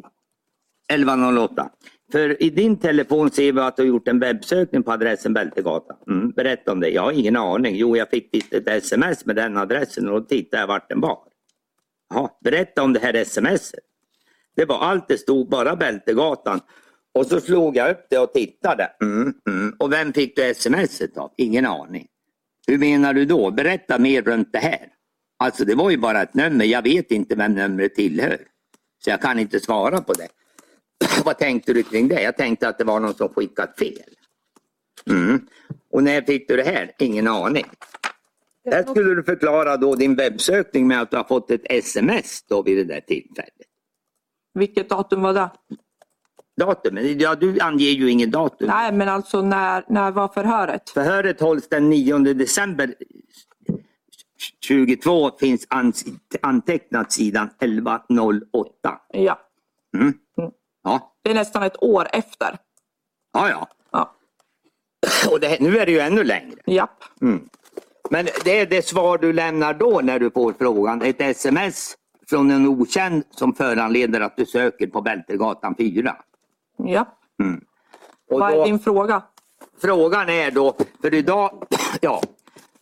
Speaker 3: 1108. För i din telefon ser vi att du har gjort en webbsökning på adressen Bältegatan. Mm, berätta om det. Jag har ingen aning. Jo, jag fick ditt ett sms med den adressen och då tittade jag vart den var. Jaha, berätta om det här smset. Det var allt det stod, bara Bältegatan. Och så slog jag upp det och tittade. Mm, mm. Och vem fick du smset av? Ingen aning. Hur menar du då? Berätta mer runt det här. Alltså det var ju bara ett nummer. Jag vet inte vem numret tillhör. Så jag kan inte svara på det. Vad tänkte du kring det? Jag tänkte att det var någon som skickat fel. Mm. Och när fick du det här? Ingen aning. Där skulle du förklara då din webbsökning med att du har fått ett sms då vid det där tillfället.
Speaker 7: Vilket datum var det?
Speaker 3: Datumet, ja du anger ju ingen datum.
Speaker 7: Nej, men alltså när, när var förhöret?
Speaker 3: Förhöret hålls den 9 december 22 finns ans- antecknat sidan 1108.
Speaker 7: Ja.
Speaker 3: Mm. Ja.
Speaker 7: Det är nästan ett år efter.
Speaker 3: Ja, ja.
Speaker 7: Ja.
Speaker 3: Och det, nu är det ju ännu längre.
Speaker 7: Japp.
Speaker 3: Mm. Men det är det svar du lämnar då när du får frågan. Ett sms från en okänd som föranleder att du söker på Bältergatan 4.
Speaker 7: Japp.
Speaker 3: Mm. Och
Speaker 7: Vad
Speaker 3: då-
Speaker 7: är din fråga?
Speaker 3: Frågan är då, för idag, ja,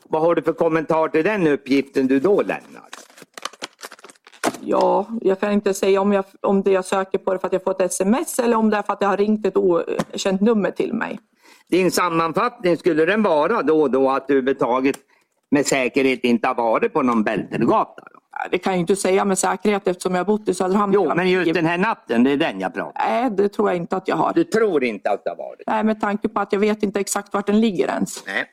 Speaker 3: vad har du för kommentar till den uppgiften du då lämnar?
Speaker 7: Ja, jag kan inte säga om, jag, om det jag söker på är för att jag fått ett sms eller om det är för att jag har ringt ett okänt nummer till mig.
Speaker 3: Din sammanfattning, skulle den vara då och då att du överhuvudtaget med säkerhet inte har varit på någon Bältergata? Då?
Speaker 7: Det kan jag ju inte säga med säkerhet eftersom jag har bott i Söderhamn.
Speaker 3: Jo, men just den här natten, det är den jag pratar om.
Speaker 7: Nej, det tror jag inte att jag har.
Speaker 3: Du tror inte att det har varit?
Speaker 7: Nej, med tanke på att jag vet inte exakt vart den ligger ens.
Speaker 3: Nej.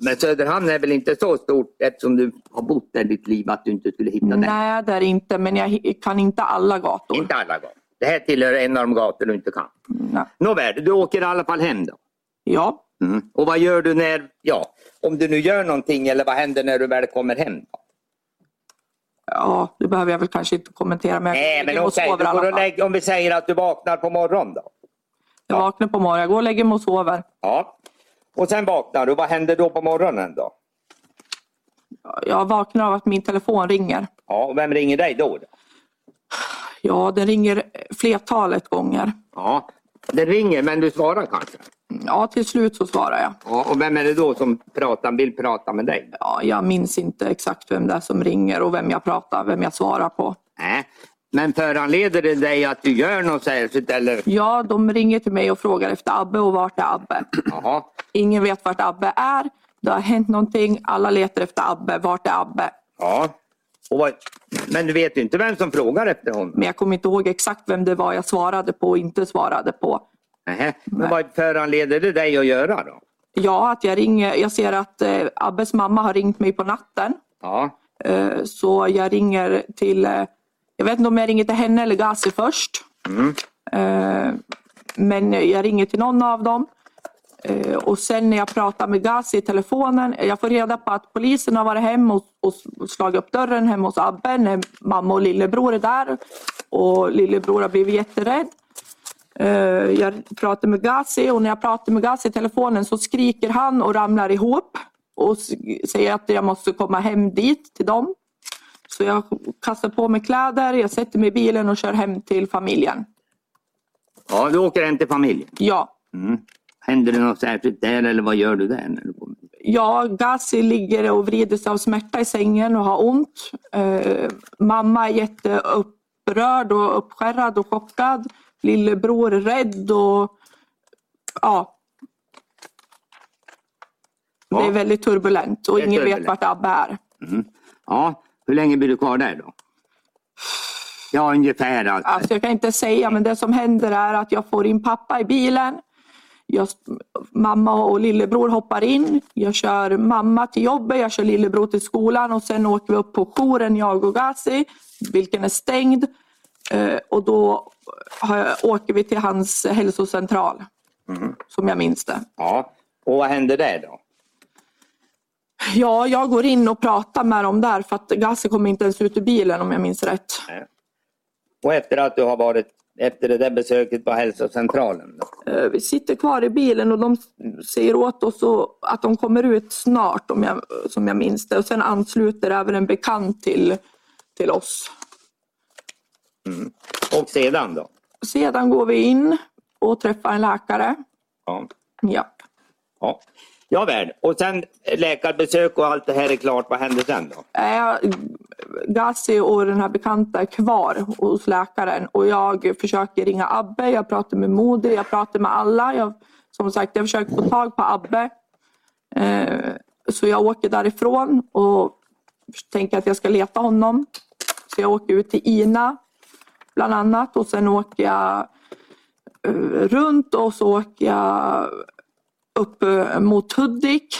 Speaker 3: Men Söderhamn är väl inte så stort eftersom du har bott där ditt liv att du inte skulle hitta den?
Speaker 7: Nej, det är det inte, men jag hi- kan inte alla gator.
Speaker 3: Inte alla gånger. Det här tillhör en av de gator du inte kan.
Speaker 7: Nej.
Speaker 3: Nåväl, du åker i alla fall hem då?
Speaker 7: Ja,
Speaker 3: Mm. Och vad gör du när, ja, om du nu gör någonting eller vad händer när du väl kommer hem? Då?
Speaker 7: ja, det behöver jag väl kanske inte kommentera. Men jag
Speaker 3: Nej,
Speaker 7: går
Speaker 3: men
Speaker 7: och
Speaker 3: okej,
Speaker 7: sover
Speaker 3: du
Speaker 7: i alla
Speaker 3: går
Speaker 7: fall.
Speaker 3: och lägger, om vi säger att du vaknar på morgonen då?
Speaker 7: Jag vaknar på morgonen, jag går och lägger mig och sover.
Speaker 3: Ja. Och sen vaknar du, vad händer då på morgonen då?
Speaker 7: Jag vaknar av att min telefon ringer.
Speaker 3: Ja, och vem ringer dig då? då?
Speaker 7: Ja, den ringer flertalet gånger.
Speaker 3: Ja, det ringer men du svarar kanske?
Speaker 7: Ja, till slut så svarar jag.
Speaker 3: Ja, och vem är det då som pratar, vill prata med dig?
Speaker 7: Ja, jag minns inte exakt vem det är som ringer och vem jag pratar, vem jag svarar på.
Speaker 3: Nej. Men föranleder det dig att du gör något särskilt eller?
Speaker 7: Ja, de ringer till mig och frågar efter Abbe och vart är Abbe?
Speaker 3: Jaha.
Speaker 7: Ingen vet vart Abbe är. Det har hänt någonting. Alla letar efter Abbe. Vart är Abbe?
Speaker 3: Ja. Och vad... Men du vet ju inte vem som frågar efter honom?
Speaker 7: Men jag kommer inte ihåg exakt vem det var jag svarade på och inte svarade på.
Speaker 3: Nähä. Men vad föranleder det dig att göra då?
Speaker 7: Ja, att jag ringer. Jag ser att eh, Abbes mamma har ringt mig på natten.
Speaker 3: Ja.
Speaker 7: Eh, så jag ringer till... Eh, jag vet inte om jag ringer till henne eller Gazi först.
Speaker 3: Mm.
Speaker 7: Eh, men jag ringer till någon av dem. Eh, och sen när jag pratar med Gazi i telefonen, eh, jag får reda på att polisen har varit hem och, och slagit upp dörren hemma hos Abbe när mamma och lillebror är där. Och lillebror har blivit jätterädd. Eh, jag pratar med Gazi och när jag pratar med Gazi i telefonen så skriker han och ramlar ihop och s- säger att jag måste komma hem dit till dem. Så jag kastar på mig kläder, jag sätter mig i bilen och kör hem till familjen.
Speaker 3: Ja, du åker hem till familjen.
Speaker 7: Ja,
Speaker 3: Mm. Händer det något särskilt där eller vad gör du där? När du kommer?
Speaker 7: Ja, Gazi ligger och vrider sig av smärta i sängen och har ont. Eh, mamma är jätteupprörd och uppskärrad och chockad. Lillebror är rädd och ja.
Speaker 3: Ja.
Speaker 7: Det är väldigt turbulent och
Speaker 3: Det är
Speaker 7: ingen vet
Speaker 3: turbulent.
Speaker 7: vart Abbe är.
Speaker 3: Ja. Hur länge blir du kvar där då? Ja, ungefär alltså.
Speaker 7: Alltså jag kan inte säga men det som händer är att jag får in pappa i bilen. Jag, mamma och lillebror hoppar in. Jag kör mamma till jobbet, jag kör lillebror till skolan och sen åker vi upp på jouren jag och Gazi, vilken är stängd. Eh, och då har jag, åker vi till hans hälsocentral, som jag minns det.
Speaker 3: Ja. Och vad hände där då?
Speaker 7: Ja, jag går in och pratar med dem där för att Gassi kom inte ens ut ur bilen om jag minns rätt.
Speaker 3: Och efter att du har varit, efter det där besöket på hälsocentralen? Då?
Speaker 7: Eh, Vi sitter kvar i bilen och de säger åt oss och- att de kommer ut snart om jag, som jag minns det. Och sen ansluter även en bekant till, till oss.
Speaker 3: Och sedan då?
Speaker 7: Sedan går vi in och träffar en läkare.
Speaker 3: Ja.
Speaker 7: Ja.
Speaker 3: ja. Ja väl. och sen läkarbesök och allt det här är klart, vad hände sen då?
Speaker 7: är Gassi och den här bekanta kvar hos läkaren och jag försöker ringa Abbe, jag pratar med Moder, jag pratar med alla. Jag, som sagt, jag försöker få tag på Abbe. Eh, så jag åker därifrån och tänker att jag ska leta honom. Så jag åker ut till Ina bland annat och sen åker jag eh, runt och så åker jag upp eh, mot Hudik.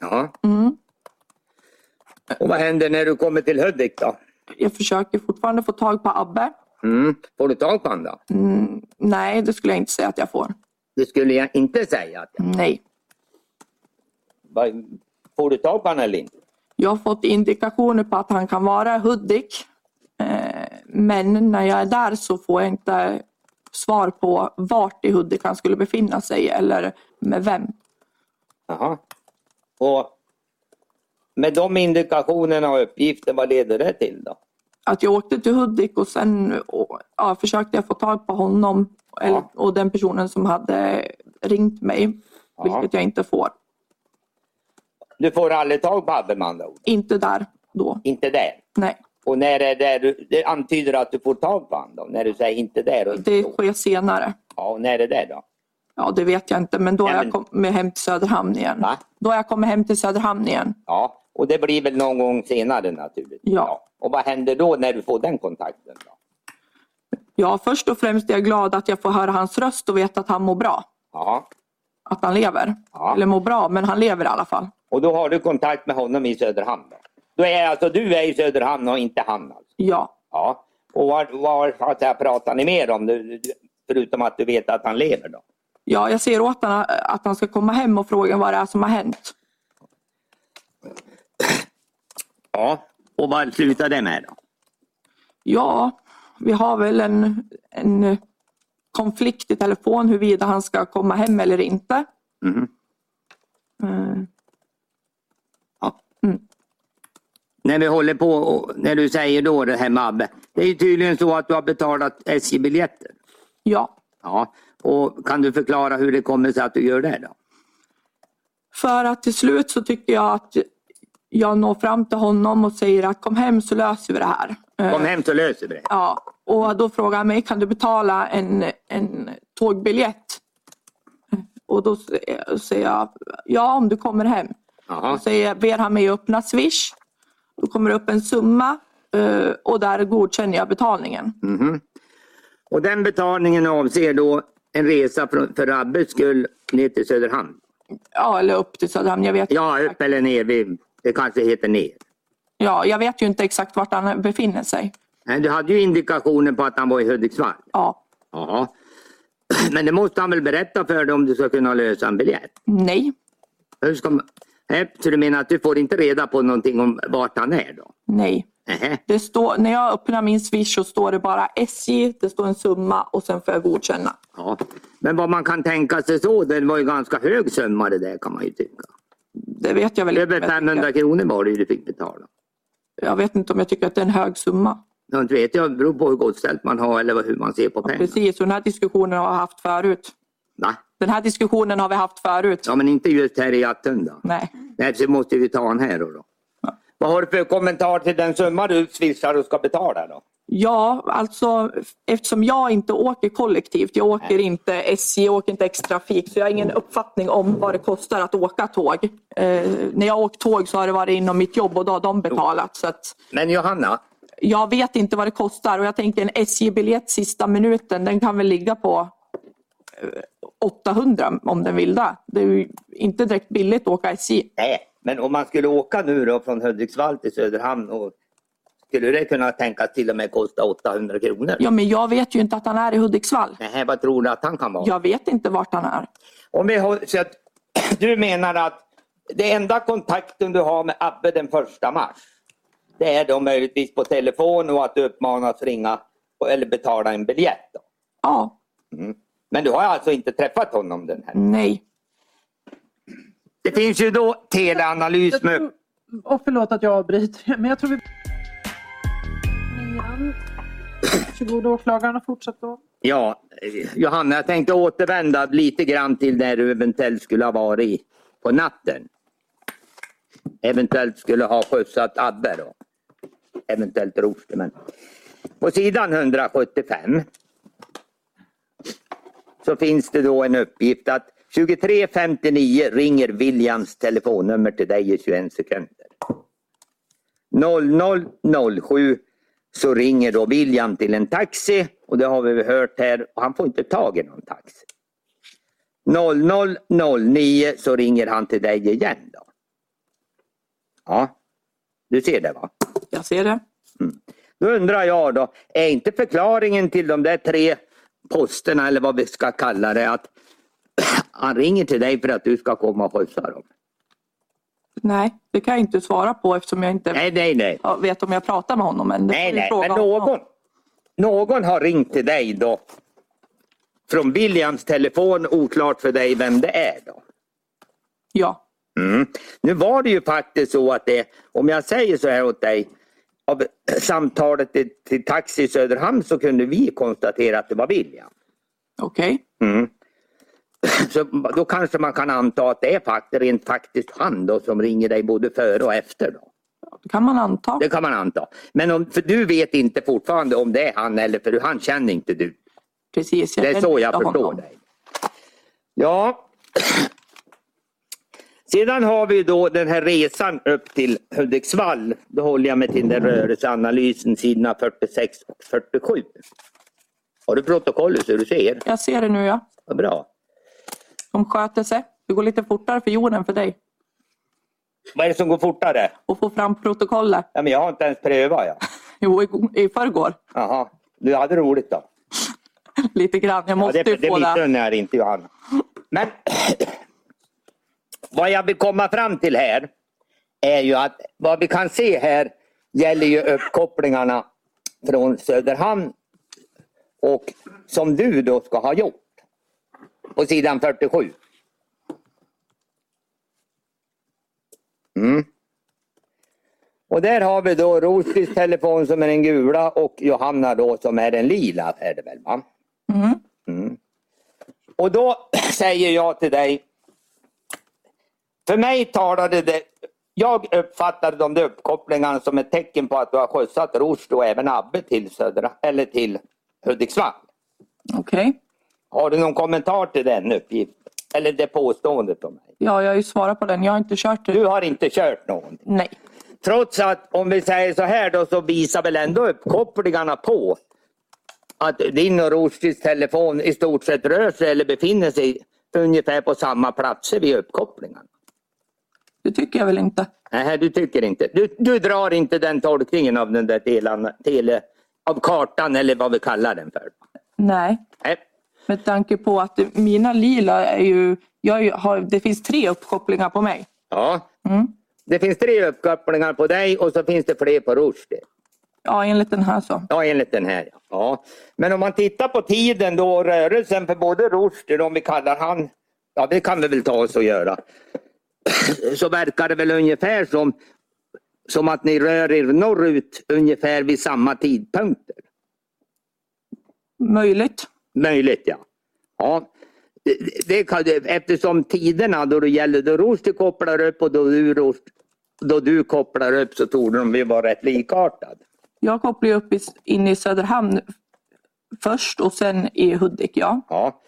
Speaker 3: Ja.
Speaker 7: Mm.
Speaker 3: Och vad händer när du kommer till Hudik då?
Speaker 7: Jag försöker fortfarande få tag på Abbe.
Speaker 3: Mm. Får du tag på honom då?
Speaker 7: Mm, nej, det skulle jag inte säga att jag får.
Speaker 3: Det skulle jag inte säga. Att
Speaker 7: Nej.
Speaker 3: Vad- Får du tag på honom eller inte?
Speaker 7: Jag har fått indikationer på att han kan vara i Hudik. Eh, men när jag är där så får jag inte svar på vart i Hudik han skulle befinna sig eller med vem.
Speaker 3: Jaha. Och med de indikationerna och uppgifter, vad leder det till då?
Speaker 7: Att jag åkte till Hudik och sen och, ja, försökte jag få tag på honom eller, och den personen som hade ringt mig. Vilket jag inte får.
Speaker 3: Du får aldrig tag på Abbe med andra ord?
Speaker 7: Inte där då.
Speaker 3: Inte där?
Speaker 7: Nej.
Speaker 3: Och när är det, du, det antyder att du får tag på honom då? När du säger inte där? Och,
Speaker 7: Det sker senare.
Speaker 3: ja, och när är det då?
Speaker 7: Ja, det vet jag inte, men då har jag kommit hem till Söderhamn igen. Då har jag kommit hem till Söderhamn igen.
Speaker 3: Ja, och det blir väl någon gång senare naturligtvis?
Speaker 7: Ja.
Speaker 3: Och vad händer då när du får den kontakten? Då?
Speaker 7: Ja, först och främst är jag glad att jag får höra hans röst och veta att han mår bra.
Speaker 3: Ja.
Speaker 7: Att han lever.
Speaker 3: Ja.
Speaker 7: Eller mår bra, men han lever i alla fall.
Speaker 3: Och då har du kontakt med honom i Söderhamn? Då, då är alltså du är i Söderhamn och inte han? Alltså.
Speaker 7: Ja.
Speaker 3: Ja. Och vad, vad så att säga, pratar ni mer om? nu, du- Förutom att du vet att han lever då?
Speaker 7: ja, jag ser åt honom att han ska komma hem och fråga vad det är som har hänt.
Speaker 3: Ja. Och vad slutar det med då?
Speaker 7: Ja, vi har väl en, en konflikt i telefon huruvida han ska komma hem eller inte. Mm.
Speaker 3: Mhm.
Speaker 7: Eh,
Speaker 3: När vi håller på och när du säger då det här med Abbe. Det är ju tydligen så att du har betalat SJ-biljetter.
Speaker 7: Ja.
Speaker 3: Ja. Och kan du förklara hur det kommer sig att du gör det då?
Speaker 7: För att till slut så tycker jag att jag når fram till honom och säger att kom hem så löser vi det här. Eh,
Speaker 3: Kom hem så löser vi det.
Speaker 7: Ja, och då frågar han mig, kan du betala en, en tågbiljett? Eh, Och då s- eh, säger jag, ja om du kommer hem. Då säger, ber han mig öppna Swish. Då kommer det upp en summa eh, och där godkänner jag betalningen.
Speaker 3: Mhm. Och den betalningen avser då en resa för, för Abbes skull ner till Söderhamn?
Speaker 7: Ja, eller upp till Söderhamn. Jag vet,
Speaker 3: Ja, upp eller ner. vi- Det kanske heter ner.
Speaker 7: ja, jag vet ju inte exakt vart han befinner sig.
Speaker 3: Men du hade ju indikationer på att han var i Hudiksvall.
Speaker 7: Ja.
Speaker 3: Ja. Men det måste han väl berätta för dig om du ska kunna lösa en biljett?
Speaker 7: Nej,
Speaker 3: Hur ska man... Nej, Så du menar att du får inte reda på någonting om vart han är då?
Speaker 7: nej.
Speaker 3: Nähä.
Speaker 7: Det står, när jag öppnar min Swish så står det bara SJ, det står en summa och sen får jag godkänna.
Speaker 3: Ja. Men vad man kan tänka sig så, det var ju ganska hög summa det där kan man ju tycka.
Speaker 7: Det vet jag väl inte,
Speaker 3: Över
Speaker 7: men jag
Speaker 3: 500 kronor var det ju du fick betala.
Speaker 7: Jag vet inte om jag tycker att det är en hög summa.
Speaker 3: Jag inte vet jag, det beror på hur gott ställt man har eller vad- hur man ser på pengar.
Speaker 7: Precis, och den här diskussionen har jag haft förut.
Speaker 3: Va?
Speaker 7: Den här diskussionen har vi haft förut.
Speaker 3: Ja, men inte just här i Attunda.
Speaker 7: Nej.
Speaker 3: Nej, så måste vi ta den här då. då. Vad har du för kommentar till den summa du swishar och ska betala då?
Speaker 7: Ja, alltså eftersom jag inte åker kollektivt, jag åker inte SJ, jag åker inte X-trafik, så jag har ingen uppfattning om vad det kostar att åka tåg. Eh, när jag har åkt tåg så har det varit inom mitt jobb och då har de betalat. Så att
Speaker 3: Men Johanna,
Speaker 7: jag vet inte vad det kostar och jag tänker en SJ-biljett sista minuten, den kan väl ligga på eh, 800 om den vill det. Det är ju inte direkt billigt att åka SJ.
Speaker 3: Nej, men om man skulle åka nu då från Hudiksvall till Söderhamn och skulle det kunna tänkas till och med kosta 800 kronor?
Speaker 7: Ja, men jag vet ju inte att han är i Hudiksvall.
Speaker 3: Nej, vad tror du att han kan vara?
Speaker 7: Jag vet inte vart han är.
Speaker 3: Om vi har, så att, du menar att det enda kontakten du har med Abbe den första mars, det är då möjligtvis på telefon och att du uppmanas ringa och- eller betala en biljett? Då.
Speaker 7: Ja,
Speaker 3: Mm. Men du har alltså inte träffat honom den här?
Speaker 7: nej.
Speaker 3: Det finns ju då teleanalys med upp-
Speaker 8: Och förlåt att jag avbryter, men jag tror vi... Varsågod åklagaren och fortsätt då.
Speaker 3: Ja, eh, Johanna, jag tänkte återvända lite grann till där du eventuellt skulle ha varit på natten. Eventuellt skulle ha skjutsat Abbe då. Eventuellt Rushdie, men På sidan 175 så finns det då en uppgift att 23.59 ringer Williams telefonnummer till dig i 21 sekunder. 00.07 så ringer då William till en taxi och det har vi väl hört här och han får inte tag i någon taxi. 00.09 så ringer han till dig igen. Då. Ja, du ser det va?
Speaker 7: Jag ser det.
Speaker 3: Då undrar jag då, är inte förklaringen till de där tre posterna eller vad vi ska kalla det att han ringer till dig för att du ska komma och skjutsa dem?
Speaker 7: Nej, det kan jag inte svara på eftersom jag inte
Speaker 3: Nej, nej, nej.
Speaker 7: ja, vet om jag pratar med honom. Men det
Speaker 3: Nej,
Speaker 7: får
Speaker 3: nej,
Speaker 7: vi fråga
Speaker 3: men
Speaker 7: honom.
Speaker 3: någon, någon har ringt till dig då. Från Williams telefon, oklart för dig vem det är då.
Speaker 7: Ja,
Speaker 3: Mm. Nu var det ju faktiskt så att det, om jag säger så här åt dig, av samtalet till, till Taxi Söderhamn så kunde vi konstatera att det var William.
Speaker 7: okej.
Speaker 3: Mm. Så då kanske man kan anta att det är faktiskt, rent faktiskt han då som ringer dig både före och efter. Då.
Speaker 7: Det kan man anta.
Speaker 3: Det kan man anta. Men om, för du vet inte fortfarande om det är han eller för han känner inte du.
Speaker 7: Precis, jag
Speaker 3: Det är
Speaker 7: känner
Speaker 3: så
Speaker 7: inte
Speaker 3: jag förstår
Speaker 7: honom.
Speaker 3: dig. Ja. Sedan har vi då den här resan upp till Hudiksvall. Då håller jag mig till den rörelseanalysen sidorna 46 och 47. Har du protokollet så du ser?
Speaker 7: Jag ser det nu ja.
Speaker 3: Vad bra.
Speaker 7: De sköter sig. Det går lite fortare för Jon än för dig.
Speaker 3: Vad är det som går fortare?
Speaker 7: Och få fram protokollet.
Speaker 3: Ja, men jag har inte ens prövat. Ja.
Speaker 7: Jo, i, i förrgår.
Speaker 3: Jaha. Du hade roligt då?
Speaker 7: Lite grann. Jag måste
Speaker 3: ja, det,
Speaker 7: ju
Speaker 3: det
Speaker 7: få det.
Speaker 3: missunnar jag inte Johanna. Men vad jag vill komma fram till här är ju att vad vi kan se här gäller ju uppkopplingarna från Söderhamn och som du då ska ha gjort på sidan 47. Mm. Och där har vi då Rostis telefon som är en gula och Johanna då som är en lila. Är det väl, va?
Speaker 7: Mm.
Speaker 3: Och då säger jag till dig. För mig talade det, jag uppfattade de där uppkopplingarna som ett tecken på att du har skjutsat Rushdie och även Abbe till, södra, eller till Hudiksvall.
Speaker 7: Okej.
Speaker 3: Har du någon kommentar till den uppgiften? Eller det påståendet om mig?
Speaker 7: Ja, jag har ju svarat på den. Jag har inte kört det.
Speaker 3: Du har inte kört någon.
Speaker 7: Nej.
Speaker 3: Trots att om vi säger så här då så visar väl ändå uppkopplingarna på att din och Rushdies telefon i stort sett rör sig eller befinner sig ungefär på samma platser vid uppkopplingarna.
Speaker 7: Det tycker jag väl inte.
Speaker 3: Nej, du tycker inte. Du, du drar inte den tolkningen av den där telan, tele, av kartan eller vad vi kallar den för.
Speaker 7: Nej.
Speaker 3: Nej.
Speaker 7: Med tanke på att det- mina lila är ju... Jag är ju- har, det finns tre uppkopplingar på mig.
Speaker 3: Ja.
Speaker 7: Mm.
Speaker 3: Det finns tre uppkopplingar på dig och så finns det fler på Rushdie.
Speaker 7: Ja, enligt den här så.
Speaker 3: Ja, enligt den här. ja. Ja. Men om man tittar på tiden då och rörelsen för både Rushdie, om vi kallar han, ja det kan vi väl ta oss och göra, så verkar det väl ungefär som, som att ni rör er norrut ungefär vid samma tidpunkter.
Speaker 7: Möjligt.
Speaker 3: Möjligt ja. ja. Det- Det kan, det- eftersom tiderna då det gäller då Rushdie kopplar upp och då du, Rushdie- då du kopplar upp så torde de ju vara rätt likartade.
Speaker 7: Jag kopplar ju upp i, in i Söderhamn först och sen i Hudik. Ja.
Speaker 3: Ja.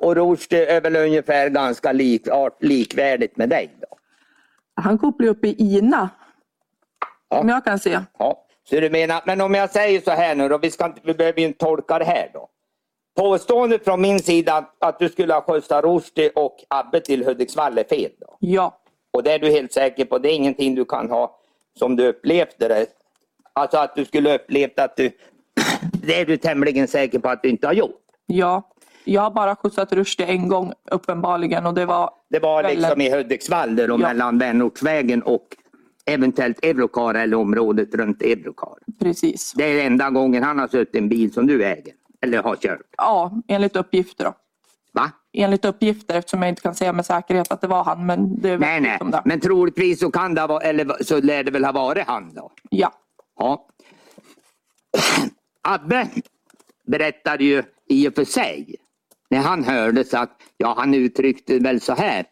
Speaker 3: Och Rushdie är väl ungefär ganska lik, art- likvärdigt med dig. Då.
Speaker 7: Han kopplar ju upp i Ina.
Speaker 3: Ja.
Speaker 7: Om jag kan se.
Speaker 3: Ja. Så du menar, men om jag säger så här nu då, vi, ska, inte- vi behöver ju inte tolka det här då. Påståendet från min sida att, att du skulle ha skjutsat Rushdie och Abbe till Hudiksvall är fel. Då.
Speaker 7: Ja.
Speaker 3: Och det är du helt säker på, det är ingenting du kan ha som du upplevde det Alltså att du skulle upplevt att du... Det är du tämligen säker på att du inte har gjort.
Speaker 7: Ja, jag har bara skjutsat Rushdie en gång uppenbarligen och det var...
Speaker 3: Det var
Speaker 7: kvällen.
Speaker 3: liksom i Hudiksvall där och
Speaker 7: Ja.
Speaker 3: mellan Vänortsvägen och eventuellt Eurokar eller området runt Eurokar.
Speaker 7: Precis.
Speaker 3: Det är enda gången han har suttit i en bil som du äger eller har kört.
Speaker 7: Ja, enligt uppgifter då.
Speaker 3: Va?
Speaker 7: Enligt uppgifter eftersom jag inte kan säga med säkerhet att det var han. Men det är
Speaker 3: Nej, nej.
Speaker 7: som det.
Speaker 3: Men troligtvis så kan det ha varit, eller så lär det väl ha varit han då.
Speaker 7: Ja.
Speaker 3: Ja. Abbe berättade ju i och för sig när han hördes att, ja han uttryckte väl så här.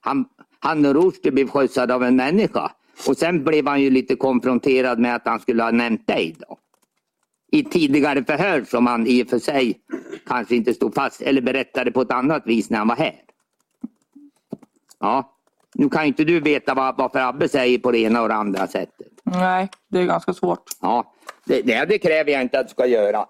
Speaker 3: Han, han och Rushdie blev skjutsade av en människa. Och sen blev han ju lite konfronterad med att han skulle ha nämnt dig då. I tidigare förhör som han i och för sig kanske inte stod fast eller berättade på ett annat vis när han var här. Ja, nu kan ju inte du veta vad, varför Abbe säger på det ena och det andra sättet.
Speaker 7: Nej, det är ganska svårt.
Speaker 3: Ja, det, det, det kräver jag inte att du ska göra.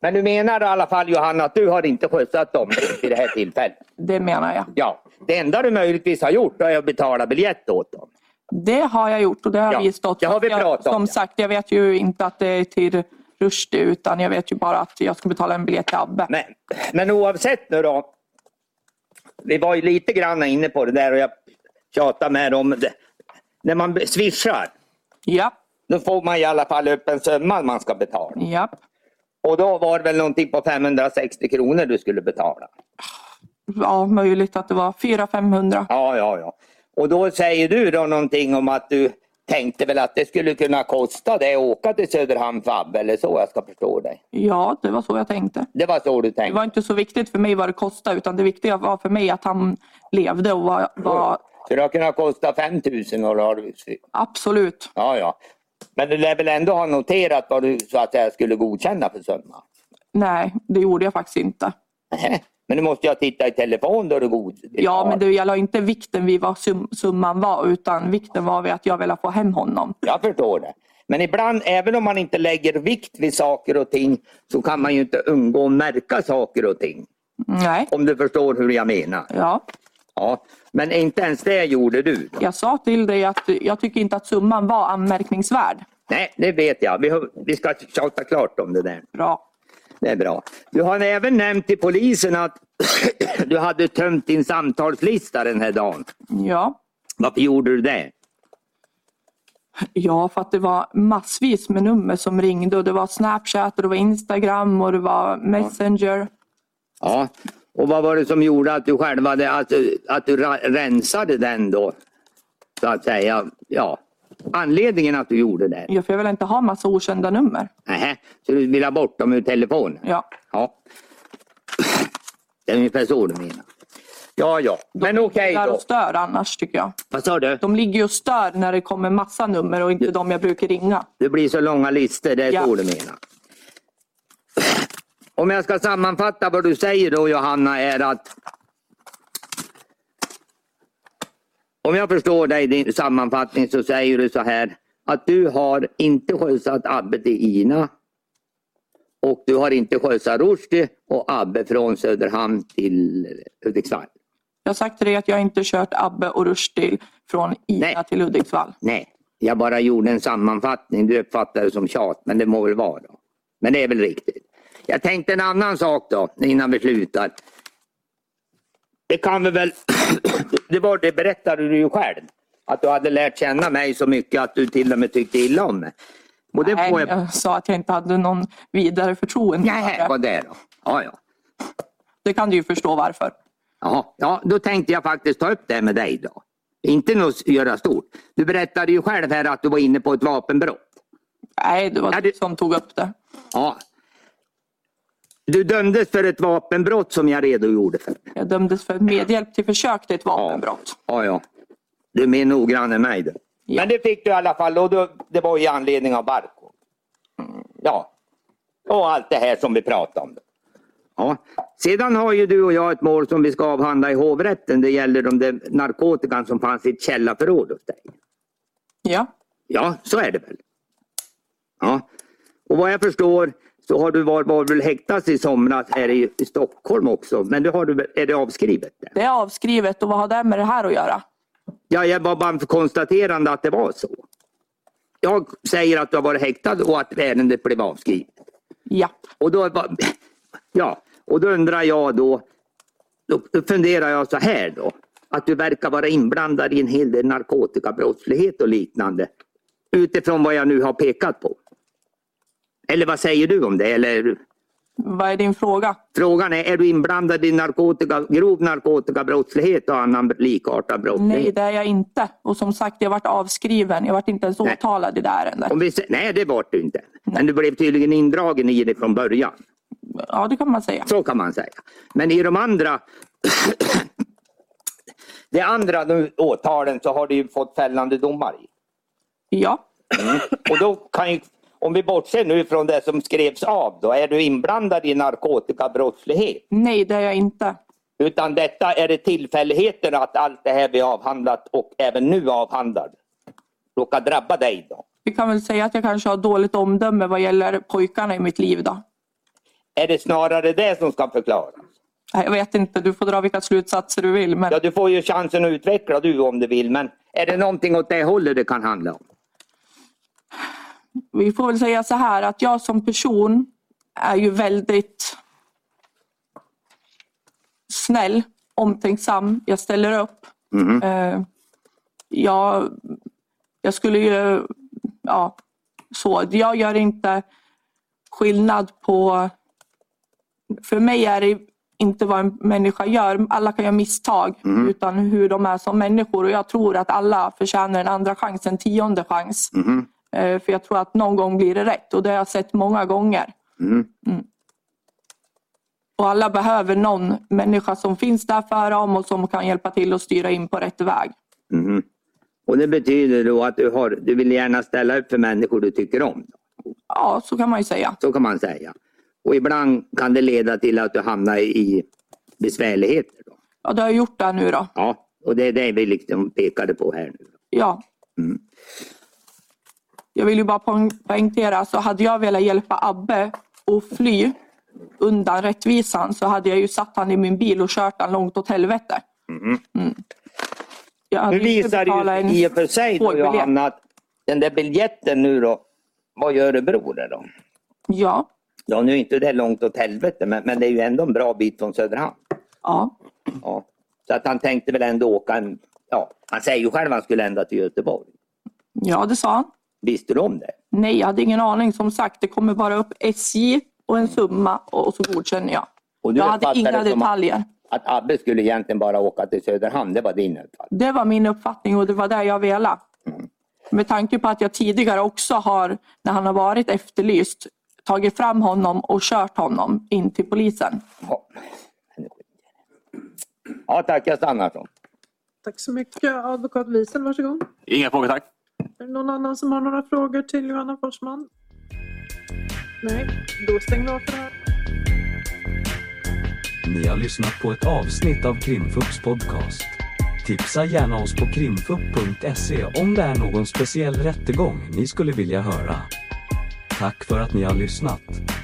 Speaker 3: Men du menar i alla fall Johanna att du har inte skjutsat dem vid det här tillfället?
Speaker 7: Det menar jag.
Speaker 3: Ja, det enda du möjligtvis har gjort är att betala biljett åt dem.
Speaker 7: Det har jag gjort och det har
Speaker 3: Ja,
Speaker 7: vi stått
Speaker 3: det har vi
Speaker 7: Jag-
Speaker 3: pratat om,
Speaker 7: Som
Speaker 3: ja.
Speaker 7: sagt, jag vet ju inte att det är till Rushdie utan jag vet ju bara att jag ska betala en biljett till Abbe.
Speaker 3: Men, men oavsett nu då. Vi var ju lite grann inne på det där och jag tjatade med dem. Det- När man swishar,
Speaker 7: Ja,
Speaker 3: då får man i alla fall upp en summa man ska betala.
Speaker 7: ja.
Speaker 3: Och då var det väl någonting på 560 kronor du skulle betala.
Speaker 7: Ja, möjligt att det var 400-500.
Speaker 3: Ja, ja, ja. Och då säger du då någonting om att du tänkte väl att det skulle kunna kosta dig att åka till Söderhamn för Abbe eller så jag ska förstå dig.
Speaker 7: Ja, det var så jag tänkte.
Speaker 3: Det var så du
Speaker 7: Det
Speaker 3: tänkte?
Speaker 7: var inte så viktigt för mig vad det kostade utan det viktiga var för mig att han levde och var, var
Speaker 3: Så det har kunnat kosta 5 000 och då har du...
Speaker 7: absolut.
Speaker 3: Ja, ja. Men du lär väl ändå ha noterat vad du så att säga skulle godkänna för summa?
Speaker 7: Nej, det gjorde jag faktiskt inte.
Speaker 3: Nähä. Men nu måste jag titta i telefon då du god.
Speaker 7: Ja, men det, jag la inte vikten vid vad sum, summan var utan vikten var vid att jag ville få hem honom.
Speaker 3: Jag förstår det. Men ibland, även om man inte lägger vikt vid saker och ting, så kan man ju inte undgå att märka saker och ting.
Speaker 7: Nej,
Speaker 3: Om du förstår hur jag menar.
Speaker 7: ja.
Speaker 3: Ja, men inte ens det gjorde du.
Speaker 7: Jag sa till dig att jag tycker inte att summan var anmärkningsvärd.
Speaker 3: Nej, det vet jag. Vi, har- vi ska tjata klart om det där.
Speaker 7: Bra.
Speaker 3: Det är bra. Du har även nämnt till polisen att du hade tömt din samtalslista den här dagen.
Speaker 7: Ja.
Speaker 3: Varför gjorde du det?
Speaker 7: ja, för att det var massvis med nummer som ringde och det var Snapchat och det var Instagram och det var Messenger.
Speaker 3: Ja, och vad var det som gjorde att du själv hade, att, du- att du ra- rensade den då? Så att säga, ja. Anledningen att du gjorde det?
Speaker 7: Ja, för jag vill inte ha massa okända nummer.
Speaker 3: Nähä, så du vill ha bort dem ur telefonen?
Speaker 7: Ja,
Speaker 3: Ja. Det är ungefär så du menar. Ja, ja. Men okej
Speaker 7: där
Speaker 3: då.
Speaker 7: och stör annars tycker jag.
Speaker 3: Vad sa du?
Speaker 7: De ligger ju och stör när det kommer massa nummer och inte de jag brukar ringa.
Speaker 3: Det blir så långa listor, det är
Speaker 7: Ja.
Speaker 3: så du menar. Om jag ska sammanfatta vad du säger då Johanna är att Om jag förstår dig i din sammanfattning så säger du så här att du har inte skjutsat Abbe till Ina och du har inte skjutsat Rushdie och Abbe från Söderhamn till Hudiksvall.
Speaker 7: Jag har sagt till dig att jag inte kört Abbe och Rushdie från Ina
Speaker 3: Nej.
Speaker 7: till Hudiksvall.
Speaker 3: Nej, jag bara gjorde en sammanfattning. Du uppfattade det som tjat, men det må väl vara. Då. Men det är väl riktigt. Jag tänkte en annan sak då, innan vi slutar. Det kan vi väl... det, var, det berättade du ju själv. Att du hade lärt känna mig så mycket att du till och med tyckte illa om mig. Och det
Speaker 7: Nej,
Speaker 3: får jag...
Speaker 7: jag sa att jag inte hade någon vidare förtroende.
Speaker 3: Nej,
Speaker 7: för det.
Speaker 3: vad det är då. Ja, ja.
Speaker 7: Det kan du ju förstå varför.
Speaker 3: Jaha, ja, då tänkte jag faktiskt ta upp det med dig då. Inte något göra stort. Du berättade ju själv här att du var inne på ett vapenbrott.
Speaker 7: Nej, det var
Speaker 3: Ja,
Speaker 7: du
Speaker 3: det-
Speaker 7: som tog upp det.
Speaker 3: Ja. Du dömdes för ett vapenbrott som jag redogjorde för.
Speaker 7: Jag dömdes för medhjälp till försök till ett vapenbrott.
Speaker 3: Ja, ja. Du är mer noggrann än mig. Du.
Speaker 7: Ja.
Speaker 3: Men det fick du i alla fall och då, det var ju i anledning av Barko. Ja. Och allt det här som vi pratade om. Ja. Sedan har ju du och jag ett mål som vi ska avhandla i hovrätten. Det gäller de där narkotikan som fanns i ett källarförråd hos dig.
Speaker 7: Ja,
Speaker 3: Ja, så är det väl. Ja. Och vad jag förstår så har du varit var väl häktas i somras här i, i Stockholm också. Men det har du, väl- är det avskrivet? Där?
Speaker 7: det är avskrivet och vad har det med det här att göra?
Speaker 3: Ja, jag var bara för konstaterande att det var så. jag säger att du har varit häktad och att ärendet blev avskrivet.
Speaker 7: Ja.
Speaker 3: Och då, var- ja, och då undrar jag då, då funderar jag så här då, att du verkar vara inblandad i en hel del narkotikabrottslighet och liknande. Utifrån vad jag nu har pekat på. Eller vad säger du om det? Eller?
Speaker 7: Vad är din fråga?
Speaker 3: Frågan är, är du inblandad i narkotika, grov narkotikabrottslighet och annan likartad brottslighet?
Speaker 7: Nej, det är jag inte. Och som sagt, jag varit avskriven. Jag varit inte ens åtalad i det ärendet.
Speaker 3: Om vi, sä- nej, det var du inte. Men du blev tydligen indragen i det från början.
Speaker 7: Ja, det kan man säga.
Speaker 3: Så kan man säga. Men i de andra de andra nu, åtalen så har du ju fått fällande domar i. Mm.
Speaker 7: Ja.
Speaker 3: Och då kan ju, om vi bortser nu från det som skrevs av, då är du inblandad i narkotikabrottslighet.
Speaker 7: Nej, det är jag inte.
Speaker 3: Utan detta är det tillfälligheter att allt det här vi avhandlat och även nu avhandlar råkar drabba dig då.
Speaker 7: Vi kan väl säga att jag kanske har dåligt omdöme vad gäller pojkarna i mitt liv då.
Speaker 3: Är det snarare det som ska förklaras?
Speaker 7: Nej, Jag vet inte, du får dra vilka slutsatser du vill. Men
Speaker 3: Ja, du får ju chansen att utveckla du om du vill, men är det någonting åt det hållet det kan handla om?
Speaker 7: vi får väl säga så här att jag som person är ju väldigt snäll, omtänksam. Jag ställer upp.
Speaker 3: Mhm.
Speaker 7: Eh, jag, jag skulle ju... Ja, så. Jag gör inte skillnad på... För mig är det inte vad en människa gör. Alla kan göra misstag.
Speaker 11: Mhm.
Speaker 7: Utan hur de är som människor. Och jag tror att alla förtjänar en andra chans, en tionde chans. Eh, För jag tror att någon gång blir det rätt. Och det har jag sett många gånger. Mm. Och alla behöver någon människa som finns där för dem och som kan hjälpa till och styra in på rätt väg.
Speaker 3: Mhm. Och det betyder då att du, har, du vill gärna ställa upp för människor du tycker om?
Speaker 7: Ja, så kan man ju säga.
Speaker 3: Så kan man säga. Och ibland kan det leda till att du hamnar i besvärligheter? Då.
Speaker 7: Ja, det har jag gjort där nu då.
Speaker 3: Ja, och det är det vi liksom pekade på här nu.
Speaker 7: Ja.
Speaker 3: Mm.
Speaker 7: Jag vill ju bara poäng- poängtera, så hade jag velat hjälpa Abbe att fly undan rättvisan så hade jag ju satt han i min bil och kört han långt åt helvete. Mm.
Speaker 3: Mhm.
Speaker 7: Jag hade
Speaker 3: Nu
Speaker 7: ju inte
Speaker 3: visar
Speaker 7: betalat
Speaker 3: det
Speaker 7: en
Speaker 3: ju i och för sig då,
Speaker 7: tågbiljett.
Speaker 3: Johanna, att den där biljetten nu då, vad gör Örebro det då?
Speaker 7: Ja.
Speaker 3: Ja, nu är inte det långt åt helvete, men, men det är ju ändå en bra bit från Söderhamn.
Speaker 7: Ja.
Speaker 3: ja. Så att han tänkte väl ändå åka en, ja, han säger ju själv att han skulle ända till Göteborg.
Speaker 7: Ja, det sa han.
Speaker 3: Visste du om det?
Speaker 7: Nej, jag hade ingen aning. Som sagt, det kommer bara upp SJ och en summa och och så godkänner jag.
Speaker 3: Och du
Speaker 7: jag hade
Speaker 3: uppfattar
Speaker 7: inga
Speaker 3: det som att-
Speaker 7: detaljer.
Speaker 3: Att Abbe skulle egentligen bara åka till Söderhamn, det var din uppfattning.
Speaker 7: Det var min uppfattning och det var det jag ville. Med tanke på att jag tidigare också har, när han har varit efterlyst, tagit fram honom och kört honom in till polisen.
Speaker 3: Ja tack, jag stannar så.
Speaker 8: Tack så mycket. Advokat Wiesel, varsågod.
Speaker 12: Inga frågor tack.
Speaker 8: Är det någon annan som har några frågor till Johanna Forsman? Nej, då stänger vi av för det här.
Speaker 13: Ni har lyssnat på ett avsnitt av Krimfupps podcast. Tipsa gärna oss på krimfupp.se om det är någon speciell rättegång ni skulle vilja höra. Tack för att ni har lyssnat.